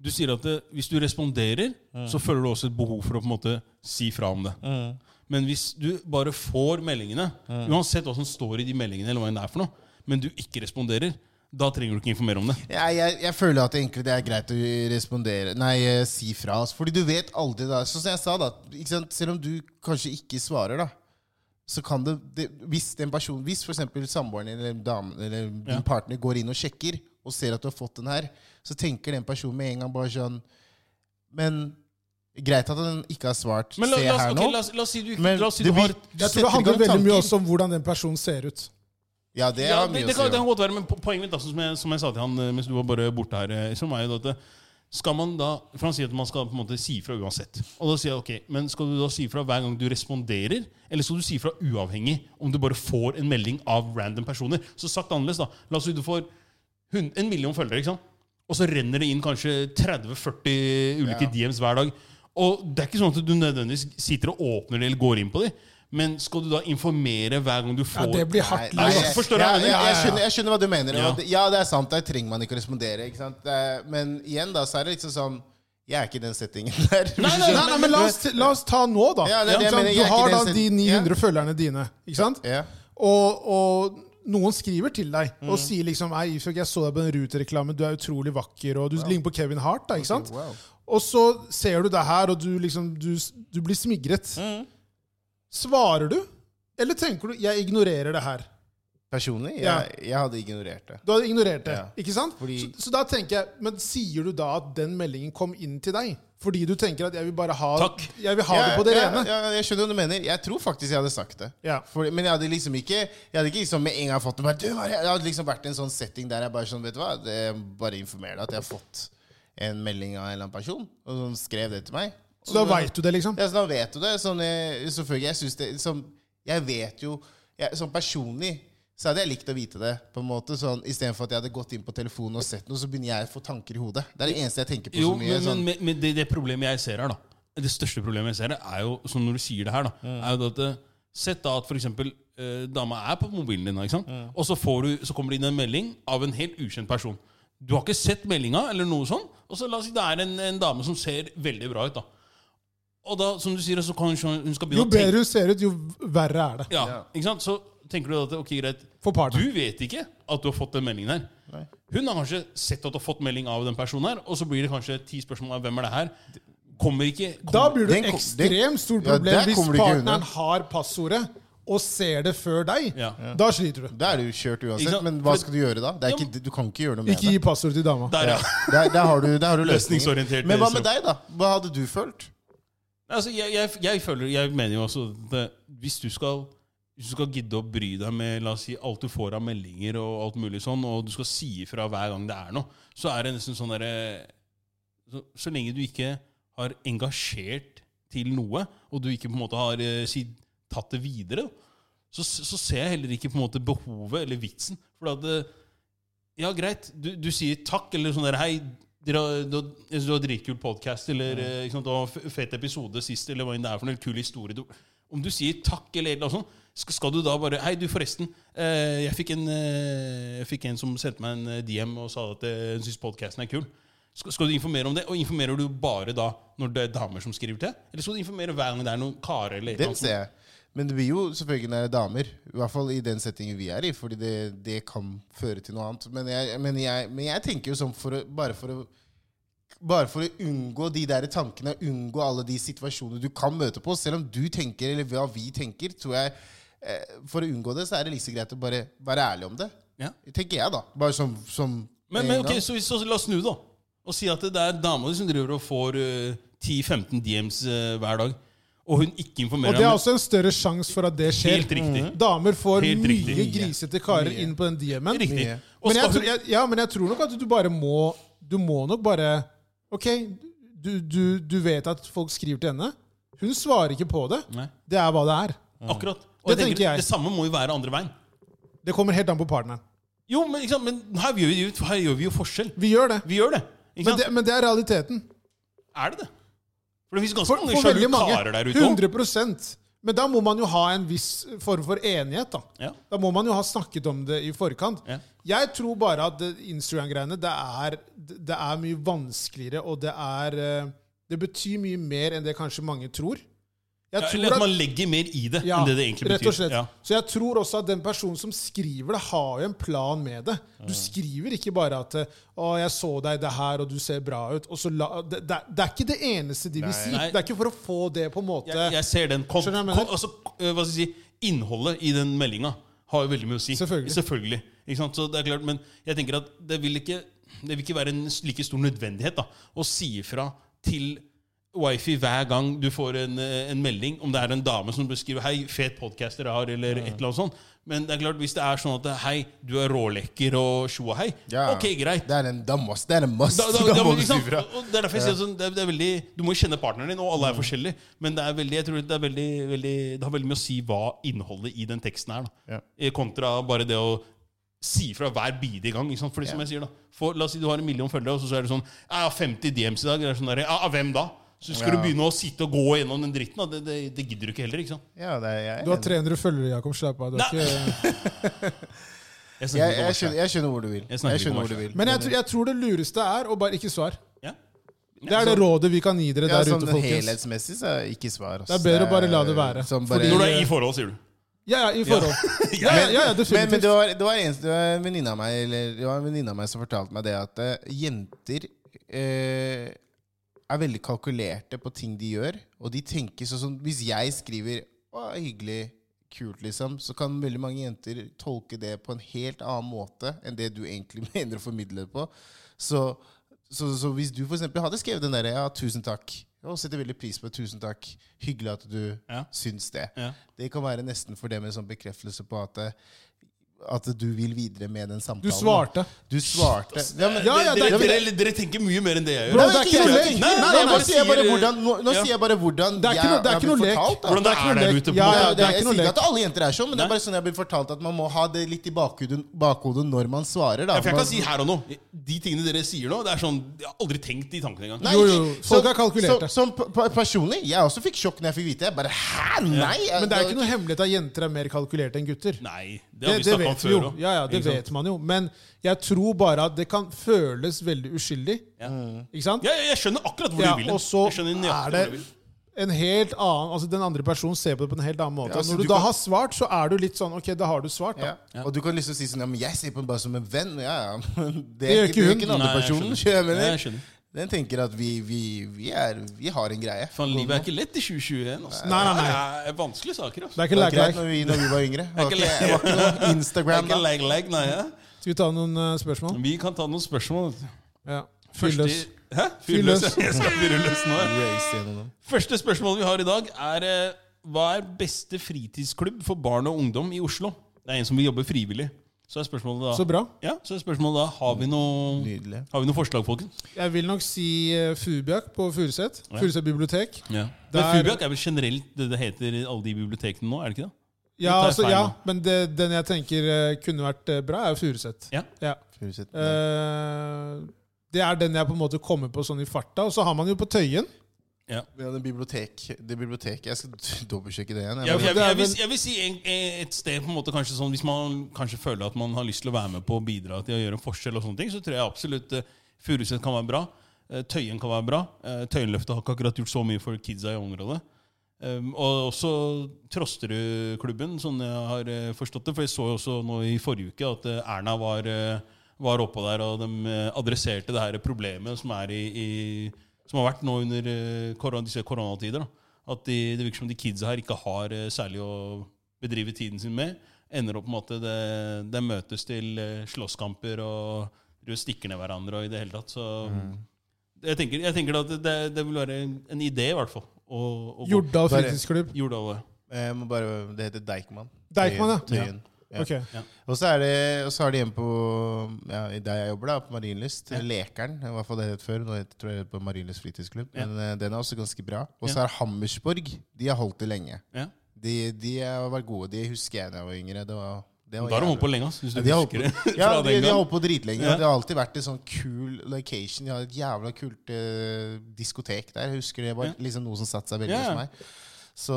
Speaker 3: Du sier at eh, hvis du responderer, så føler du også et behov for å på en måte si fra om det. Men hvis du bare får meldingene, uansett hva som står i de meldingene, eller hva enn det er for noe, men du ikke responderer, da trenger du ikke informere om det.
Speaker 1: Jeg, jeg, jeg føler at det egentlig det er greit å respondere Nei, eh, si fra. Altså. Fordi du vet aldri da. Sånn som jeg sa, da. Ikke sant? Selv om du kanskje ikke svarer, da. Så kan det, det Hvis den personen Hvis for eksempel samboeren din eller, damen, eller din
Speaker 3: Ja.
Speaker 1: partner går inn og sjekker, og ser at du har fått den her, så tenker den personen med en gang bare sånn Men greit at han ikke har svart.
Speaker 3: Men la,
Speaker 1: Se
Speaker 3: la, oss,
Speaker 1: her
Speaker 3: ok,
Speaker 1: nå.
Speaker 3: la, oss, la oss si du ikke
Speaker 1: Men
Speaker 3: La oss si
Speaker 1: det
Speaker 3: du
Speaker 1: blir-
Speaker 3: har
Speaker 1: du
Speaker 2: Jeg
Speaker 1: setter
Speaker 2: tror det
Speaker 1: i
Speaker 2: handler
Speaker 1: gang
Speaker 2: veldig mye
Speaker 1: tanker.
Speaker 2: også om hvordan den personen ser ut.
Speaker 1: Ja, det
Speaker 3: Ja,
Speaker 1: har
Speaker 3: det,
Speaker 1: mye
Speaker 3: det, kan, det
Speaker 1: å si.
Speaker 3: kan godt være, men po- poenget mitt, da, som, jeg, som jeg sa til han eh, mens du var bare borte her, eh, som er jo da at eh, skal man da, For han sier at man skal på en måte si fra uansett. Og da sier jeg, ok, Men skal du da si fra hver gang du responderer, eller skal du si fra uavhengig om du bare får en melding av random personer? Så sagt annerledes, da. La oss si du får hun- en million følgere, ikke sant? og så renner det inn kanskje 30-40 ulike DMs hver dag. Og det er ikke sånn at du nødvendigvis sitter og åpner det eller går inn på det, men skal du da informere hver gang du
Speaker 2: Ja,
Speaker 3: får
Speaker 2: det blir hardt
Speaker 1: Nei,
Speaker 3: Nei,
Speaker 2: liv.
Speaker 1: jeg,
Speaker 3: forstår
Speaker 1: ja,
Speaker 3: hva jeg mener.
Speaker 1: ja, jeg,
Speaker 2: Ja, ja.
Speaker 1: skjønner, jeg skjønner hva du mener.
Speaker 3: Ja.
Speaker 1: og det- Ja, det er sant. Der trenger man ikke å respondere. Ikke sant? Det er- Men igjen, da, så er det liksom sånn Jeg er ikke i den settingen [laughs] der.
Speaker 3: Nei,
Speaker 2: Nei, nei, men la oss, la oss ta nå, da.
Speaker 1: Ja, det er det jeg
Speaker 2: Ikke sant?
Speaker 1: mener. Jeg
Speaker 2: du
Speaker 1: er ikke
Speaker 2: har da
Speaker 1: den sin-
Speaker 2: de 900 følgerne dine. Ikke sant?
Speaker 1: Ja.
Speaker 2: Og, og noen skriver til deg og
Speaker 1: Mm.
Speaker 2: sier liksom Ei, Ifjok, jeg så deg på den Ruter-reklamen, du er utrolig vakker, og du ligner på Kevin Hart. da, ikke sant?
Speaker 1: wow.
Speaker 2: Og så ser du det her, og du liksom Du, du blir smigret.
Speaker 1: Mm.
Speaker 2: Svarer du? Eller tenker du 'jeg ignorerer det her'?
Speaker 1: Personlig, jeg,
Speaker 2: Ja.
Speaker 1: jeg hadde ignorert det.
Speaker 2: Du hadde ignorert det.
Speaker 1: Ja.
Speaker 2: ikke sant?
Speaker 1: Fordi-
Speaker 2: Så, så da tenker jeg, Men sier du da at den meldingen kom inn til deg? Fordi du tenker at 'jeg vil bare ha,
Speaker 3: Takk.
Speaker 2: jeg vil ha
Speaker 1: Ja,
Speaker 2: det på det
Speaker 1: ja,
Speaker 2: rene'?
Speaker 1: Ja, jeg skjønner hva du mener. Jeg tror faktisk jeg hadde sagt det.
Speaker 2: Ja.
Speaker 1: For, men jeg hadde liksom ikke Jeg hadde ikke liksom med en gang fått det. bare, «Du, hva er det?» Jeg hadde liksom vært i en sånn setting der jeg bare sånn, vet du hva, det, bare informerer deg at jeg har fått en melding av en eller annen person, og som skrev det til meg.
Speaker 2: Så da veit du det, liksom?
Speaker 1: Ja, så da vet du det. Sånn, eh, selvfølgelig, jeg synes det som, Jeg vet jo jeg, Sånn personlig så hadde jeg likt å vite det. på en måte sånn, Istedenfor at jeg hadde gått inn på telefonen og sett noe, så begynner jeg å få tanker i hodet. Det er det eneste jeg tenker på
Speaker 3: Jo,
Speaker 1: så mye.
Speaker 3: men,
Speaker 1: sånn,
Speaker 3: men, men det, det problemet jeg ser her, da Det største problemet jeg ser her, er jo, som når du sier det her, da er jo det at eh, Sett da at f.eks. Eh, dama er på mobilen din, da, ikke sant? og så, får du, så kommer det inn en melding av en helt ukjent person. Du har ikke sett meldinga, eller noe sånt. Og så la oss si det er en, en dame som ser veldig bra ut. da Og da, som du sier, så kan hun, hun skal
Speaker 2: Jo
Speaker 3: begynne å tenke
Speaker 2: bedre du ser ut, jo verre er det.
Speaker 3: ja, ikke sant? Så tenker du at ok, greit
Speaker 2: For partneren.
Speaker 3: Du vet ikke at du har fått den meldingen her. Hun har kanskje sett at du har fått melding av den personen her, og så blir det kanskje ti spørsmål av hvem er det her. Kommer ikke
Speaker 2: Da
Speaker 3: kommer,
Speaker 2: blir det
Speaker 1: Den
Speaker 2: et
Speaker 1: kom- den-
Speaker 2: ekstremt stort
Speaker 1: Ja,
Speaker 2: problem
Speaker 1: der
Speaker 2: hvis
Speaker 1: kommer du ikke
Speaker 2: partneren
Speaker 1: unna.
Speaker 2: har passordet og ser det før deg.
Speaker 3: Ja. Ja.
Speaker 2: Da sliter du.
Speaker 1: Da er du kjørt
Speaker 3: Ikke
Speaker 1: uansett,
Speaker 3: sant?
Speaker 1: men hva
Speaker 3: For-
Speaker 1: skal du gjøre da? Det er
Speaker 3: Ja,
Speaker 1: ikke, du kan ikke gjøre noe med
Speaker 2: Ikke
Speaker 1: det.
Speaker 2: gi passordet til dama.
Speaker 3: Der, ja.
Speaker 1: Der, der har du, der har du løsningen.
Speaker 3: Løsningsorientert,
Speaker 1: Men hva
Speaker 3: eh,
Speaker 1: med deg, da? Hva hadde du følt?
Speaker 3: Altså, jeg, jeg, jeg føler Jeg mener jo også at det, hvis du skal hvis du skal gidde å bry deg med la oss si, alt du får av meldinger, og alt mulig sånn, og du skal si ifra hver gang det er noe, så er det nesten sånn derre så, så lenge du ikke har engasjert til noe, og du ikke på en måte har eh, si, tatt det videre, så, så ser jeg heller ikke på en måte behovet eller vitsen. For at eh, Ja, greit, du, du sier takk, eller sånn der Hei, dere har, du, har- jeg synes du har dritkul podkast, eller eh, ikke sant, det var f- fet episode sist, eller hva enn det er for noe, kul historie du Om du sier takk eller noe sånt, skal, skal du da bare Hei, du, forresten. eh, jeg, fikk en, eh, jeg fikk en som sendte meg en eh, DM og sa at eh, hun syns podkasten er kul. Skal, skal du informere om det? Og informerer du bare da når det er damer som skriver til? Eller skal du informere hver gang det er noen karer? eller
Speaker 1: Den ser
Speaker 3: noe sånt?
Speaker 1: jeg. Men det blir jo selvfølgelig når det er damer. I hvert fall i den settingen vi er i, fordi det, det kan føre til noe annet. Men jeg, men jeg, men jeg tenker jo sånn for å, bare for å bare for å unngå de der tankene, unngå alle de situasjonene du kan møte på, selv om du tenker, eller hva vi tenker, tror jeg eh, For å unngå det, så er det like så greit å bare være ærlig om det.
Speaker 3: Ja.
Speaker 1: Tenker jeg, da. Bare som, som
Speaker 3: Men, men ok, så, så la oss snu, da. Og si at det er dama di som driver og får eh, 10-15 DMs eh, hver dag, og hun
Speaker 2: Og
Speaker 3: ikke informerer
Speaker 2: det er
Speaker 3: om-
Speaker 2: også en større sjanse for at det skjer. Mm.
Speaker 3: Helt riktig.
Speaker 2: Damer får
Speaker 3: Helt riktig.
Speaker 2: mye
Speaker 3: Mye.
Speaker 2: grisete karer inn på den DM-en.
Speaker 3: Riktig.
Speaker 1: Mye.
Speaker 3: Og
Speaker 2: Men jeg,
Speaker 3: skal
Speaker 2: tror,
Speaker 3: hun,
Speaker 2: jeg, ja, men jeg tror nok at du bare må Du må nok bare Ok, du, du, du vet at folk skriver til henne. Hun svarer ikke på det.
Speaker 3: Nei.
Speaker 2: Det er hva det er.
Speaker 3: akkurat. Og
Speaker 2: Det
Speaker 3: jeg tenker,
Speaker 2: tenker jeg.
Speaker 3: Det samme må jo være andre veien.
Speaker 2: Det kommer helt an på partneren.
Speaker 3: Jo, men, ikke sant? men her, gjør vi, jo- her gjør vi jo forskjell.
Speaker 2: Vi gjør det.
Speaker 3: Vi gjør det. Ikke
Speaker 2: Men
Speaker 3: sant?
Speaker 2: det, men det er realiteten.
Speaker 3: Er det det? For det finnes ganske
Speaker 2: For,
Speaker 3: mange
Speaker 2: for
Speaker 3: sjalu
Speaker 2: veldig
Speaker 3: karer der
Speaker 2: mange.
Speaker 3: ute òg.
Speaker 2: 100 Men da må man jo ha en viss form for enighet. Da
Speaker 3: Ja.
Speaker 2: Da må man jo ha snakket om det i forkant.
Speaker 3: Ja.
Speaker 2: Jeg tror bare at det- Instagram-greiene det er, det er mye vanskeligere, og det er eh, Det betyr mye mer enn det kanskje mange tror. Jeg
Speaker 3: Ja,
Speaker 2: tror
Speaker 3: eller
Speaker 2: at-
Speaker 3: at man legger mer i det
Speaker 2: ja,
Speaker 3: enn det det egentlig betyr.
Speaker 2: rett og slett.
Speaker 3: Ja.
Speaker 2: Så jeg tror også at den personen som skriver det, har jo en plan med det. Du skriver ikke bare at eh, 'Å, jeg så deg det her, og du ser bra ut'. Og så la, det, det, er- det er ikke det eneste de vil si.
Speaker 3: Nei.
Speaker 2: Det er ikke for å få det på en måte
Speaker 3: jeg, jeg ser den. Kom,
Speaker 2: Skjønner du hva jeg
Speaker 3: kom,
Speaker 2: mener?
Speaker 3: altså, eh, hva skal jeg si, innholdet i den meldinga har jo veldig mye å si.
Speaker 2: Selvfølgelig.
Speaker 3: Ikke sant? Så det er klart, men jeg tenker at det vil ikke, det vil ikke være en like stor nødvendighet da, å si ifra til wifi hver gang du får en, eh, en melding, om det er en dame som beskriver 'Hei, fet podkast dere har', eller et eller annet sånt. Men det er klart, hvis det er sånn at det er, hei, du er rålekker og tjo og hei,
Speaker 1: Ja.
Speaker 3: ok, greit.
Speaker 1: Det er en, da must, det er en must.
Speaker 3: Da, da,
Speaker 1: Da
Speaker 3: da,
Speaker 1: må du
Speaker 3: ikke
Speaker 1: si
Speaker 3: sant?
Speaker 1: fra.
Speaker 3: Og det er derfor jeg sier sånn, det er, det er veldig, Du må jo kjenne partneren din, og alle er
Speaker 2: Mm.
Speaker 3: forskjellige. Men det er veldig, jeg tror det er veldig, veldig Det har veldig mye å si hva innholdet i den teksten er. da
Speaker 1: Ja.
Speaker 3: Eh, Kontra bare det å si fra hver bidige gang. Ikke sant? Fordi som jeg sier da for, La oss si du har en million følgere, og så er det sånn Jeg har 50 DMs i dag. Det er sånn der, ja, av hvem da? Så skal
Speaker 1: Ja.
Speaker 3: du begynne å sitte og gå gjennom den dritten. Da. Det, det, det gidder du ikke heller. ikke sant?
Speaker 1: Ja, det er, jeg, er
Speaker 2: Du har
Speaker 1: enig.
Speaker 2: 300 følgere, Jakob. Slapp av. Du er
Speaker 3: Nei.
Speaker 2: ikke...
Speaker 3: Jeg
Speaker 1: jeg,
Speaker 3: snakker
Speaker 1: jeg,
Speaker 3: ikke om oss her.
Speaker 1: skjønner, jeg skjønner hvor du vil.
Speaker 3: Jeg snakker
Speaker 1: Jeg
Speaker 3: ikke om
Speaker 1: skjønner hvor
Speaker 3: oss
Speaker 1: du vil.
Speaker 2: Men jeg, tr- jeg tror det lureste er å bare ikke svare.
Speaker 3: Ja.
Speaker 2: Det er det rådet vi kan gi dere
Speaker 1: altså- ja,
Speaker 2: der
Speaker 1: sånn
Speaker 2: ute, folkens.
Speaker 1: helhetsmessig så er ikke svar. ass.
Speaker 2: Det er bedre å bare la det være.
Speaker 1: Sånn
Speaker 2: Fordi-
Speaker 1: bare-
Speaker 3: Når du er i forhold, sier du.
Speaker 2: Ja, ja, i
Speaker 1: [laughs]
Speaker 2: forhold. Ja, ja, ja,
Speaker 1: Men, men det
Speaker 2: ja definitivt.
Speaker 1: var, det var en, det var en venninne av meg Eller det var en venninne av meg som fortalte meg det at eh, jenter eh, er veldig kalkulerte på ting de gjør. Og de tenker sånn som Hvis jeg skriver 'Å, hyggelig, kult', liksom, så kan veldig mange jenter tolke det på en helt annen måte enn det du egentlig [laughs] mener å formidle det på. Så, så, så hvis du f.eks. hadde skrevet den derre 'Ja, tusen takk', og setter veldig pris på 'tusen takk', hyggelig at du
Speaker 3: Ja.
Speaker 1: syns det.
Speaker 3: Ja.
Speaker 1: Det kan være nesten for dem en sånn bekreftelse på at, at du vil videre med den samtalen.
Speaker 2: Du svarte.
Speaker 1: Du svarte. Ja, men,
Speaker 2: Ja, ja, det er
Speaker 3: dere,
Speaker 2: ikke-
Speaker 3: dere, dere tenker mye mer enn det jeg gjør.
Speaker 2: Bro,
Speaker 1: Nei,
Speaker 2: det er
Speaker 1: ikke
Speaker 2: ikke
Speaker 1: noe
Speaker 2: noe
Speaker 1: lek. Nei,
Speaker 2: lek.
Speaker 3: Nei,
Speaker 1: nei,
Speaker 3: jeg
Speaker 1: Nå
Speaker 3: bare
Speaker 1: sier jeg bare
Speaker 3: sier-
Speaker 1: hvordan, nå, nå
Speaker 3: Ja.
Speaker 1: sier jeg bare hvordan
Speaker 2: Det er ikke
Speaker 1: jeg
Speaker 2: noe- det er
Speaker 1: har
Speaker 2: ikke noe
Speaker 1: blitt
Speaker 2: lek.
Speaker 1: fortalt, da.
Speaker 3: Hvordan det er der ute på
Speaker 2: Ja,
Speaker 1: Ja,
Speaker 2: ja,
Speaker 1: det er
Speaker 2: ikke
Speaker 1: jeg
Speaker 2: noe
Speaker 1: sier ikke
Speaker 2: lek.
Speaker 1: at alle jenter er sånn, men det er bare sånn jeg blir fortalt at man må ha det litt i bakhodet, bakhodet når man svarer. Da.
Speaker 3: Ja, for jeg
Speaker 1: Man-
Speaker 3: kan si her og nå De tingene dere sier nå, det er sånn Jeg har aldri tenkt de tankene engang.
Speaker 1: Nei,
Speaker 2: Jo, jo,
Speaker 1: ikke-
Speaker 2: folk
Speaker 1: så-
Speaker 2: er kalkulerte.
Speaker 1: Så, som pe- pe- personlig, jeg også fikk sjokk når jeg fikk vite det. Jeg bare hæ, nei! jeg-
Speaker 2: Men det er ikke noe hemmelighet at jenter er mer kalkulerte enn gutter.
Speaker 3: Nei, det
Speaker 2: Det,
Speaker 3: har vi
Speaker 2: det
Speaker 3: snakka om
Speaker 2: vet vi
Speaker 3: før
Speaker 2: jo.
Speaker 3: også.
Speaker 2: Ja, ja, det
Speaker 3: Ikke sant?
Speaker 2: vet man jo. Men jeg tror bare at det kan føles veldig uskyldig.
Speaker 3: Ja.
Speaker 2: Ikke sant?
Speaker 3: Ja, ja, jeg skjønner akkurat hvor
Speaker 2: Ja,
Speaker 3: du vil. hen.
Speaker 2: og så
Speaker 3: jeg skjønner
Speaker 2: er det
Speaker 3: nøyaktig hvor du vil.
Speaker 2: en helt annen Altså Den andre personen ser på det på en helt annen måte.
Speaker 1: Ja,
Speaker 2: Og
Speaker 1: så
Speaker 2: Når du,
Speaker 1: du
Speaker 2: da
Speaker 1: kan-
Speaker 2: har svart, så er du litt sånn Ok, da har du svart, da.
Speaker 1: Ja. Og du kan liksom si sånn Ja, men jeg ser på den bare som en venn. Ja, ja. men [laughs] Det
Speaker 2: gjør
Speaker 1: er ikke,
Speaker 2: ikke
Speaker 1: det er
Speaker 2: hun.
Speaker 1: ikke den andre
Speaker 3: Nei, jeg
Speaker 1: personen.
Speaker 3: skjønner.
Speaker 1: skjønner
Speaker 3: Ja,
Speaker 1: jeg.
Speaker 3: jeg skjønner.
Speaker 1: Den tenker at vi, vi, vi, er, vi har en greie.
Speaker 3: Faen, livet er ikke lett i 2021. Altså.
Speaker 2: Nei, nei, nei.
Speaker 3: Det er vanskelige saker.
Speaker 2: Det
Speaker 3: Altså.
Speaker 2: er
Speaker 1: Det
Speaker 2: ikke
Speaker 1: var greit
Speaker 2: lærkeleik.
Speaker 1: når vi, når vi var
Speaker 3: [laughs]
Speaker 1: yngre. Det var
Speaker 3: ikke
Speaker 1: ikke, det var ikke noe Instagram
Speaker 3: Ikke
Speaker 1: da.
Speaker 3: leg, leg, nei, ja.
Speaker 2: Skal vi ta noen eh, spørsmål?
Speaker 3: Vi kan ta noen spørsmål.
Speaker 2: Ja. Fyr
Speaker 3: Første,
Speaker 2: løs.
Speaker 3: Hæ?
Speaker 2: Fyr
Speaker 3: Fyr
Speaker 2: løs.
Speaker 3: løs. [laughs] Jeg skal fyre løs nå.
Speaker 1: Vi er ikke gjennom dem.
Speaker 3: Første spørsmål vi har i dag, er eh, Hva er beste fritidsklubb for barn og ungdom i Oslo? Det er en som vil jobbe frivillig. Så er spørsmålet da
Speaker 2: Så bra.
Speaker 3: Ja, så er spørsmålet da Har vi noe,
Speaker 1: Nydelig.
Speaker 3: har vi noe forslag, folkens?
Speaker 2: Jeg vil nok si eh, Fubiak på Furuset. Furuset bibliotek.
Speaker 3: Ja. Men
Speaker 2: Der-
Speaker 3: Fubiak er vel generelt det det heter i alle de bibliotekene nå? er det ikke det?
Speaker 2: Ja,
Speaker 3: tar
Speaker 2: altså,
Speaker 3: feil
Speaker 2: ja
Speaker 3: nå.
Speaker 2: men det, den jeg tenker eh, kunne vært eh, bra, er jo Furuset.
Speaker 3: Ja.
Speaker 2: Ja.
Speaker 1: Furuset.
Speaker 2: Eh, det er den jeg på en måte kommer på sånn i farta. Og så har man jo på Tøyen.
Speaker 1: Vi hadde en bibliotek. Det biblioteket Jeg skal [laughs] dobbeltsjekke det igjen.
Speaker 3: Jeg, jeg,
Speaker 1: Jeg,
Speaker 3: jeg, jeg, vil, jeg vil si en, et sted på en måte kanskje sånn Hvis man kanskje føler at man har lyst til å være med på å bidra til å gjøre en forskjell, og sånne ting, så tror jeg absolutt eh, Furuset kan være bra. Eh, Tøyen kan være bra. Eh, Tøyenløftet har ikke akkurat gjort så mye for kidsa i området. Um, og også Trosterudklubben, sånn jeg har eh, forstått det. For jeg så jo også nå i forrige uke at eh, Erna var, eh, var oppå der, og de eh, adresserte det her problemet som, er i, i, som har vært nå under eh, korona, disse koronatider. Da. At de, det virker som de kidsa her ikke har eh, særlig å bedrive tiden sin med. Ender opp med at det, det møtes til eh, slåsskamper og du stikker ned hverandre og i det hele tatt. Så
Speaker 1: Mm.
Speaker 3: jeg, tenker, jeg tenker at det, det vil være en, en idé, i hvert fall. Å, å gå
Speaker 2: Jordal
Speaker 1: Bare-
Speaker 2: fritidsklubb.
Speaker 3: Jordal.
Speaker 1: må bare, det heter Deichman.
Speaker 2: Deichman, ja.
Speaker 1: Tøyen. Ja.
Speaker 2: Ok.
Speaker 1: Og så er det Og så har de en på ja, der jeg jobber, da, på Marienlyst. Lekeren. I hvert fall det het før. Nå heter- tror jeg det er på Marienlyst fritidsklubb.
Speaker 3: Ja.
Speaker 1: Men eh, den er også ganske bra. Og
Speaker 3: Ja.
Speaker 1: så er Hammersborg. De har holdt det lenge.
Speaker 3: Ja.
Speaker 1: De, de har vært gode. De husker jeg da jeg var yngre. Det var, det
Speaker 3: Da
Speaker 1: var
Speaker 3: har de
Speaker 1: jævlig.
Speaker 3: holdt på lenge, ass, hvis du
Speaker 1: Ja, de har holdt
Speaker 3: husker det.
Speaker 1: på,
Speaker 3: fra
Speaker 1: ja, de,
Speaker 3: den
Speaker 1: de har
Speaker 3: gang.
Speaker 1: holdt på dritlenge.
Speaker 3: Ja.
Speaker 1: Det har alltid vært en sånn kul location. De har et jævla kult eh, diskotek der. Jeg husker det var
Speaker 3: Ja.
Speaker 1: liksom noe som satte seg veldig
Speaker 3: Ja, ja.
Speaker 1: hos meg. Så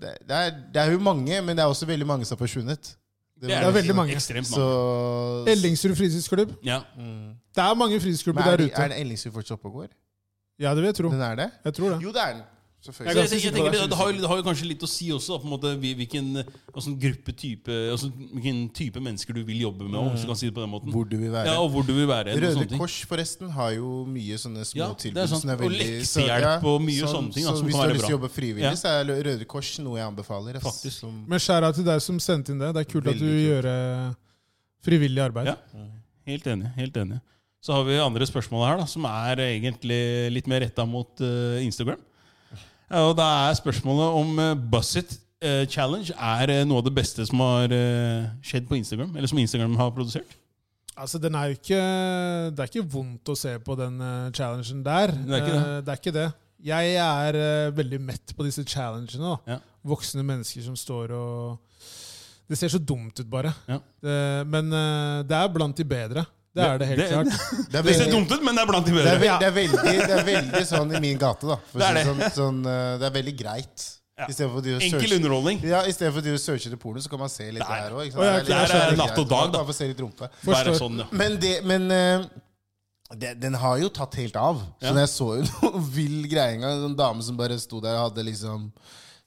Speaker 1: det, det, er, det er jo mange, men det er også veldig mange som har forsvunnet.
Speaker 3: Det er,
Speaker 2: Det er
Speaker 3: det.
Speaker 2: veldig mange.
Speaker 3: Ekstremt mange.
Speaker 1: Så, Mm.
Speaker 2: Ellingsrud fritidsklubb.
Speaker 3: Ja.
Speaker 2: Det er mange fritidsklubber
Speaker 1: men er,
Speaker 2: der
Speaker 1: det-
Speaker 2: ute.
Speaker 1: er det Ellingsrud fortsatt oppe og går?
Speaker 2: Ja, det vil jeg tro.
Speaker 1: Den er det?
Speaker 2: Jeg tror det.
Speaker 1: Jo, det er den.
Speaker 3: Så
Speaker 1: Selvfølgelig.
Speaker 3: jeg,
Speaker 2: ganske
Speaker 3: jeg
Speaker 2: sikker på
Speaker 3: tenker
Speaker 2: det.
Speaker 3: det, det, har, jo- det har jo kanskje litt å si også, da, på en måte, hvil- hvilken, altså, gruppe type, altså, hvilken type mennesker du vil jobbe med. Hvis du kan si det på den måten.
Speaker 1: Hvor du vil være.
Speaker 3: Ja, og hvor du vil være. og
Speaker 1: Røde
Speaker 3: sånne ting.
Speaker 1: Kors forresten har jo mye sånne små
Speaker 3: Ja, det er
Speaker 1: tilbud.
Speaker 3: sant.
Speaker 1: som er
Speaker 3: Og
Speaker 1: veldig- så-
Speaker 3: leksehjelp
Speaker 1: ja,
Speaker 3: og mye sånne ting, da,
Speaker 1: Så
Speaker 3: som
Speaker 1: hvis du
Speaker 3: kan
Speaker 1: har
Speaker 3: være
Speaker 1: lyst til å
Speaker 3: bra.
Speaker 1: jobbe frivillig, så er Røde Kors noe jeg anbefaler. ass.
Speaker 3: Faktisk.
Speaker 1: Som,
Speaker 2: Men skjæra til deg som sendte inn det. Det er kult at
Speaker 1: Veldig
Speaker 2: du
Speaker 1: kult.
Speaker 2: gjør eh, frivillig arbeid.
Speaker 3: Ja. Helt enig. helt enig Så har vi andre spørsmål her, da som er egentlig litt mer retta mot eh, Instagram. Ja, Og Da er spørsmålet om uh, Busset eh, Challenge er eh, noe av det beste som har eh, skjedd på Instagram. Eller som Instagram har produsert.
Speaker 2: Altså, den er jo ikke Det er ikke vondt å se på den eh, challengen der.
Speaker 3: er ikke det.
Speaker 2: Eh, det er ikke det. Jeg er eh, veldig mett på disse challengene. da.
Speaker 3: Ja.
Speaker 2: Voksne mennesker som står og Det ser så dumt ut, bare.
Speaker 3: Ja.
Speaker 2: Eh, men eh, det er blant de bedre. Det er det helt
Speaker 3: det-
Speaker 2: klart.
Speaker 1: Det er
Speaker 3: Det ser
Speaker 1: veldig,
Speaker 3: dumt ut, men det er blant de
Speaker 1: det
Speaker 3: bedre.
Speaker 1: er veldig, det er veldig, det er veldig sånn i min gate, da. For
Speaker 3: Det
Speaker 1: det,
Speaker 3: er
Speaker 1: er sånn, sånn, eh, det er veldig greit.
Speaker 3: Ja.
Speaker 1: I stedet for de å
Speaker 3: Enkel
Speaker 1: searche
Speaker 3: underholdning.
Speaker 1: Ja, I stedet for de å searche det porno, så kan man se litt
Speaker 3: Der.
Speaker 1: der òg.
Speaker 2: Å, ja, der er
Speaker 3: natt og dag, da.
Speaker 1: Bare få se litt rumpe.
Speaker 3: Bare
Speaker 2: Forstår.
Speaker 3: sånn, ja.
Speaker 1: Men, det, men eh, det, den har jo tatt helt av.
Speaker 3: Ja.
Speaker 1: Så når jeg så jo [laughs] noe vill greie en gang, en sånn dame som bare sto der og hadde liksom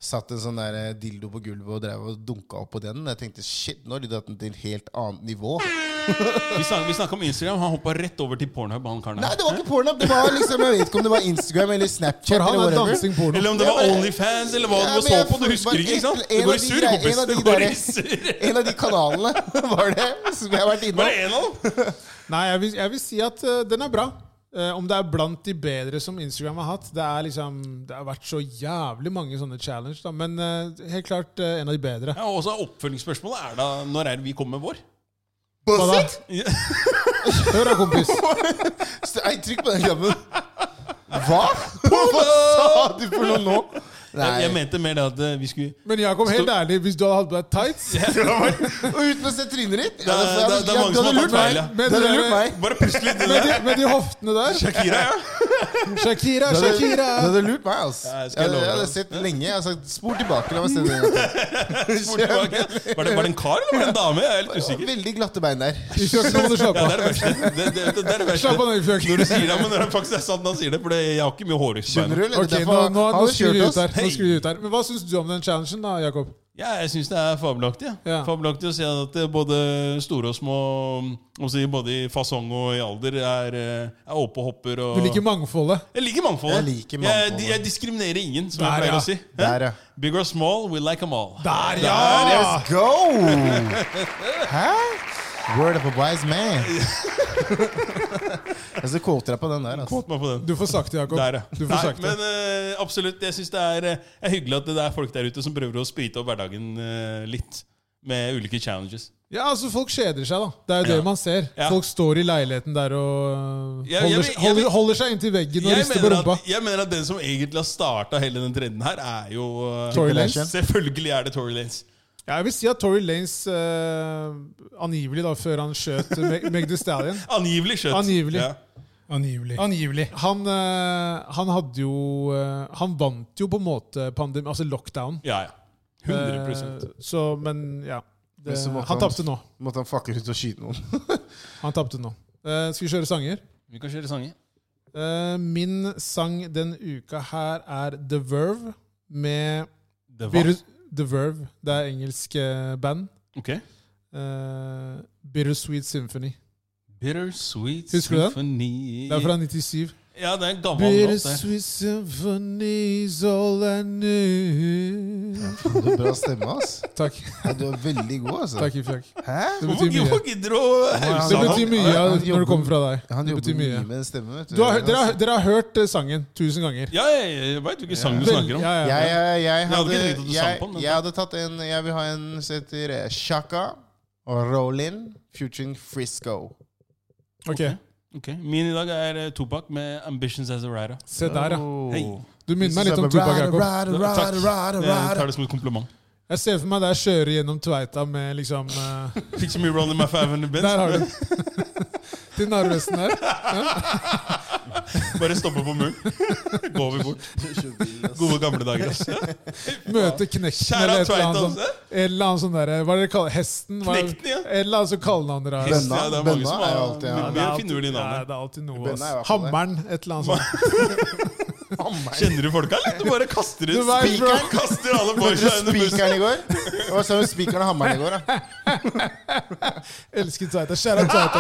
Speaker 1: Satt en sånn der eh, dildo på gulvet og drev og dunka opp på den. Jeg tenkte shit, nå har de dratt den til et helt annet nivå.
Speaker 3: Vi snak- vi snakka om Instagram, han hoppa rett over til pornhub. han karen
Speaker 1: Nei,
Speaker 3: her.
Speaker 1: det var ikke porno. Det var liksom, Jeg vet ikke om det var Instagram eller Snapchat.
Speaker 2: For han
Speaker 1: eller
Speaker 2: er
Speaker 1: whatever.
Speaker 2: dansing porno.
Speaker 3: [laughs] Eller om det var
Speaker 1: Ja, men-
Speaker 3: Onlyfans, eller hva
Speaker 1: Ja,
Speaker 3: du
Speaker 1: men
Speaker 3: så
Speaker 1: jeg
Speaker 3: på. Du
Speaker 1: får-
Speaker 3: husker
Speaker 1: bare
Speaker 3: ikke, ikke
Speaker 1: en
Speaker 3: sant? Det
Speaker 1: av
Speaker 3: går i
Speaker 1: de
Speaker 3: surr,
Speaker 1: grei-
Speaker 3: kompis.
Speaker 1: en av de
Speaker 3: Det går i
Speaker 1: der- [laughs]
Speaker 3: surr.
Speaker 1: En av de kanalene var det som jeg har vært innom.
Speaker 3: Bare en av dem.
Speaker 2: Nei, jeg vil, jeg vil si at eh, den er bra. Eh, om det er blant de bedre som Instagram har hatt Det er liksom Det har vært så jævlig mange sånne challenge, da. Men eh, helt klart eh, en av de bedre.
Speaker 3: Ja, og så er Oppfølgingsspørsmålet er da når er det vi kommer med vår?
Speaker 2: Hva da?
Speaker 3: Ja.
Speaker 2: Hør da, kompis.
Speaker 1: Så- Nei, trykk på den knappen. Hva? Hva sa du for noe nå?
Speaker 3: Jeg, jeg
Speaker 1: Nei.
Speaker 3: mente mer det at eh, vi skulle
Speaker 2: Men Jakob, helt ærlig, hvis du hadde hatt på deg tights
Speaker 1: Og uten å se trynet ditt? Ja,
Speaker 3: Det er- det er- det er mange som har tatt feil, ja.
Speaker 1: Du
Speaker 2: med,
Speaker 1: hadde
Speaker 2: de
Speaker 1: lurt
Speaker 2: der-
Speaker 1: meg.
Speaker 3: Bare plutselig det
Speaker 2: med,
Speaker 3: der.
Speaker 2: de, med de hoftene der.
Speaker 3: [laughs] Shakira,
Speaker 1: [laughs]
Speaker 3: ja.
Speaker 2: Shakira,
Speaker 1: Du hadde-
Speaker 2: Shakira.
Speaker 1: Du hadde lurt meg, altså.
Speaker 3: Ja, jeg
Speaker 1: Jeg
Speaker 3: skal
Speaker 1: hadde,
Speaker 3: love
Speaker 1: jeg
Speaker 3: deg.
Speaker 1: hadde sett lenge. Jeg har sagt spor tilbake. La meg se det.
Speaker 3: Spor tilbake. Var det, var det en kar eller var det en dame? Jeg er
Speaker 1: en
Speaker 3: litt
Speaker 1: gang.
Speaker 3: [laughs] usikker.
Speaker 1: Veldig glatte bein der.
Speaker 2: I fjøken må du slappe
Speaker 3: Ja,
Speaker 2: av.
Speaker 3: det er det verste. Det, det, det, det er det verste.
Speaker 2: Slapp av nå, i fjøken.
Speaker 3: Når du sier det, men når det faktisk er sant når han sier det, for det, jeg har ikke mye hår i
Speaker 1: Skjønner du?
Speaker 3: beina.
Speaker 1: eller?
Speaker 2: Ok, nå,
Speaker 1: Derfor
Speaker 2: nå,
Speaker 1: har
Speaker 2: nå
Speaker 1: han kjørt
Speaker 2: skrur vi ut her.
Speaker 1: oss.
Speaker 2: Nå skrur vi ut her. Men hva syns du om den challengen, da, Jakob?
Speaker 3: Ja, jeg syns det er fabelaktig. Ja.
Speaker 2: Ja.
Speaker 3: Fabelaktig å se at eh, både store og små, mm, om å si, både i fasong og i alder, er, eh, er oppe og hopper. Og
Speaker 2: Du liker mangfoldet.
Speaker 3: Jeg liker mangfoldet.
Speaker 1: Jeg liker mangfoldet.
Speaker 3: Jeg, jeg diskriminerer ingen, som
Speaker 2: Der,
Speaker 3: jeg pleier
Speaker 2: ja.
Speaker 3: å si. Hæ?
Speaker 1: Der, ja.
Speaker 3: Big or small, we like them all.
Speaker 2: Der,
Speaker 1: Let's go! [laughs] Hæ? Word of a wise
Speaker 3: [laughs]
Speaker 1: man. Jeg skal quote deg på den der. Altså.
Speaker 3: Kåt meg på den.
Speaker 2: Du får sagt det, Jakob.
Speaker 3: Der, ja.
Speaker 2: Du får
Speaker 3: Nei,
Speaker 2: sagt det.
Speaker 3: men eh, absolutt. Jeg syns det er, eh, er hyggelig at det er folk der ute som prøver å sprite opp hverdagen eh, litt. Med ulike challenges.
Speaker 2: Ja, altså Folk kjeder seg, da. Det er jo det
Speaker 3: Ja.
Speaker 2: man ser.
Speaker 3: Ja.
Speaker 2: Folk står i leiligheten der og øh,
Speaker 3: Ja, jeg
Speaker 2: holder,
Speaker 3: vil- jeg
Speaker 2: holder,
Speaker 3: vil-
Speaker 2: holder seg inntil veggen og
Speaker 3: Jeg
Speaker 2: rister på
Speaker 3: mener,
Speaker 2: rumpa.
Speaker 3: at, jeg mener at den som egentlig har starta hele den trenden her, er jo eh,
Speaker 2: Tory
Speaker 1: Lanes.
Speaker 3: Selvfølgelig er det Tory Lanes.
Speaker 2: Ja, jeg vil si at Tory Lanes øh, angivelig, da, før han skjøt Meg, Meg The Stallion
Speaker 3: Angivelig skjøtt.
Speaker 2: Angivelig.
Speaker 3: Ja.
Speaker 4: Angivelig.
Speaker 2: Angivelig. Han, øh, han hadde jo øh, Han vant jo på en måte pandemi, altså lockdown.
Speaker 3: ja, ja. 100
Speaker 2: Eh, Så, men ja. Det,
Speaker 1: Men så måtte
Speaker 2: han
Speaker 1: han-
Speaker 2: tapte nå.
Speaker 1: Måtte han fucke ut og skyte
Speaker 3: [laughs]
Speaker 1: noen.
Speaker 2: Han tapte nå. Eh, skal vi kjøre sanger?
Speaker 3: Vi kan kjøre sanger.
Speaker 2: Eh, min sang den uka her er The Verve med
Speaker 3: Det var.
Speaker 2: Bitter, The Verve. Det er engelsk eh, band.
Speaker 3: Ok.
Speaker 2: Eh, Bittersweet Symphony.
Speaker 3: Bittersweet
Speaker 2: Husker du den?
Speaker 3: symphony
Speaker 2: Det er fra 97.
Speaker 3: Ja, det er en gammel låt. der.
Speaker 2: Bittersweet Symphony is all I need.
Speaker 1: Du har bra stemme, ass.
Speaker 2: Takk. [laughs]
Speaker 1: Ja, du er veldig god, altså.
Speaker 2: Takk, Ifjak.
Speaker 1: Hæ?
Speaker 2: Det
Speaker 3: Hvorfor
Speaker 2: betyr mye.
Speaker 3: hvorfor gidder du å
Speaker 2: Det
Speaker 1: han-
Speaker 2: betyr mye
Speaker 1: han- han
Speaker 2: når
Speaker 1: jobber-
Speaker 2: det kommer fra deg.
Speaker 1: Han
Speaker 2: Det
Speaker 1: jobber
Speaker 2: betyr
Speaker 1: mye
Speaker 2: mye.
Speaker 1: med den stemmen, vet du.
Speaker 2: Du har, dere, har, dere har hørt eh, sangen tusen ganger.
Speaker 3: Ja, jeg, jeg veit hvilken sang du
Speaker 2: Vel-
Speaker 3: snakker om.
Speaker 2: ja, ja, ja.
Speaker 1: jeg, jeg, jeg,
Speaker 3: hadde
Speaker 1: hadde,
Speaker 3: ikke tenkt at du sang
Speaker 1: jeg,
Speaker 3: på den, men-
Speaker 1: jeg hadde tatt en Jeg vil ha en som heter eh, Shaka og Rollin featuring Frisco.
Speaker 2: Ok,
Speaker 3: Ok, Min i dag er eh, Tupac med 'Ambitions As A Writer'.
Speaker 2: Se der, ja.
Speaker 1: Oh.
Speaker 3: Hei.
Speaker 2: Du minner meg litt om Tupac Jakob.
Speaker 1: Ride, ride,
Speaker 3: Takk.
Speaker 1: ride, ride,
Speaker 3: Jeg
Speaker 1: ride.
Speaker 3: tar det som et kompliment.
Speaker 2: Jeg ser for meg deg kjøre gjennom Tveita med liksom
Speaker 3: [laughs]
Speaker 2: eh,
Speaker 3: Picture me rolling my five hundred bins.
Speaker 2: Der har du den. [laughs] Til Narvesen her.
Speaker 3: [laughs] Bare stoppe på [laughs] muren. Går vi bort. Gode gamle dager, altså.
Speaker 2: Møte Knekten
Speaker 3: Kjære
Speaker 2: eller et eller
Speaker 3: Tveita,
Speaker 2: annet sånt.
Speaker 3: altså.
Speaker 2: En eller annen sånn derre Hva er det de kaller Hesten? Hva er-
Speaker 3: Knekten, ja.
Speaker 2: En eller annen sånn kallenavn dere har.
Speaker 1: Bønna.
Speaker 3: Ja, det er mange som
Speaker 1: Bønna er
Speaker 3: har
Speaker 1: alltid- ja, det
Speaker 2: Det
Speaker 3: mye
Speaker 2: er
Speaker 3: mer
Speaker 2: alltid-
Speaker 3: finurlige
Speaker 2: ja,
Speaker 3: navn.
Speaker 2: det er alltid noe.
Speaker 1: Bønna er i
Speaker 2: ass.
Speaker 1: hvert fall det.
Speaker 2: Hammeren, et eller annet sånt.
Speaker 3: Kjenner du folka, eller? Du bare kaster ut
Speaker 2: Du vet, bro.
Speaker 3: spikeren. Kaster alle
Speaker 1: Hørte
Speaker 3: boysa
Speaker 1: du
Speaker 3: under bussen.
Speaker 1: spikeren i går? Det var sånn spikeren og hammeren i går. Da.
Speaker 2: Elsker Tveita. Kjære Tveita.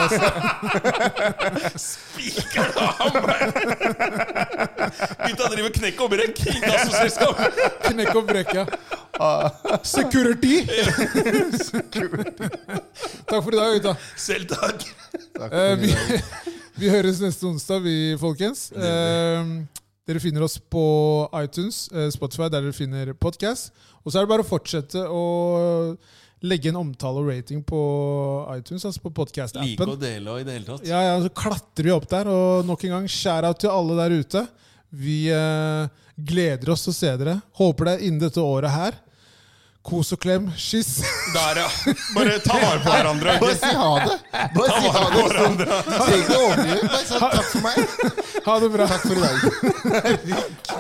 Speaker 2: ass.
Speaker 3: Spikeren og hammeren! Gutta driver knekk og brekk. Inkassoselskap.
Speaker 2: Knekk og brekk, ja. Security! Takk for i dag, gutta.
Speaker 3: Selv takk.
Speaker 1: Takk
Speaker 2: Eh,
Speaker 1: for
Speaker 2: vi,
Speaker 1: i dag.
Speaker 2: vi høres neste onsdag, vi, folkens. Eh, Dere finner oss på iTunes, eh, Spotify, der dere finner podkast. Og så er det bare å fortsette å legge en omtale og rating på iTunes, altså på
Speaker 3: Like
Speaker 2: podkast-appen.
Speaker 3: å dele og i det hele tatt.
Speaker 2: Ja, ja, så klatrer vi opp der. Og nok en gang, skjæra til alle der ute. Vi eh, gleder oss til å se dere. Håper det er innen dette året her. Kos og klem. Kyss. [laughs]
Speaker 3: Der, ja. Bare ta vare på hverandre.
Speaker 1: Bare si ha det! Bare si ha det! Sånn. Trenger ikke å overdrive. Bare sånn, takk for meg.
Speaker 2: Ha det bra.
Speaker 1: Takk for i dag.